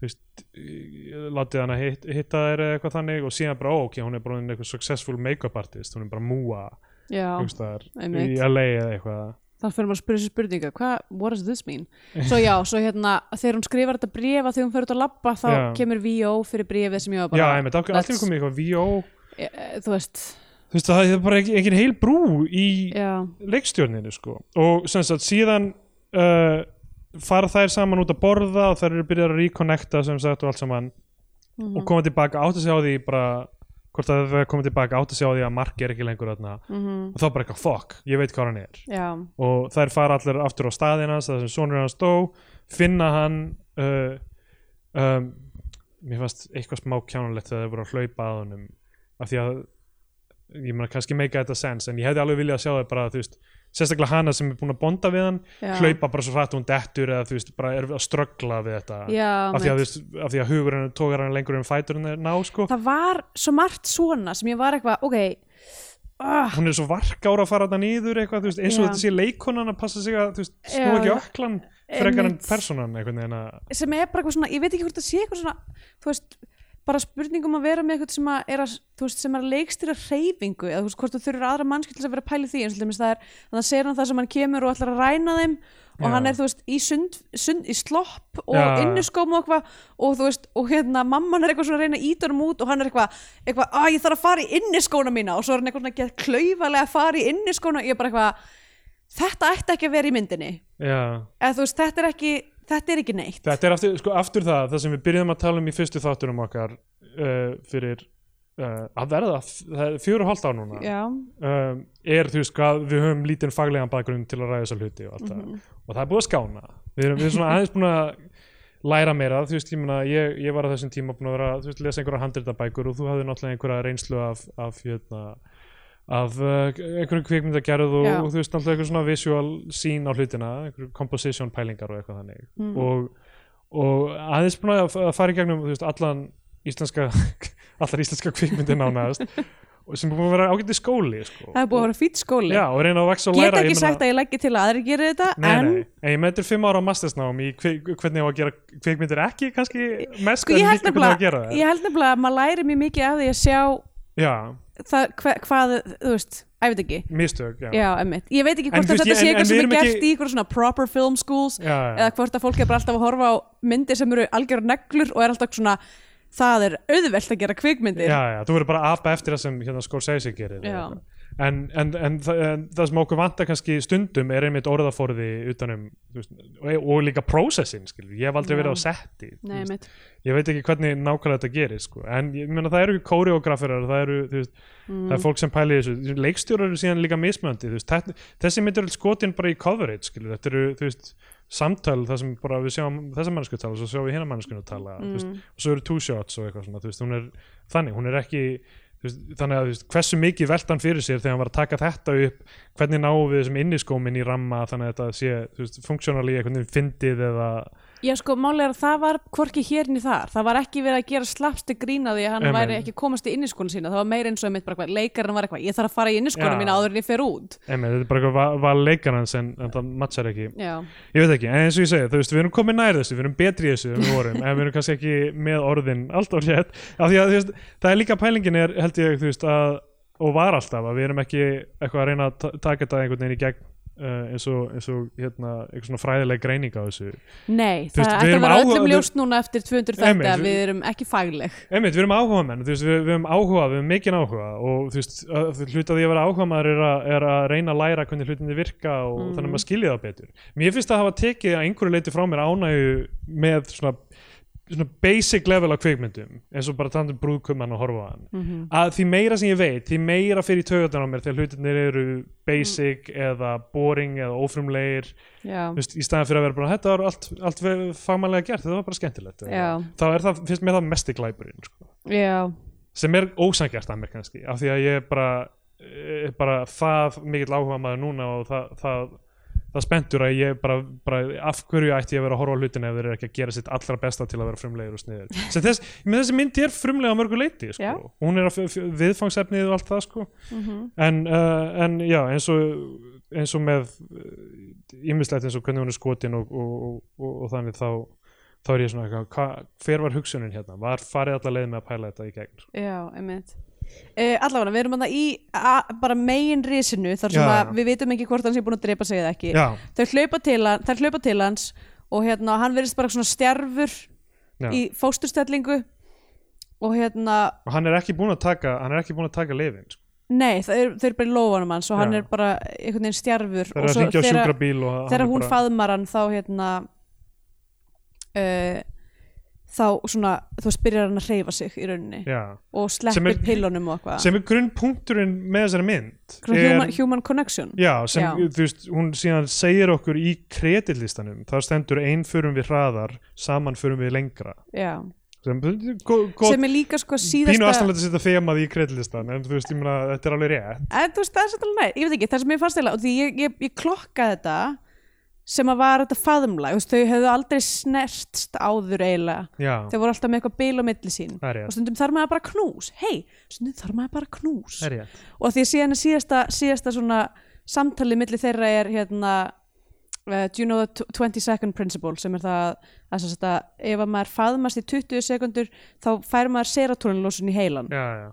[SPEAKER 2] þú veist, eh, látið hann að hitt, hitta þær eða eitthvað þannig og síðan bara, ó, ok, hún er bara orðin eitthvað successful make-up artist, hún er bara múa
[SPEAKER 1] já
[SPEAKER 2] einhvers staðar
[SPEAKER 1] einmitt.
[SPEAKER 2] í LA eða eitthvað
[SPEAKER 1] þá fyrir maður að spyrja sér spurninga hvað, what does this
[SPEAKER 2] [LAUGHS]
[SPEAKER 1] mean? Svo já, svo hérna, þegar hún skrifar þetta brefa þegar hún fyrir út að labba, þá
[SPEAKER 2] Já.
[SPEAKER 1] kemur VO fyrir brefið sem ég var
[SPEAKER 2] Já,
[SPEAKER 1] bara
[SPEAKER 2] einmitt, af hverju- allt í einu
[SPEAKER 1] that's-
[SPEAKER 2] komið eitthvað V.O.
[SPEAKER 1] e, e, þú veist,
[SPEAKER 2] Þú veist, það er bara ekki- engin heil brú í,
[SPEAKER 1] já,
[SPEAKER 2] leikstjórninu sko og sem sagt síðan uh, fara þær saman út að borða og þær eru byrjar að reconnecta sem sagt og allt saman og koma tilbaka átt að segja á því bara hvort að þau koma tilbaka átt að segja á því að Mark er ekki lengur þarna og þá bara eitthvað fuck, ég veit hvað hann er
[SPEAKER 1] mhm, já,
[SPEAKER 2] og þær fara allir aftur á staðinn hans það sem sonur hans dó, finna hann uh, um, mér fannst eitthvað smá kjánulegt þegar þau voru að hlaupa að honum af því að ég meina kannski make þetta sense en ég hefði alveg viljað að sjá þau bara þú veist sérstaklega hana sem er búin að bonda við hann
[SPEAKER 1] Já.
[SPEAKER 2] hlaupa bara svo hratt og hún dettur eða þú veist, bara er að ströggla við þetta
[SPEAKER 1] Já,
[SPEAKER 2] af því að,
[SPEAKER 1] mitt.
[SPEAKER 2] þú veist, af því að hugur hann tókar hann lengur en fætur hann ná sko
[SPEAKER 1] það var svo margt svona sem ég var eitthvað, ok uh,
[SPEAKER 2] hún er svo varkára að fara þetta niður eitthvað, þú veist, eins og
[SPEAKER 1] Já.
[SPEAKER 2] þetta sé leikonan að passa sig að þú veist, snú
[SPEAKER 1] Já,
[SPEAKER 2] ekki
[SPEAKER 1] já.
[SPEAKER 2] öklan frekar en
[SPEAKER 1] Einmitt.
[SPEAKER 2] personan einhvern veginn að
[SPEAKER 1] sem er bara eitthvað svona, ég veit ekki hvort það sé eitthvað svona þú veist, bara spurningum að vera með eitthvað sem að er að, þú veist, sem er að leikstýra hreyfingu, eða þú veist, hvort þú þurfir aðra mannskil til þess að vera að pæli því, eins og til dæmis það er þannig að segir hann það sem hann kemur og ætlar að ræna þeim og
[SPEAKER 2] Já.
[SPEAKER 1] hann er, þú veist, í sund, sund í slopp og
[SPEAKER 2] Já.
[SPEAKER 1] innuskóm og eitthvað og þú veist, og hérna, mamman er eitthvað svona að reyna að íta hann út og hann er eitthvað, eitthvað, að ég þarf að fara í inniskóna mína og svo er hann eitthvað svona að geta klaufalega að fara í inniskóna, ég er bara eitthvað þetta ætti ekki að vera í myndinni
[SPEAKER 2] já,
[SPEAKER 1] eða þú veist, þetta er ekki þetta er ekki neitt
[SPEAKER 2] þetta er aftur, sko, aftur það það sem við byrjum að tala um í fyrstu þáttunum okkar uh, fyrir uh, að verða, það er fjögur og hálft ár núna
[SPEAKER 1] Já,
[SPEAKER 2] um, er þú veist hvað við höfum lítinn faglegan bakgrunn til að ræða þessa hluti og allt það og það er búið að skána við erum, við erum svona aðeins búin að læra meira þú veist, ég, mena, ég, ég var á þessum tíma búin að vera, þú veist, lesa einhverja handritabækur og þú hafði náttúrulega einhverja reynslu af, af hérna af uh, einhverjum kvikmyndagerð og,
[SPEAKER 1] Já.
[SPEAKER 2] og þú veist náttúrulega einhverjum svona visual sín á hlutina einhverjum composition pælingar og eitthvað þannig
[SPEAKER 1] Mm.
[SPEAKER 2] og, og aðeins búin að að fara í gegnum þú veist, allan íslenska [LAUGHS] allar íslenska kvikmyndin ánæðast [LAUGHS] og sem er búin að vera ágætt í skóli sko.
[SPEAKER 1] það er búið að vera fýtt skóli
[SPEAKER 2] Já, og reyna að vaksa og
[SPEAKER 1] Get
[SPEAKER 2] læra
[SPEAKER 1] ekki sagt að ég leggja til að aðri gera þetta
[SPEAKER 2] Nei,
[SPEAKER 1] en
[SPEAKER 2] nei, en ég meintir fimm ára á mastersnám í hve- hvernig á að gera kvikmyndir ekki kannski mest
[SPEAKER 1] sko, ég,
[SPEAKER 2] en
[SPEAKER 1] held
[SPEAKER 2] líka hvernig á að gera
[SPEAKER 1] nefnilega,
[SPEAKER 2] það
[SPEAKER 1] ég held nefnilega að maður læri mjög mikið af því að sjá
[SPEAKER 2] Já,
[SPEAKER 1] það, hva, hvað, þú veist, að ég veit ekki
[SPEAKER 2] mistök, já,
[SPEAKER 1] Já, emmitt, ég veit ekki
[SPEAKER 2] En
[SPEAKER 1] hvort
[SPEAKER 2] þú
[SPEAKER 1] að
[SPEAKER 2] veist,
[SPEAKER 1] þetta
[SPEAKER 2] ég-
[SPEAKER 1] sé
[SPEAKER 2] en- en
[SPEAKER 1] eitthvað
[SPEAKER 2] við
[SPEAKER 1] sem er
[SPEAKER 2] erum
[SPEAKER 1] gert
[SPEAKER 2] ekki-
[SPEAKER 1] í eitthvað svona proper film schools
[SPEAKER 2] já, já.
[SPEAKER 1] eða hvort að fólk er bara alltaf að horfa á myndir sem eru algjör neglur og er alltaf svona það er auðvelt að gera kvikmyndir
[SPEAKER 2] já, já, þú verður bara apa eftir það sem hérna, Scorsese gerir eða
[SPEAKER 1] Já.
[SPEAKER 2] eitthvað. en, en, en, þa en það sem okkur vantar kannski stundum er einmitt orðaforði utanum þú veist, og, og líka prósessin, skilur, ég hef aldrei
[SPEAKER 1] Já.
[SPEAKER 2] verið á setti þú
[SPEAKER 1] Nei,
[SPEAKER 2] veist.
[SPEAKER 1] einmitt,
[SPEAKER 2] ég veit ekki hvernig nákvæmlega þetta gerir sko. en ég meina það eru kóreograferar það eru, þú veist, það er fólk sem pæli þessu leikstjórar eru síðan líka mismöndi veist, þetta- þessi myndir eru skotin bara í coverage skilur. þetta eru, þú veist, samtöl það sem bara við sjáum þessa mannsku tala svo sjáum við hinna mannskunu tala þú veist, og svo eru two shots og eitthvað svona þú veist, hún er, þannig, hún er ekki þú veist, þannig að þú veist, hversu mikið velt hann fyrir sér þegar hann var að taka þetta upp hvernig náum við þessum inniskómin í ramma þannig að þetta sé, þú veist, funksjónalí einhvern veginn fyndið eða
[SPEAKER 1] Já sko, málið er að það var hvorki hérni þar, það var ekki verið að gera slapsti grína því að hann
[SPEAKER 2] Nei,
[SPEAKER 1] væri
[SPEAKER 2] nei.
[SPEAKER 1] ekki komast í inniskónu sína, það var meira eins og einmitt bara eitthvað, leikarinn var eitthvað, ég þarf að fara í inniskónu
[SPEAKER 2] Já.
[SPEAKER 1] mína áður en ég fer út.
[SPEAKER 2] Emi, þetta er bara eitthvað va- val leikar hans en, en það matchar ekki
[SPEAKER 1] Já,
[SPEAKER 2] ég veit ekki, en eins og ég segi, þú veist, við erum komin nær þessu við erum betri í þessu en við vorum en við erum kannski ekki með orðin allt og rétt af því að þú veist, það er líka pælingin er held ég, þú veist, að og var alltaf að við erum ekki eitthvað að reyna að ta- taka þetta einhvern veginn í gegn uh, eins og, eins og hérna, eitthvað svona fræðileg greining á þessu
[SPEAKER 1] nei,
[SPEAKER 2] Þú veist,
[SPEAKER 1] það
[SPEAKER 2] við
[SPEAKER 1] ætti að
[SPEAKER 2] erum
[SPEAKER 1] vera
[SPEAKER 2] áhuga-
[SPEAKER 1] öllum
[SPEAKER 2] við-
[SPEAKER 1] ljóst núna eftir 200
[SPEAKER 2] Nei, nei,
[SPEAKER 1] þetta,
[SPEAKER 2] við-
[SPEAKER 1] við erum ekki fagleg.
[SPEAKER 2] Einmitt, við erum áhuga menn, þú veist, við, við erum áhuga, við erum mikinn áhuga og þú veist, að- hluti af því að vera áhuga maður er, að- er að reyna að læra hvernig hlutinni virka og þannig að maður skilja það betur. Mér finnst að hafa tekið að einhverju leiti frá mér ánægju með svona, svona basic level á kveikmyndum, eins og bara tandum brúðkumann og horfa á hann. Að því meira sem ég veit, því meira fyrir tögatan á mér þegar hlutinni eru basic eða boring eða ófrumlegir
[SPEAKER 1] Já,
[SPEAKER 2] Þú veist, í staðan fyrir að vera bara þetta var allt, allt fagmannlega gert, þetta var bara skemmtilegt
[SPEAKER 1] Já.
[SPEAKER 2] þá er það, finnst mér það mesti glæpurinn sko.
[SPEAKER 1] já,
[SPEAKER 2] sem er ósangjart að mér kannski af því að ég er bara, er bara það mikill áhuga maður núna og það, það, það spenntur að ég bara, bara af hverju ætti ég að vera að horfa á hlutin ef þeir eru ekki að gera sitt allra besta til að vera frumlegir og sniður sem þess, menn þessi mynd er frumlega á mörgu leiti
[SPEAKER 1] Já.
[SPEAKER 2] sko. hún er að f- f- viðfangsefnið og allt það sko. en, uh, en já, eins og eins og með ímislegt eins og hvernig hún er skotin og, og, og, og, og þannig þá þá er ég svona eitthvað, hva, hver var hugsunin hérna var farið allar leið með að pæla þetta í gegn sko?
[SPEAKER 1] já, einmitt. Uh, allavega, við erum þarna í a, bara megin risinu þar sem
[SPEAKER 2] Já,
[SPEAKER 1] að
[SPEAKER 2] já.
[SPEAKER 1] við vitum ekki hvort hann sé búin að drepa sig eða ekki
[SPEAKER 2] já,
[SPEAKER 1] þau hlaupa til, hann, þær hlaupa til hans og hérna, hann verðist bara svona stjærfur
[SPEAKER 2] já.
[SPEAKER 1] í fósturstellingu og hérna,
[SPEAKER 2] og hann er ekki búinn að taka hann er ekki búinn að taka lifin sko.
[SPEAKER 1] nei þau eru, þau eru bara í lófanum hans og hann
[SPEAKER 2] Já.
[SPEAKER 1] er bara einhvern veginn stjarfur
[SPEAKER 2] það
[SPEAKER 1] og
[SPEAKER 2] er að
[SPEAKER 1] svo
[SPEAKER 2] hringja á
[SPEAKER 1] þegar-
[SPEAKER 2] sjúkrabíl og hann
[SPEAKER 1] þegar
[SPEAKER 2] er
[SPEAKER 1] hún
[SPEAKER 2] bara,
[SPEAKER 1] faðmar hann þá hérna uh, þá svona þú veist byrjar hann að hreyfa sig í rauninni
[SPEAKER 2] já,
[SPEAKER 1] og
[SPEAKER 2] Sem
[SPEAKER 1] sleppir
[SPEAKER 2] er-
[SPEAKER 1] pillunum og eitthvað
[SPEAKER 2] sem er grunnpunkturinn með þessari mynd
[SPEAKER 1] Svona human, human connection
[SPEAKER 2] já, sem
[SPEAKER 1] Já.
[SPEAKER 2] þú veist hún síðan segir okkur í kreditlistanum þar stendur einn förum við hraðar saman förum við lengra
[SPEAKER 1] já,
[SPEAKER 2] sem, gott, gott,
[SPEAKER 1] sem er líka sko
[SPEAKER 2] pínu
[SPEAKER 1] síðasta
[SPEAKER 2] aðstæðanlega að setja þemað í kreidlistan en þú veist, ég meina, þetta er alveg rétt
[SPEAKER 1] en Eh, þú veist, það er svolítið alveg næri, ég veit ekki, það sem ég fannst eða og því ég, ég, ég klokkaði þetta sem að var þetta faðumlag, þú veist, þau hefðu aldrei snertst áður eiginlega
[SPEAKER 2] já,
[SPEAKER 1] þau voru alltaf með eitthvað bil á milli sín
[SPEAKER 2] það er
[SPEAKER 1] og
[SPEAKER 2] rétt,
[SPEAKER 1] stundum þarf maður bara knús, hei stundum þarf maður bara knús
[SPEAKER 2] það er rétt.
[SPEAKER 1] og því síðan er síðasta, síðasta svona samtalið milli þeirra er hérna uh, do you know the tw- 20 second principle sem er það að, að, sem sagt að ef að maður faðmast í 20 sekundur þá fær maður seratúrinlósun í heilan
[SPEAKER 2] Já, já.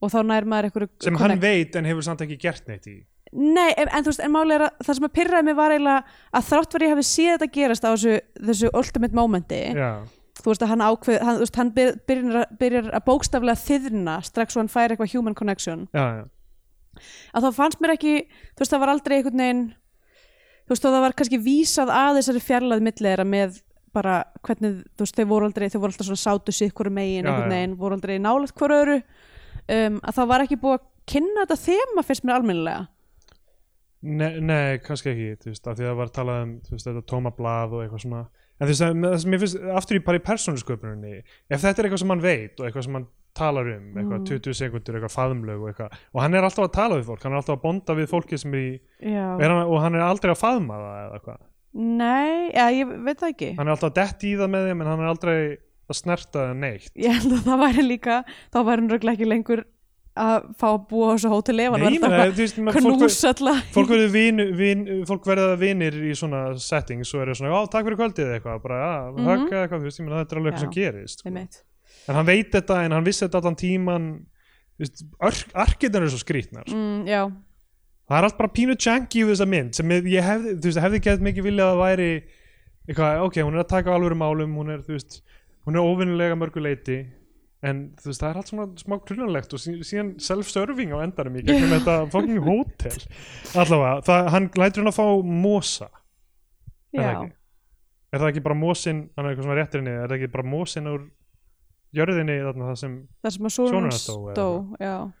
[SPEAKER 1] og þá nær maður einhverju
[SPEAKER 2] sem hann veit en hefur samt ekki gert neitt í
[SPEAKER 1] Nei, en, en þú veist, en máli er að það sem að pyrraði mig var eiginlega að þrátt verið ég hafi séð þetta gerast á þessu, þessu ultimate momenti
[SPEAKER 2] já,
[SPEAKER 1] þú veist að hann ákveð, hann, þú veist, hann byr- byrjar, að- byrjar að bókstaflega þiðna strax og hann fær eitthvað human connection
[SPEAKER 2] já, já,
[SPEAKER 1] að þá fannst mér ekki, þú veist það var aldrei einhvern veginn þú veist og það var kannski vísað að þessari fjarlæð milli þeirra með bara hvernig, þú veist, þau voru aldrei þau voru alltaf svona sátu sitt hverju megin
[SPEAKER 2] Já,
[SPEAKER 1] einhvern
[SPEAKER 2] já.
[SPEAKER 1] veginn, voru aldrei nálægt hverju öru um, að það var ekki búið að kynna þetta þema fyrst mér almennilega
[SPEAKER 2] Ne nei, kannski ekki, þú veist, af því að það var talað um, þú veist, þetta tóma blað og eitthvað svona en þú veist, það- það sem ég finnst, aftur í bara í persónusköpuninni, ef þetta er eitthvað sem hann veit og eitthvað sem hann talar um,
[SPEAKER 1] Mm.
[SPEAKER 2] eitthvað 20 sekundur, eitthvað faðumlög og eitthvað og hann er alltaf að tala við fólk, hann er alltaf að bonda við fólki sem er í,
[SPEAKER 1] Já,
[SPEAKER 2] er hann, og hann er aldrei að faðma það eða eitthvað,
[SPEAKER 1] nei, já, ég veit það ekki
[SPEAKER 2] hann er alltaf að detti í það með þeim en hann er aldrei að snerta það neitt
[SPEAKER 1] ég held að það væri líka þá væri hann röglega ekki lengur að fá að búa á þessu hóteli ef hann
[SPEAKER 2] Nei,
[SPEAKER 1] var
[SPEAKER 2] ég meina,
[SPEAKER 1] alltaf
[SPEAKER 2] þú veist,
[SPEAKER 1] að
[SPEAKER 2] maður- fólk,
[SPEAKER 1] knús alltaf
[SPEAKER 2] fólk, verður vin, vin, fólk verða vinir í svona settings og eru svona, á, takk fyrir kvöldið eða eitthvað, bara, já, mm
[SPEAKER 1] Mhm.
[SPEAKER 2] eitthvað, þú veist, ég meina, þetta er alveg eitthvað sem gerist sko.
[SPEAKER 1] Einmitt.
[SPEAKER 2] en hann veit þetta en hann vissi þetta allan tíman arkitektur eru svo skrýtnar
[SPEAKER 1] mm, já,
[SPEAKER 2] það er allt bara pínu janky við þessa mynd sem ég ég hefði, þú veist, hefði gett mikið viljað að væri eitthvað, ok, hún er að taka á alvöru málum hún er, þú veist, hún er óvinnulega mörgu leiti en þú veist, það er allt svona smá klunanlegt og sí- síðan self-serving á endanum í gegnum þetta fucking hótel allavega, það, hann lætur hann að fá mosa, er það
[SPEAKER 1] já.
[SPEAKER 2] ekki er það ekki bara mosin, hann er eitthvað svona réttirinni er það ekki bara mosin úr jörðinni þarna það sem
[SPEAKER 1] þar sem að sonur hans
[SPEAKER 2] Sonur hans dó,
[SPEAKER 1] dó já.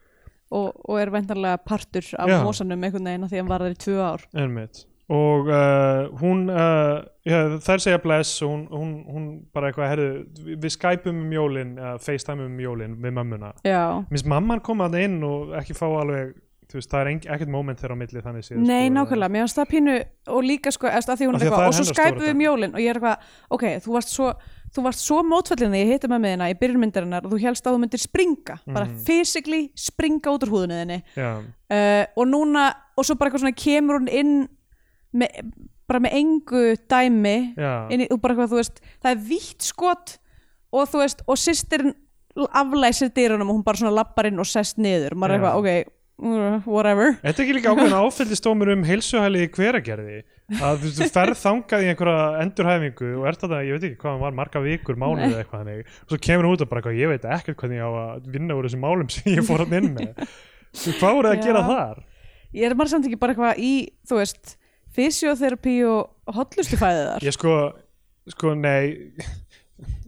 [SPEAKER 1] og, og er vendarlega partur af
[SPEAKER 2] Já.
[SPEAKER 1] mosanum einhvern veginn af því að hann var þar í tvö ár
[SPEAKER 2] Einmitt. Og uh, hún, uh, já, þær segja bless og hún, hún, hún bara eitthvað, herðu, við- við skypum um jólin, uh, facetime um jólin við mömmuna.
[SPEAKER 1] já.
[SPEAKER 2] Minnst mamman koma að inn og ekki fá alveg, þú veist, það er enk, ekkert moment þeirra á milli þannig séð.
[SPEAKER 1] nei,
[SPEAKER 2] sko,
[SPEAKER 1] nákvæmlega, mér finnst það pínu og líka sko, eftir að því hún
[SPEAKER 2] Af
[SPEAKER 1] er
[SPEAKER 2] því að það
[SPEAKER 1] eitthvað
[SPEAKER 2] er
[SPEAKER 1] og svo
[SPEAKER 2] hennar
[SPEAKER 1] skæpum
[SPEAKER 2] stóra
[SPEAKER 1] við um jólin og ég er eitthvað, ok, þú varst svo þú varst svo mótfællin þegar ég hitti með með hérna í byrjunmyndarinnar og þú helst að þú myndir springa bara
[SPEAKER 2] Mhm.
[SPEAKER 1] physically springa út úr húðinu þinni
[SPEAKER 2] Já,
[SPEAKER 1] uh, og núna, og svo bara eitthvað svona kemur hún inn með, bara með engu dæmi
[SPEAKER 2] Já.
[SPEAKER 1] inn í, og bara eitthvað, þú veist, það er vítt skot og þú veist, og sýstirinn aflæsir dyrunum og hún bara svona lappar inn og sest niður, maður er
[SPEAKER 2] Já.
[SPEAKER 1] eitthvað, ok uh, whatever,
[SPEAKER 2] Þetta er ekki líka ákveðin áfællistómur um heilsuhæli í hveragerði að þú veist, þú ferð þangað í einhverja endurhæfingu og ert þetta, ég veit ekki hvað hann var, marga vikur, mánuð eða eitthvað þannig og svo kemur hún út og bara eitthvað, ég veit ekkert hvernig ég á að vinna úr þessum málum sem ég fór hann inn með Þú, Hvað voruð þið að
[SPEAKER 1] Já.
[SPEAKER 2] gera þar?
[SPEAKER 1] ég er maður samt ekki bara eitthvað í, þú veist, fysiotherapí og hotlustufæðið þar
[SPEAKER 2] Ég sko, sko, nei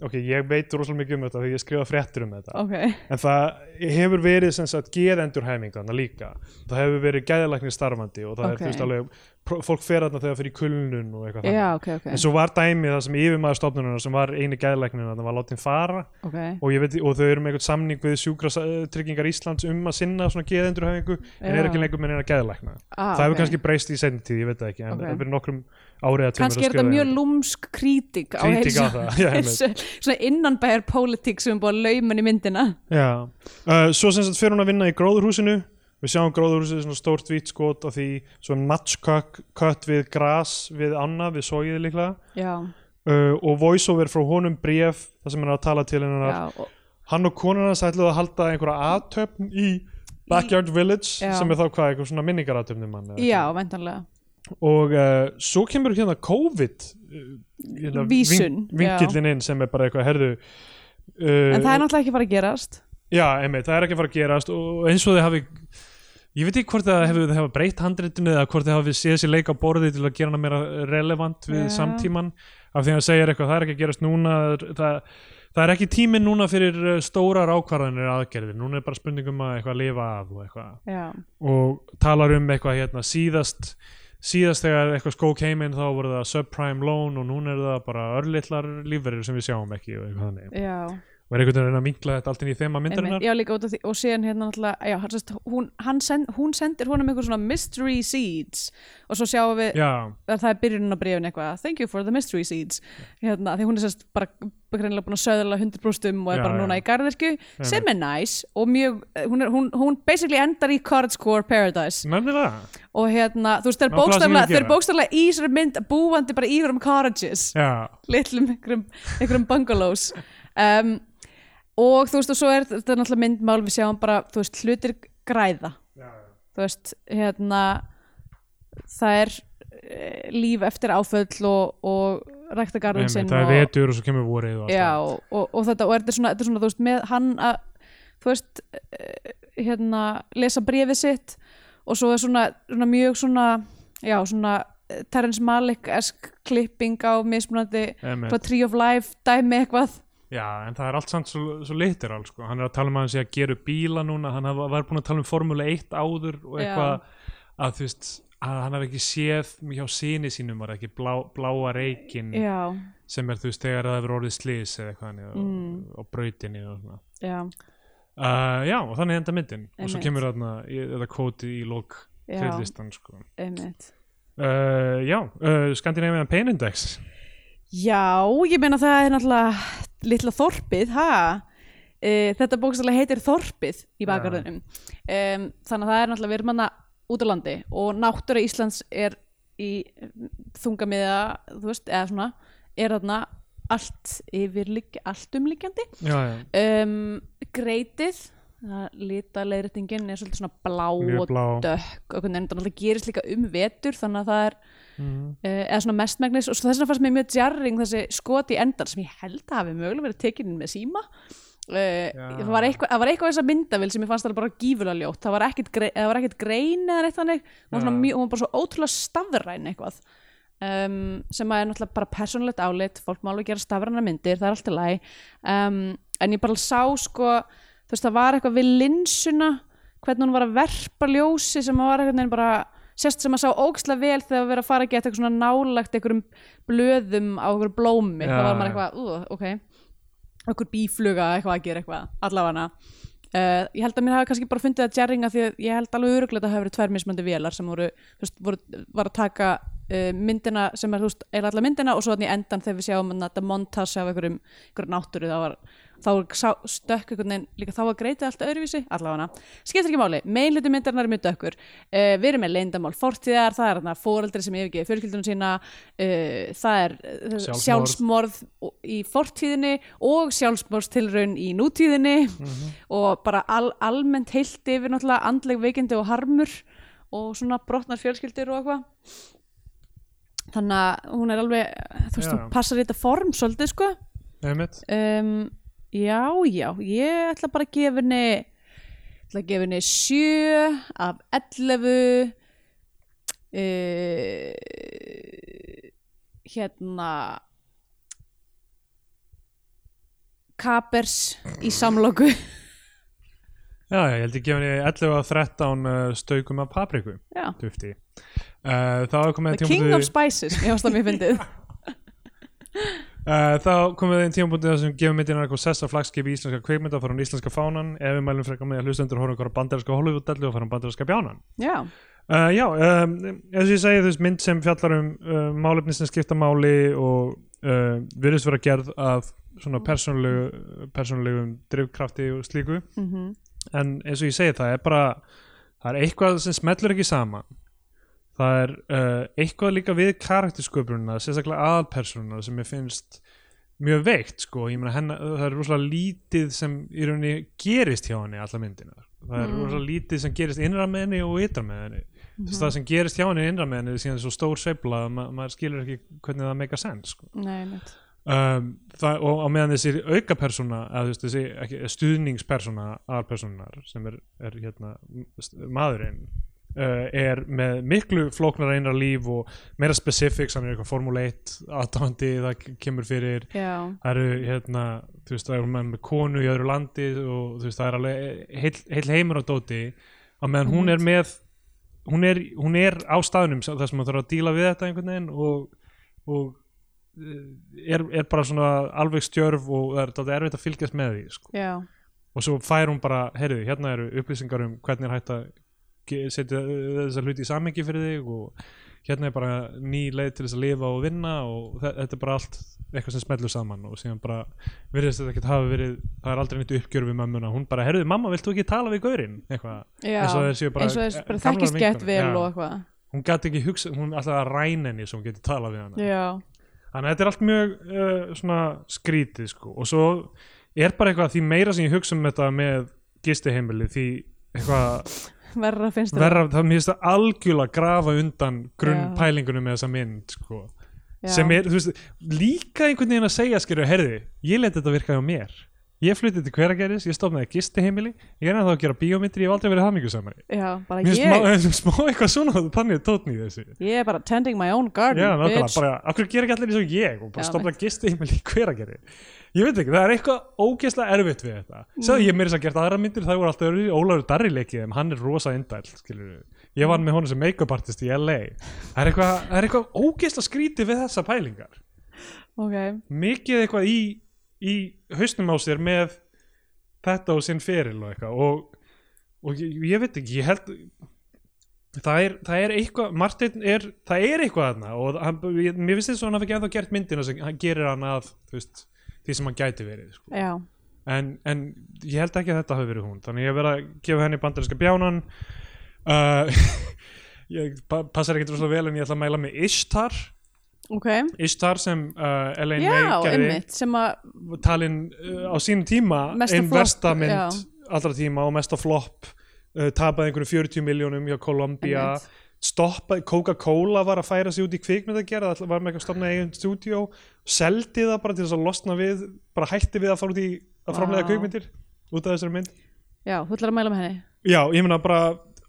[SPEAKER 2] ok, ég veit rosalega mikið um þetta því ég skrifa fréttur um þetta
[SPEAKER 1] ok,
[SPEAKER 2] en það hefur verið sem sagt geðendurhæming þarna líka það hefur verið gæðalæknir starfandi og það
[SPEAKER 1] Ok.
[SPEAKER 2] er þú veist alveg pró- fólk fer þarna þegar það fer í kulnun og eitthvað
[SPEAKER 1] já,
[SPEAKER 2] þannig.
[SPEAKER 1] ok, ok,
[SPEAKER 2] en svo var dæmið það sem yfirmaður stofnunar sem var eini gæðalæknir þarna var látin fara
[SPEAKER 1] ok
[SPEAKER 2] og, ég veit, og þau eru með eitthvað samning við sjúkratryggingar Íslands um að sinna svona geðendurhæfingu en
[SPEAKER 1] Já.
[SPEAKER 2] eru ekki lengur með neina gæðalækna
[SPEAKER 1] Ah,
[SPEAKER 2] það hefur
[SPEAKER 1] ok.
[SPEAKER 2] kannski breyst í seinni tíð, ég veit það ekki en
[SPEAKER 1] Ok.
[SPEAKER 2] okay. fyrir nokkrum árið að
[SPEAKER 1] kannski er þetta mjög lúmsk krítik á
[SPEAKER 2] Krítik á
[SPEAKER 1] heilsu
[SPEAKER 2] það, [LAUGHS] já, einmitt.
[SPEAKER 1] heilsu- svona innanbæjar pólitík sem er búið að lauma inn í myndina
[SPEAKER 2] Já, uh, svo sem sagt fyrir hún að vinna í gróðurhúsinu við sjáum gróðurhúsið svona stórt vít skot og því svona matchkött við gras við anna, við sóið líklega
[SPEAKER 1] já,
[SPEAKER 2] uh, og voiceover frá honum bréf það sem hann er að tala til hennar
[SPEAKER 1] já, og,
[SPEAKER 2] hann og konan hans ætluðu að halda einhverja aðtöfn í Backyard Village
[SPEAKER 1] Já.
[SPEAKER 2] sem er þá hvað, eitthvað svona minningaratöfnum hann
[SPEAKER 1] já væntanlega
[SPEAKER 2] og uh, svo kemur hérna COVID uh, hérna
[SPEAKER 1] Vísun, já.
[SPEAKER 2] vingillin inn sem er bara eitthvað, herðu
[SPEAKER 1] en
[SPEAKER 2] uh,
[SPEAKER 1] það er náttúrulega ekki bara að gerast
[SPEAKER 2] Já, einmitt, það er ekki að fara að gerast og eins og þið hafi ég veit ekki hvort það hefur þið hafa breytt handritinu eða hvort þið hafi séð sér leik á borði til að gera hana meira relevant við
[SPEAKER 1] Já.
[SPEAKER 2] samtíman af því að segja eitthvað, það er ekki að gerast núna það, það er ekki tíminn núna fyrir uh, stórar ákvarðanir eða aðgerðir núna er bara um spurningum að eitthvað lifa af og eitthvað
[SPEAKER 1] já,
[SPEAKER 2] og talar um eitthvað hérna síðast síðast þegar eitthvað skó came in þá voru það subprime loan og núna er það bara örlittlar lífverðir sem við sjáum ekki og eitthvað þannig
[SPEAKER 1] já,
[SPEAKER 2] og er einhvern veginn að reyna að vinkla þetta allt inn í þema
[SPEAKER 1] einmitt.
[SPEAKER 2] myndarinnar
[SPEAKER 1] já líka út af því og síðan hérna náttúrulega já, hann, sest, hún, hann send, hún sendir honum einhver svona mystery seeds og svo sjáum við
[SPEAKER 2] já,
[SPEAKER 1] að það er byrjunin á brefin eitthvað thank you for the mystery seeds hérna, því hún er sérst bara greinilega búin að söðla 100 brústum og er
[SPEAKER 2] Já,
[SPEAKER 1] bara
[SPEAKER 2] já.
[SPEAKER 1] núna í garðirkju sem er nice og mjög, eh, hún, er, hún, hún basically endar í Cardscore Paradise
[SPEAKER 2] nefnilega
[SPEAKER 1] og hérna, þú veist, þeir
[SPEAKER 2] Ná, hvað sem
[SPEAKER 1] bókstaflega
[SPEAKER 2] við
[SPEAKER 1] þeir
[SPEAKER 2] gera.
[SPEAKER 1] bókstaflega í þessari mynd búandi bara í hverjum cottages
[SPEAKER 2] já,
[SPEAKER 1] litlum einhverjum, einhverjum bungalows um, og þú veist, og svo er þetta er náttúrulega myndmál við sjáum bara, þú veist, hlutir græða þú veist, hérna það er eh, líf eftir áföll og, og rækta garðin
[SPEAKER 2] einmitt,
[SPEAKER 1] sinn
[SPEAKER 2] það er
[SPEAKER 1] og,
[SPEAKER 2] vetur og svo kemur vorið og allt
[SPEAKER 1] já,
[SPEAKER 2] það.
[SPEAKER 1] og, og þetta og er þetta, svona, þetta er svona, þú veist, með hann að þú veist, eh, hérna lesa bréfið sitt og svo er svona, svona mjög svona já, svona eh, Terrence Malick-esk klipping á mismunandi
[SPEAKER 2] Einmitt.
[SPEAKER 1] hvað Tree of Life dæmi eitthvað
[SPEAKER 2] Já, en það er allt samt svo, svo literal sko. hann er að tala um að hann sé að gera upp bíla núna hann haf- var búin að tala um Formule 1 áður og
[SPEAKER 1] Já.
[SPEAKER 2] eitthvað að þú veist að hann hafi ekki séð hjá síni sínum var það ekki blá, bláa reikin
[SPEAKER 1] já,
[SPEAKER 2] sem er þú veist þegar það hefur orðið slís eða eitthvað þannig
[SPEAKER 1] Mm.
[SPEAKER 2] og, og brautinni og svona
[SPEAKER 1] já,
[SPEAKER 2] uh, Já, og þannig enda myndin og svo
[SPEAKER 1] Einmitt.
[SPEAKER 2] kemur þarna í- þetta kóti í lók
[SPEAKER 1] Já.
[SPEAKER 2] kreidlistan sko.
[SPEAKER 1] einmitt
[SPEAKER 2] uh, Já, uh, Scandinavian Pain Index
[SPEAKER 1] Já, ég meina það er náttúrulega litla þorpið, ha? E, þetta bókstæðlega heitir þorpið í bakarðunum. Um, þannig að það er náttúrulega, við erum hana út á landi og náttúra Íslands er í þungamiða, þú veist, eða svona, er þarna allt yfirligg, allt umliggjandi.
[SPEAKER 2] Já, já,
[SPEAKER 1] Um, greitið, það lita leiðrættingin er svolítið svona blá
[SPEAKER 2] mjög
[SPEAKER 1] og
[SPEAKER 2] blá
[SPEAKER 1] dökk og hvernig það gerist líka um vetur þannig að það er
[SPEAKER 2] mm.
[SPEAKER 1] Eh, eða svona mestmægnis og svo þess vegna fannst mér mjög djarring þessi skot í endan sem ég held að hafi mögulega verið tekinn með síma uh,
[SPEAKER 2] Já.
[SPEAKER 1] það var eitthvað, það var eitthvað þessa myndavil sem ég fannst alveg bara gífulega ljótt það var ekkit, grei, það var ekkit grein eða neitt þannig hún var, svona
[SPEAKER 2] Já.
[SPEAKER 1] mjög, hún var bara svo ótrúlega stafræn eitthvað um, sem að er náttúrulega bara persónlegt álit fólk má alveg gera stafræna myndir, það er allt í lagi um, en ég bara sá sko þú veist það var eitthvað við linsuna hvernig hún var að verpa ljósi sem að var eitthvað neginn bara sérst sem að sá óksla vel þegar við erum að fara að geta eitthvað svona nálagt einhverjum blöðum á einhverjum blómi
[SPEAKER 2] Já,
[SPEAKER 1] þá var maður
[SPEAKER 2] já.
[SPEAKER 1] eitthvað, uh, ok einhver bífluga eitthvað að gera eitthvað allafana uh, ég held að mér hafa kannski bara fundið að djerringa því að ég held alveg öruglega að það hafa verið tvær mismöndi vélar sem voru, þú veist, voru var að taka uh, myndina sem er, þú veist, eða alla myndina og svo þannig endan þegar við sjáum að þetta montas af einhverjum, einhverjum náttúru þá var þá var sá, stökk einhvern veginn líka þá var greitið allt öðruvísi, allavega skiptir ekki máli, meginluti myndarinnar er mjög dökkur uh, við erum með leyndamál fortíðar það er þarna fóreldri sem yfirgefi fjölskyldunum sína uh, það er uh,
[SPEAKER 2] Sjálfsmorð.
[SPEAKER 1] sjálfsmorð í fortíðinni og sjálfsmorðstilraun í nútíðinni og bara al, almennt heilt yfir náttúrulega andleg veikindi og harmur og svona brotnar fjölskyldur og eitthvað þannig að hún er alveg þú veist,
[SPEAKER 2] Já.
[SPEAKER 1] hún passar í þetta form svolítið sko
[SPEAKER 2] Einmitt
[SPEAKER 1] um, já, já, ég ætla bara að gefa henni ætla að gefa henni 7 af 11 uh, hérna kapers í samlóku
[SPEAKER 2] Já, já, ég held ég gefa henni 11 að 13 uh, staukum af papriku,
[SPEAKER 1] já.
[SPEAKER 2] dufti. Uh, þá er komið
[SPEAKER 1] The
[SPEAKER 2] að
[SPEAKER 1] King of
[SPEAKER 2] tímabundi,
[SPEAKER 1] Spices, ég varst að mér
[SPEAKER 2] [LAUGHS]
[SPEAKER 1] fyndið
[SPEAKER 2] uh, þá komið að tímabundi þar sem gefum myndin eitthvað sessa flagskip í íslenska kveikmynda og fara hún íslenska fánan, ef við mælum frekar með að hlustendur horfum okkur á bandarinska Hollywood-dellu og fara um bandarinska bjánan.
[SPEAKER 1] Já,
[SPEAKER 2] Uh, já, um, eins og ég segi þú veist mynd sem fjallar um uh, málefni sem skipta máli og uh, virðist vera gerð af svona persónulegu, persónulegum drifkrafti og slíku
[SPEAKER 1] Mhm.
[SPEAKER 2] en eins og ég segi það er bara það er eitthvað sem smellur ekki saman það er uh, eitthvað líka við karaktersköpununa, sérstaklega aðalpersónuna sem ég finnst mjög veikt sko, ég meina hennar, það er rosalega lítið sem í rauninni gerist hjá henni alla myndina, það er rosalega lítið sem gerist innra með henni og ytra með henni mm -hmm. það sem gerist hjá henni innra með henni er síðan svo stór sveifla að ma maður skilur ekki hvernig það make a sense sko
[SPEAKER 1] nei, mitt
[SPEAKER 2] um, það, og á meðan þessi aukapersóna eða þú veist, þessi ekki, stuðningspersóna aðalpersónar sem er, er hérna, st- maðurinn uh, er með miklu flóknar einra líf og meira specifics hann er eitthvað Formule 1 aðdándi það ke- kemur fyrir
[SPEAKER 1] Já,
[SPEAKER 2] það eru hérna þú veist það eru menn með konu í öðru landi og þú veist það er alveg heil, heil heimur á dóti á meðan hún er með hún er, hún er á staðnum sem- þar sem maður þarf að díla við þetta einhvern veginn og, og eh, er, er bara svona alveg stjörf og það er dálítið erfitt að fylgjast með því sko.
[SPEAKER 1] já,
[SPEAKER 2] og svo fær hún bara, heyrðu, hérna eru upplýsingar um hvernig er hægt að ge- setja eh, þessa hluti í samengi fyrir þig og hérna er bara ný leið til þess að lifa og vinna og þe- þetta er bara allt eitthvað sem smellur saman og síðan bara virðist þetta ekkert hafa verið, það er aldrei neitt uppgjör við mömmuna, hún bara, heyrðu, mamma, vilt þú ekki tala við gaurinn, eitthvað,
[SPEAKER 1] já
[SPEAKER 2] eins og þeir séu bara
[SPEAKER 1] eins og þess bara
[SPEAKER 2] gamlar
[SPEAKER 1] þekkist gett
[SPEAKER 2] vinkonur.
[SPEAKER 1] vel og
[SPEAKER 2] Já.
[SPEAKER 1] eitthvað
[SPEAKER 2] hún gæti ekki hugsa, hún alltaf að ræna henni sem hún geti talað við hana
[SPEAKER 1] já,
[SPEAKER 2] þannig að þetta er allt mjög uh, svona skrítið sko og svo er bara eitthvað því meira sem ég hugsa um þetta með gistiheimili því eitthvað
[SPEAKER 1] verra finnst það
[SPEAKER 2] verra, það mér finnst það algjörlega grafa undan grunnpælingunum með þessa mynd sko
[SPEAKER 1] Já.
[SPEAKER 2] sem er, þú veist, líka einhvern veginn að segja skilur, herði, ég leti þetta virka hjá mér ég flutti til hveragerðis, ég stofnaði gistiheimili ég er ennþá að gera bíómyndri, ég hef aldrei verið hamingusamari
[SPEAKER 1] já, bara
[SPEAKER 2] mér
[SPEAKER 1] ég,
[SPEAKER 2] finnst smá, [LAUGHS] smá eitthvað svona þannig tótni í þessu
[SPEAKER 1] ég er bara tending my own garden
[SPEAKER 2] Já, nákvæmlega,
[SPEAKER 1] bitch.
[SPEAKER 2] bara, af hverju gera ekki allir eins og ég og bara
[SPEAKER 1] Já,
[SPEAKER 2] stopna gistu í mig líka hver að gera Ég veit ekki, það er eitthvað ógeðslega erfitt við þetta
[SPEAKER 1] Mm.
[SPEAKER 2] Sæði ég meira þess að gert aðra myndir, það voru alltaf öðruvísi. Ólafur Darri leikið þeim, hann er rosa indæl, skilur Ég vann með honum sem make-up artist í LA Það er eitthvað, það er eitthvað ógeðslega skrítið við þessa pælingar
[SPEAKER 1] ok,
[SPEAKER 2] Mikið eitthvað í, í hausnum á sér með þetta og sinn feril og eitthvað og, og ég, ég veit ekki, ég held það er, það er eitthvað Martin er, það er eitthvað þarna og hann, ég, mér finnst þess að hann hafi ekki ennþá gert myndina sem hann gerir hann að þú veist, því sem hann gæti verið sko.
[SPEAKER 1] já,
[SPEAKER 2] en, en ég held ekki að þetta hafi verið hún þannig ég hef verið að gefa henni bandarinska bjánan uh, [LAUGHS] ég pa- passar ekki droslega vel en ég ætla að mæla með Ishtar
[SPEAKER 1] ok
[SPEAKER 2] Ishtar sem uh, Elaine
[SPEAKER 1] já,
[SPEAKER 2] May gerði
[SPEAKER 1] einmitt, sem að
[SPEAKER 2] talin uh, á sínum tíma
[SPEAKER 1] Mesta
[SPEAKER 2] einn
[SPEAKER 1] flop,
[SPEAKER 2] versta mynd
[SPEAKER 1] já.
[SPEAKER 2] allra tíma og mesta flop uh, tapaði einhverjum 40 miljónum hjá Columbia
[SPEAKER 1] Einmitt.
[SPEAKER 2] stoppaði, Coca-Cola var að færa sig út í kvikmynd að gera, það var með eitthvað að stopna eigin stúdíó, seldi það bara til þess að losna við, bara hætti við að fara út í að framlega
[SPEAKER 1] Vá.
[SPEAKER 2] kvikmyndir út af þessari mynd
[SPEAKER 1] já, þú ætlar að mæla með henni
[SPEAKER 2] já, ég meina bara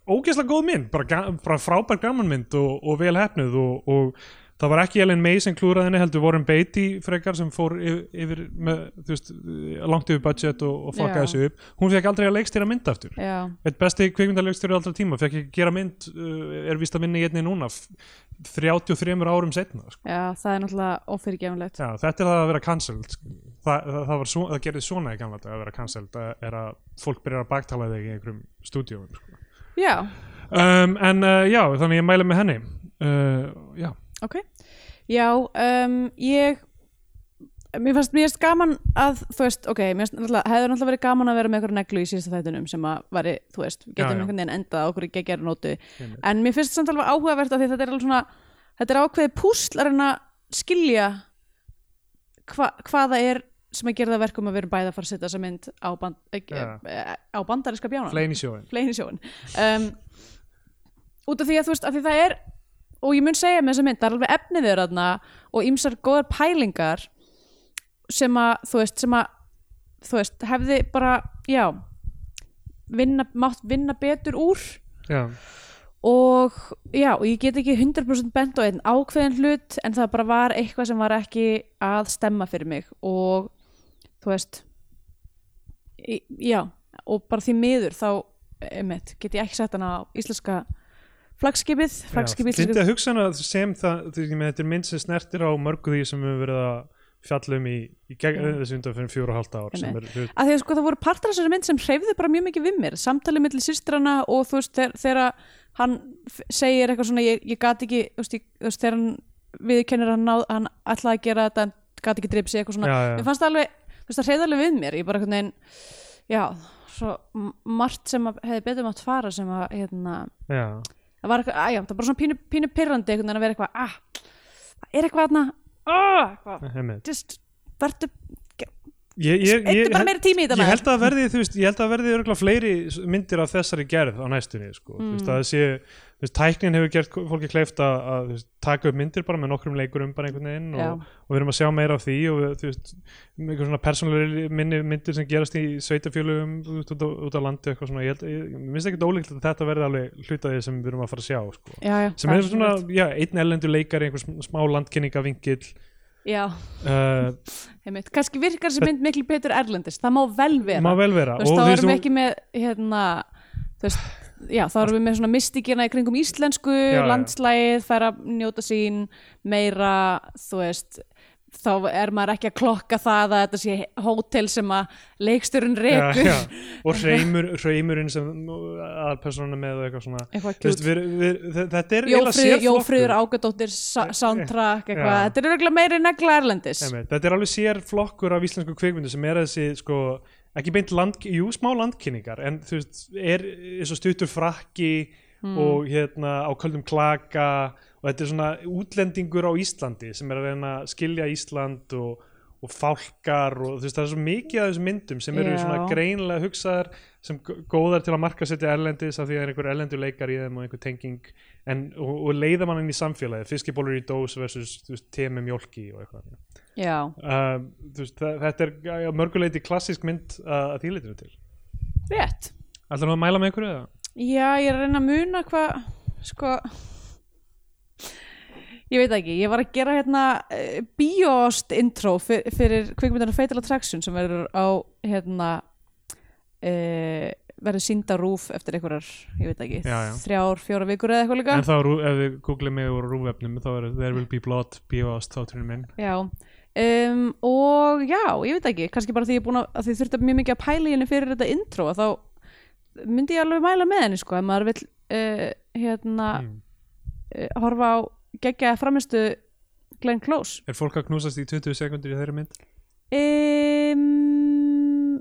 [SPEAKER 2] ógeðslega góð mynd, bara, ga- bara frábær gamanmynd og, og vel hefnuð og, og það var ekki Ellen May sem klúraði henni heldur Warren Beatty frekar sem fór yfir, yfir með, þú veist, langt yfir budget og, og
[SPEAKER 1] Já.
[SPEAKER 2] fokkaði þessu upp, hún fekk aldrei að leikstýra mynd aftur
[SPEAKER 1] já,
[SPEAKER 2] eitt besti kvikmyndarleikstjóri allra tíma fekk ekki að gera mynd, uh, er vist að minna í einni núna f- 33 árum setna sko.
[SPEAKER 1] já, það er náttúrulega ófyrirgefnilegt
[SPEAKER 2] Já, þetta er það að vera cancelled sko. Þa, það, það, var svo, það gerði svona í gamla þetta að vera cancelled að- er að fólk byrjar að baktala þig í einhverjum stúdíum sko.
[SPEAKER 1] já,
[SPEAKER 2] um, en uh, já, þannig ég mæli með henni uh, já,
[SPEAKER 1] ok já, um, ég mér fannst, mér finnst gaman að þú veist, ok, mér finnst náttúrulega hefur náttúrulega verið gaman að vera með einhverja neglu í síðasta þættinum sem að væri, þú veist, við
[SPEAKER 2] Já,
[SPEAKER 1] getum
[SPEAKER 2] já.
[SPEAKER 1] einhvern veginn endað á okkur í geggjara nótu
[SPEAKER 2] Einmitt.
[SPEAKER 1] en mér finnst samt alveg áhugavert af því að þetta er alveg svona þetta er ákveðið púsl að reyna að skilja hva, hvaða er sem að gera það verkum að við erum bæði að fara að setja þessa mynd á, band, ekki,
[SPEAKER 2] Já.
[SPEAKER 1] á bandariska bjána
[SPEAKER 2] flein í sjóin
[SPEAKER 1] fleini sjóin um, út af því að þú veist af því það er og ég mun segja með þessa mynd, það er alveg efnið þeirra þarna og ýmsar góðar pælingar sem að þú veist sem að þú veist hefði bara, já vinna, mátt vinna betur úr
[SPEAKER 2] já,
[SPEAKER 1] og já, og ég get ekki 100% bent á einn ákveðin hlut en það bara var eitthvað sem var ekki að stemma fyrir mig og þú veist í, já, og bara því miður þá, einmitt, get ég ekki sett hana á íslenska flagskipið flagskipið
[SPEAKER 2] Lindi að hugsa hana sem það þú veist, ég meina, þetta er mynd sem snertir á mörgu því sem við höfum verið að fjalla um í, í gegn,
[SPEAKER 1] Já.
[SPEAKER 2] þessu undan fyrir fjóra og halvta ár sem er,
[SPEAKER 1] Einmitt.
[SPEAKER 2] hlut-
[SPEAKER 1] að því að sko það voru partar af þessari mynd sem hreyfðu bara mjög mikið við mér samtalið millir sýstrana og þú veist þegar, þegar að hann f- segir eitthvað svona ég, ég gat ekki, þú veist, ég, þú veist þegar hann viðkennir að hann, náð, hann ætlaði að gera þetta en gat ekki dreipið sig eitthvað svona
[SPEAKER 2] Já, já.
[SPEAKER 1] mér fannst það alveg, þú veist það hreyfði alveg við mér ég bara einhvern veginn, já svo m- margt sem að, hefði betur mátt fara sem að, hérna,
[SPEAKER 2] já,
[SPEAKER 1] það var eitthvað, að, já, það var bara svona pínu, pínu pirrandi einhvern veginn að vera eitthvað, ah, það er eitthvað þarna, ah, eitthvað,
[SPEAKER 2] einmitt.
[SPEAKER 1] just, vertu,
[SPEAKER 2] ég, ég,
[SPEAKER 1] eittu
[SPEAKER 2] ég,
[SPEAKER 1] bara meiri tími í þetta
[SPEAKER 2] ég
[SPEAKER 1] maður.
[SPEAKER 2] held að það verði þú veist, ég held að það verði örgulega fleiri s- myndir af þessari gerð á næstunni sko. mm. veist, að það sé, þú veist, tæknin hefur gert fólki kleift að, að þú veist, taka upp myndir bara með nokkrum leikurum bara einhvern veginn
[SPEAKER 1] Já.
[SPEAKER 2] og, og við erum að sjá meira af því og við- þú veist, einhver svona persónulegri minni myndir sem gerast í sveitafjölugum út, út, á- út á landi eitthvað svona ég, held, ég, ég minnst ekki ólíkt að þetta verði alveg hluta því sem við erum að fara að sjá sko.
[SPEAKER 1] já, já,
[SPEAKER 2] sem
[SPEAKER 1] það
[SPEAKER 2] er svona,
[SPEAKER 1] svo rétt.
[SPEAKER 2] já, einn ellendur leikari einhver sm- smá landkynningavingill
[SPEAKER 1] já,
[SPEAKER 2] uh,
[SPEAKER 1] Einmitt. kannski virkar þessi mynd miklu betur erlendist það má vel vera
[SPEAKER 2] má vel vera
[SPEAKER 1] þú veist,
[SPEAKER 2] Og
[SPEAKER 1] þá
[SPEAKER 2] þú
[SPEAKER 1] erum
[SPEAKER 2] þú-
[SPEAKER 1] við ekki með hérna, þú veist, já, þá erum við með svona mystikina í kringum íslensku,
[SPEAKER 2] Já, já.
[SPEAKER 1] landslægið færa að njóta sín meira, þú veist þá er maður ekki að klokka það að þetta sé hótel sem að leikstjörun rekur [LAUGHS]
[SPEAKER 2] já. og hreimur, hreimurinn sem aðalpersona með og eitthvað svona
[SPEAKER 1] Eitthvað
[SPEAKER 2] Þú veist,
[SPEAKER 1] kjút.
[SPEAKER 2] við, við, þe- þetta er eiginlega
[SPEAKER 1] Jófríður,
[SPEAKER 2] sérflokkur.
[SPEAKER 1] Jófríður Ágadóttir sa- soundtrack, eitthvað,
[SPEAKER 2] Já.
[SPEAKER 1] þetta er örugglega meira en negla erlendis
[SPEAKER 2] Einmitt. þetta er alveg sér flokkur af íslensku kvikmyndu sem er þessi sko ekki beint land, jú smá landkynningar en þú veist, er eins og stuttur frakki og hérna á köldum klaka og þetta er svona útlendingur á Íslandi sem er að reyna að skilja Ísland og, og fálkar og þú veist, það er svo mikið af þessum myndum sem eru
[SPEAKER 1] Já.
[SPEAKER 2] svona greinlega hugsaðar sem g- góðar til að marka setja erlendis af því að það er einhver erlendur leikar í þeim og einhver tenging en, og, og leiða mann inn í samfélagið fiskibólur í dós versus þú veist, te með mjólki og eitthvað
[SPEAKER 1] Já,
[SPEAKER 2] uh, veist, þa- þetta er að mörguleiti klassísk mynd uh, að því litinu til
[SPEAKER 1] rétt
[SPEAKER 2] Ætlar nú að mæla með einhverju eða?
[SPEAKER 1] Já, ég er að reyna að muna hvað, sko, ég veit það ekki, ég var að gera hérna uh, bíóst intro fyr, fyrir kvikmyndana Fatal Attraction sem verður á, hérna, uh, verður sínda rúf eftir einhverjar, ég veit það ekki,
[SPEAKER 2] Já, já.
[SPEAKER 1] þrjár, fjóra vikur eða eitthvað líka.
[SPEAKER 2] En þá, rú- ef við googlið mig úr rúvefnum þá er There Will Be Blood, B.O.S. þátturinn minn
[SPEAKER 1] Já, um, og já, ég veit það ekki, kannski bara því ég er búin að, að því þurfti mjög mikið að pæla í henni fyrir þetta intro að þá myndi ég alveg mæla með henni, sko, ef maður vill, uh, hérna,
[SPEAKER 2] mm.
[SPEAKER 1] eh, horfa á geggjaða framistu Glenn Close
[SPEAKER 2] Er fólk að knúsast í 20 sekundir í þeirri mynd?
[SPEAKER 1] um,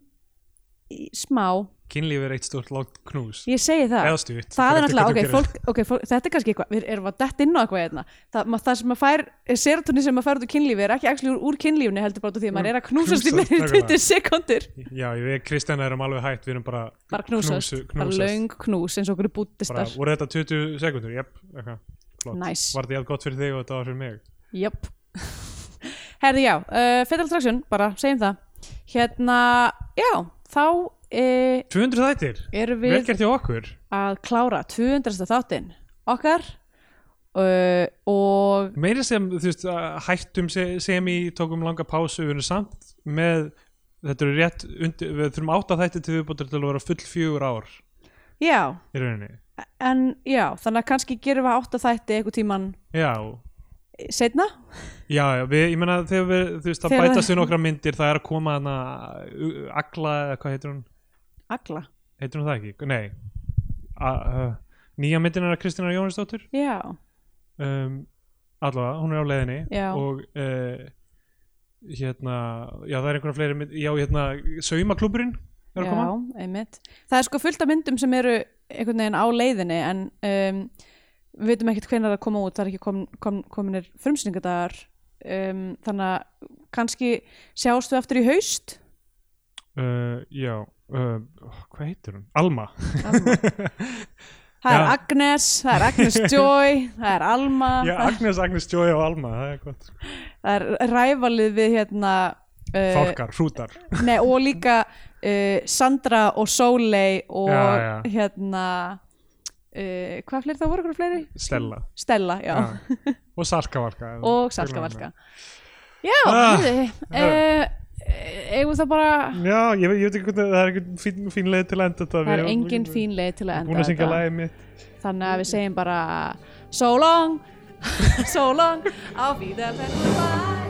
[SPEAKER 1] smá
[SPEAKER 2] Kynlíf er eitt stórt lágt knús
[SPEAKER 1] ég segi það
[SPEAKER 2] Eða
[SPEAKER 1] það er
[SPEAKER 2] stutt fer eftir hvað
[SPEAKER 1] náttúrulega,
[SPEAKER 2] þú
[SPEAKER 1] ok,
[SPEAKER 2] gerir.
[SPEAKER 1] fólk, okay fólk, þetta er kannski eitthvað, við erum að detta inn á eitthvað hérna. það, ma, það sem að fær, serotonin sem að fær út úr kynlífi er ekki actually úr, úr kynlífni heldur bara út af því að maður er að knúsast í
[SPEAKER 2] knúsast,
[SPEAKER 1] meira en
[SPEAKER 2] nákvæmlega.
[SPEAKER 1] 20 sekundir
[SPEAKER 2] Já, við Kristjana erum um alveg hægt, við erum bara
[SPEAKER 1] bara knúsast,
[SPEAKER 2] knúsu-
[SPEAKER 1] bara löng knús eins og okkur
[SPEAKER 2] bara,
[SPEAKER 1] búttistar
[SPEAKER 2] Voru þetta 20 sekundir? Jep, eitthvað flott.
[SPEAKER 1] Nice.
[SPEAKER 2] Var þetta jafn gott fyrir þig og þetta var fyrir mig?
[SPEAKER 1] Jöp [LAUGHS] Herði já, uh, Fatal Attraction, bara segjum það Hérna, já, þá uh,
[SPEAKER 2] 200 þættir?
[SPEAKER 1] erum
[SPEAKER 2] Vel
[SPEAKER 1] við
[SPEAKER 2] gert hjá okkur
[SPEAKER 1] að klára 200. þáttinn okkar uh, og
[SPEAKER 2] meira sem þú veist að hættum se- sem í tókum langa pásu við erum samt með þetta eru rétt undir, við þurfum átta þætti til viðbútur til að vera full fjögur ár
[SPEAKER 1] já,
[SPEAKER 2] í rauninni
[SPEAKER 1] en já þannig að kannski gerum við átta þætti einhver tíman
[SPEAKER 2] já,
[SPEAKER 1] setna
[SPEAKER 2] já, já við, ég meina þegar við þú veist það
[SPEAKER 1] Þegar-
[SPEAKER 2] bætast við nokkra myndir það er að koma hana uh, agla, eða hvað heitir hún
[SPEAKER 1] Agla,
[SPEAKER 2] heitir hún það ekki, nei a, uh, nýja myndin er að Kristina Jónisdóttir
[SPEAKER 1] já,
[SPEAKER 2] um, allavega, hún er á leiðinni
[SPEAKER 1] Já.
[SPEAKER 2] og uh, hérna já það er einhverja fleiri mynd, já hérna saumakluburinn er að
[SPEAKER 1] já,
[SPEAKER 2] koma
[SPEAKER 1] einmitt það er sko fullt af myndum sem eru einhvern veginn á leiðinni en um, við veitum ekkert hvenær að koma út það er ekki kom, kom, kominir frumsýningadagar um, þannig að kannski sjástu aftur í
[SPEAKER 2] [LAUGHS]
[SPEAKER 1] haust
[SPEAKER 2] uh, já uh, hvað heitir hún? Alma [LAUGHS]
[SPEAKER 1] það er
[SPEAKER 2] Já.
[SPEAKER 1] Agnes, það er Agnes Joy það er Alma
[SPEAKER 2] já, Agnes, Agnes Joy og Alma það er gott
[SPEAKER 1] það er rævalið við hérna eh,
[SPEAKER 2] fálkar, hrútar
[SPEAKER 1] [LAUGHS] nei, og líka uh, Sandra og Sóley og
[SPEAKER 2] Já, já.
[SPEAKER 1] hérna uh, hvað fleiri það voru okkur fleiri?
[SPEAKER 2] Stella
[SPEAKER 1] Stella, já,
[SPEAKER 2] Já. og Salkavalka
[SPEAKER 1] [LAUGHS] og Salkavalka já,
[SPEAKER 2] Ah,
[SPEAKER 1] ah, uh, eigum það bara
[SPEAKER 2] já, ég, veit- ég veit ekki hvernig það er einhvern fín, fín leið til að enda þetta
[SPEAKER 1] það er engin fín leið til að
[SPEAKER 2] búin
[SPEAKER 1] enda
[SPEAKER 2] að syngja
[SPEAKER 1] þetta
[SPEAKER 2] lagið mitt
[SPEAKER 1] þannig að við [LAUGHS] segjum bara so long so long á víðan þetta var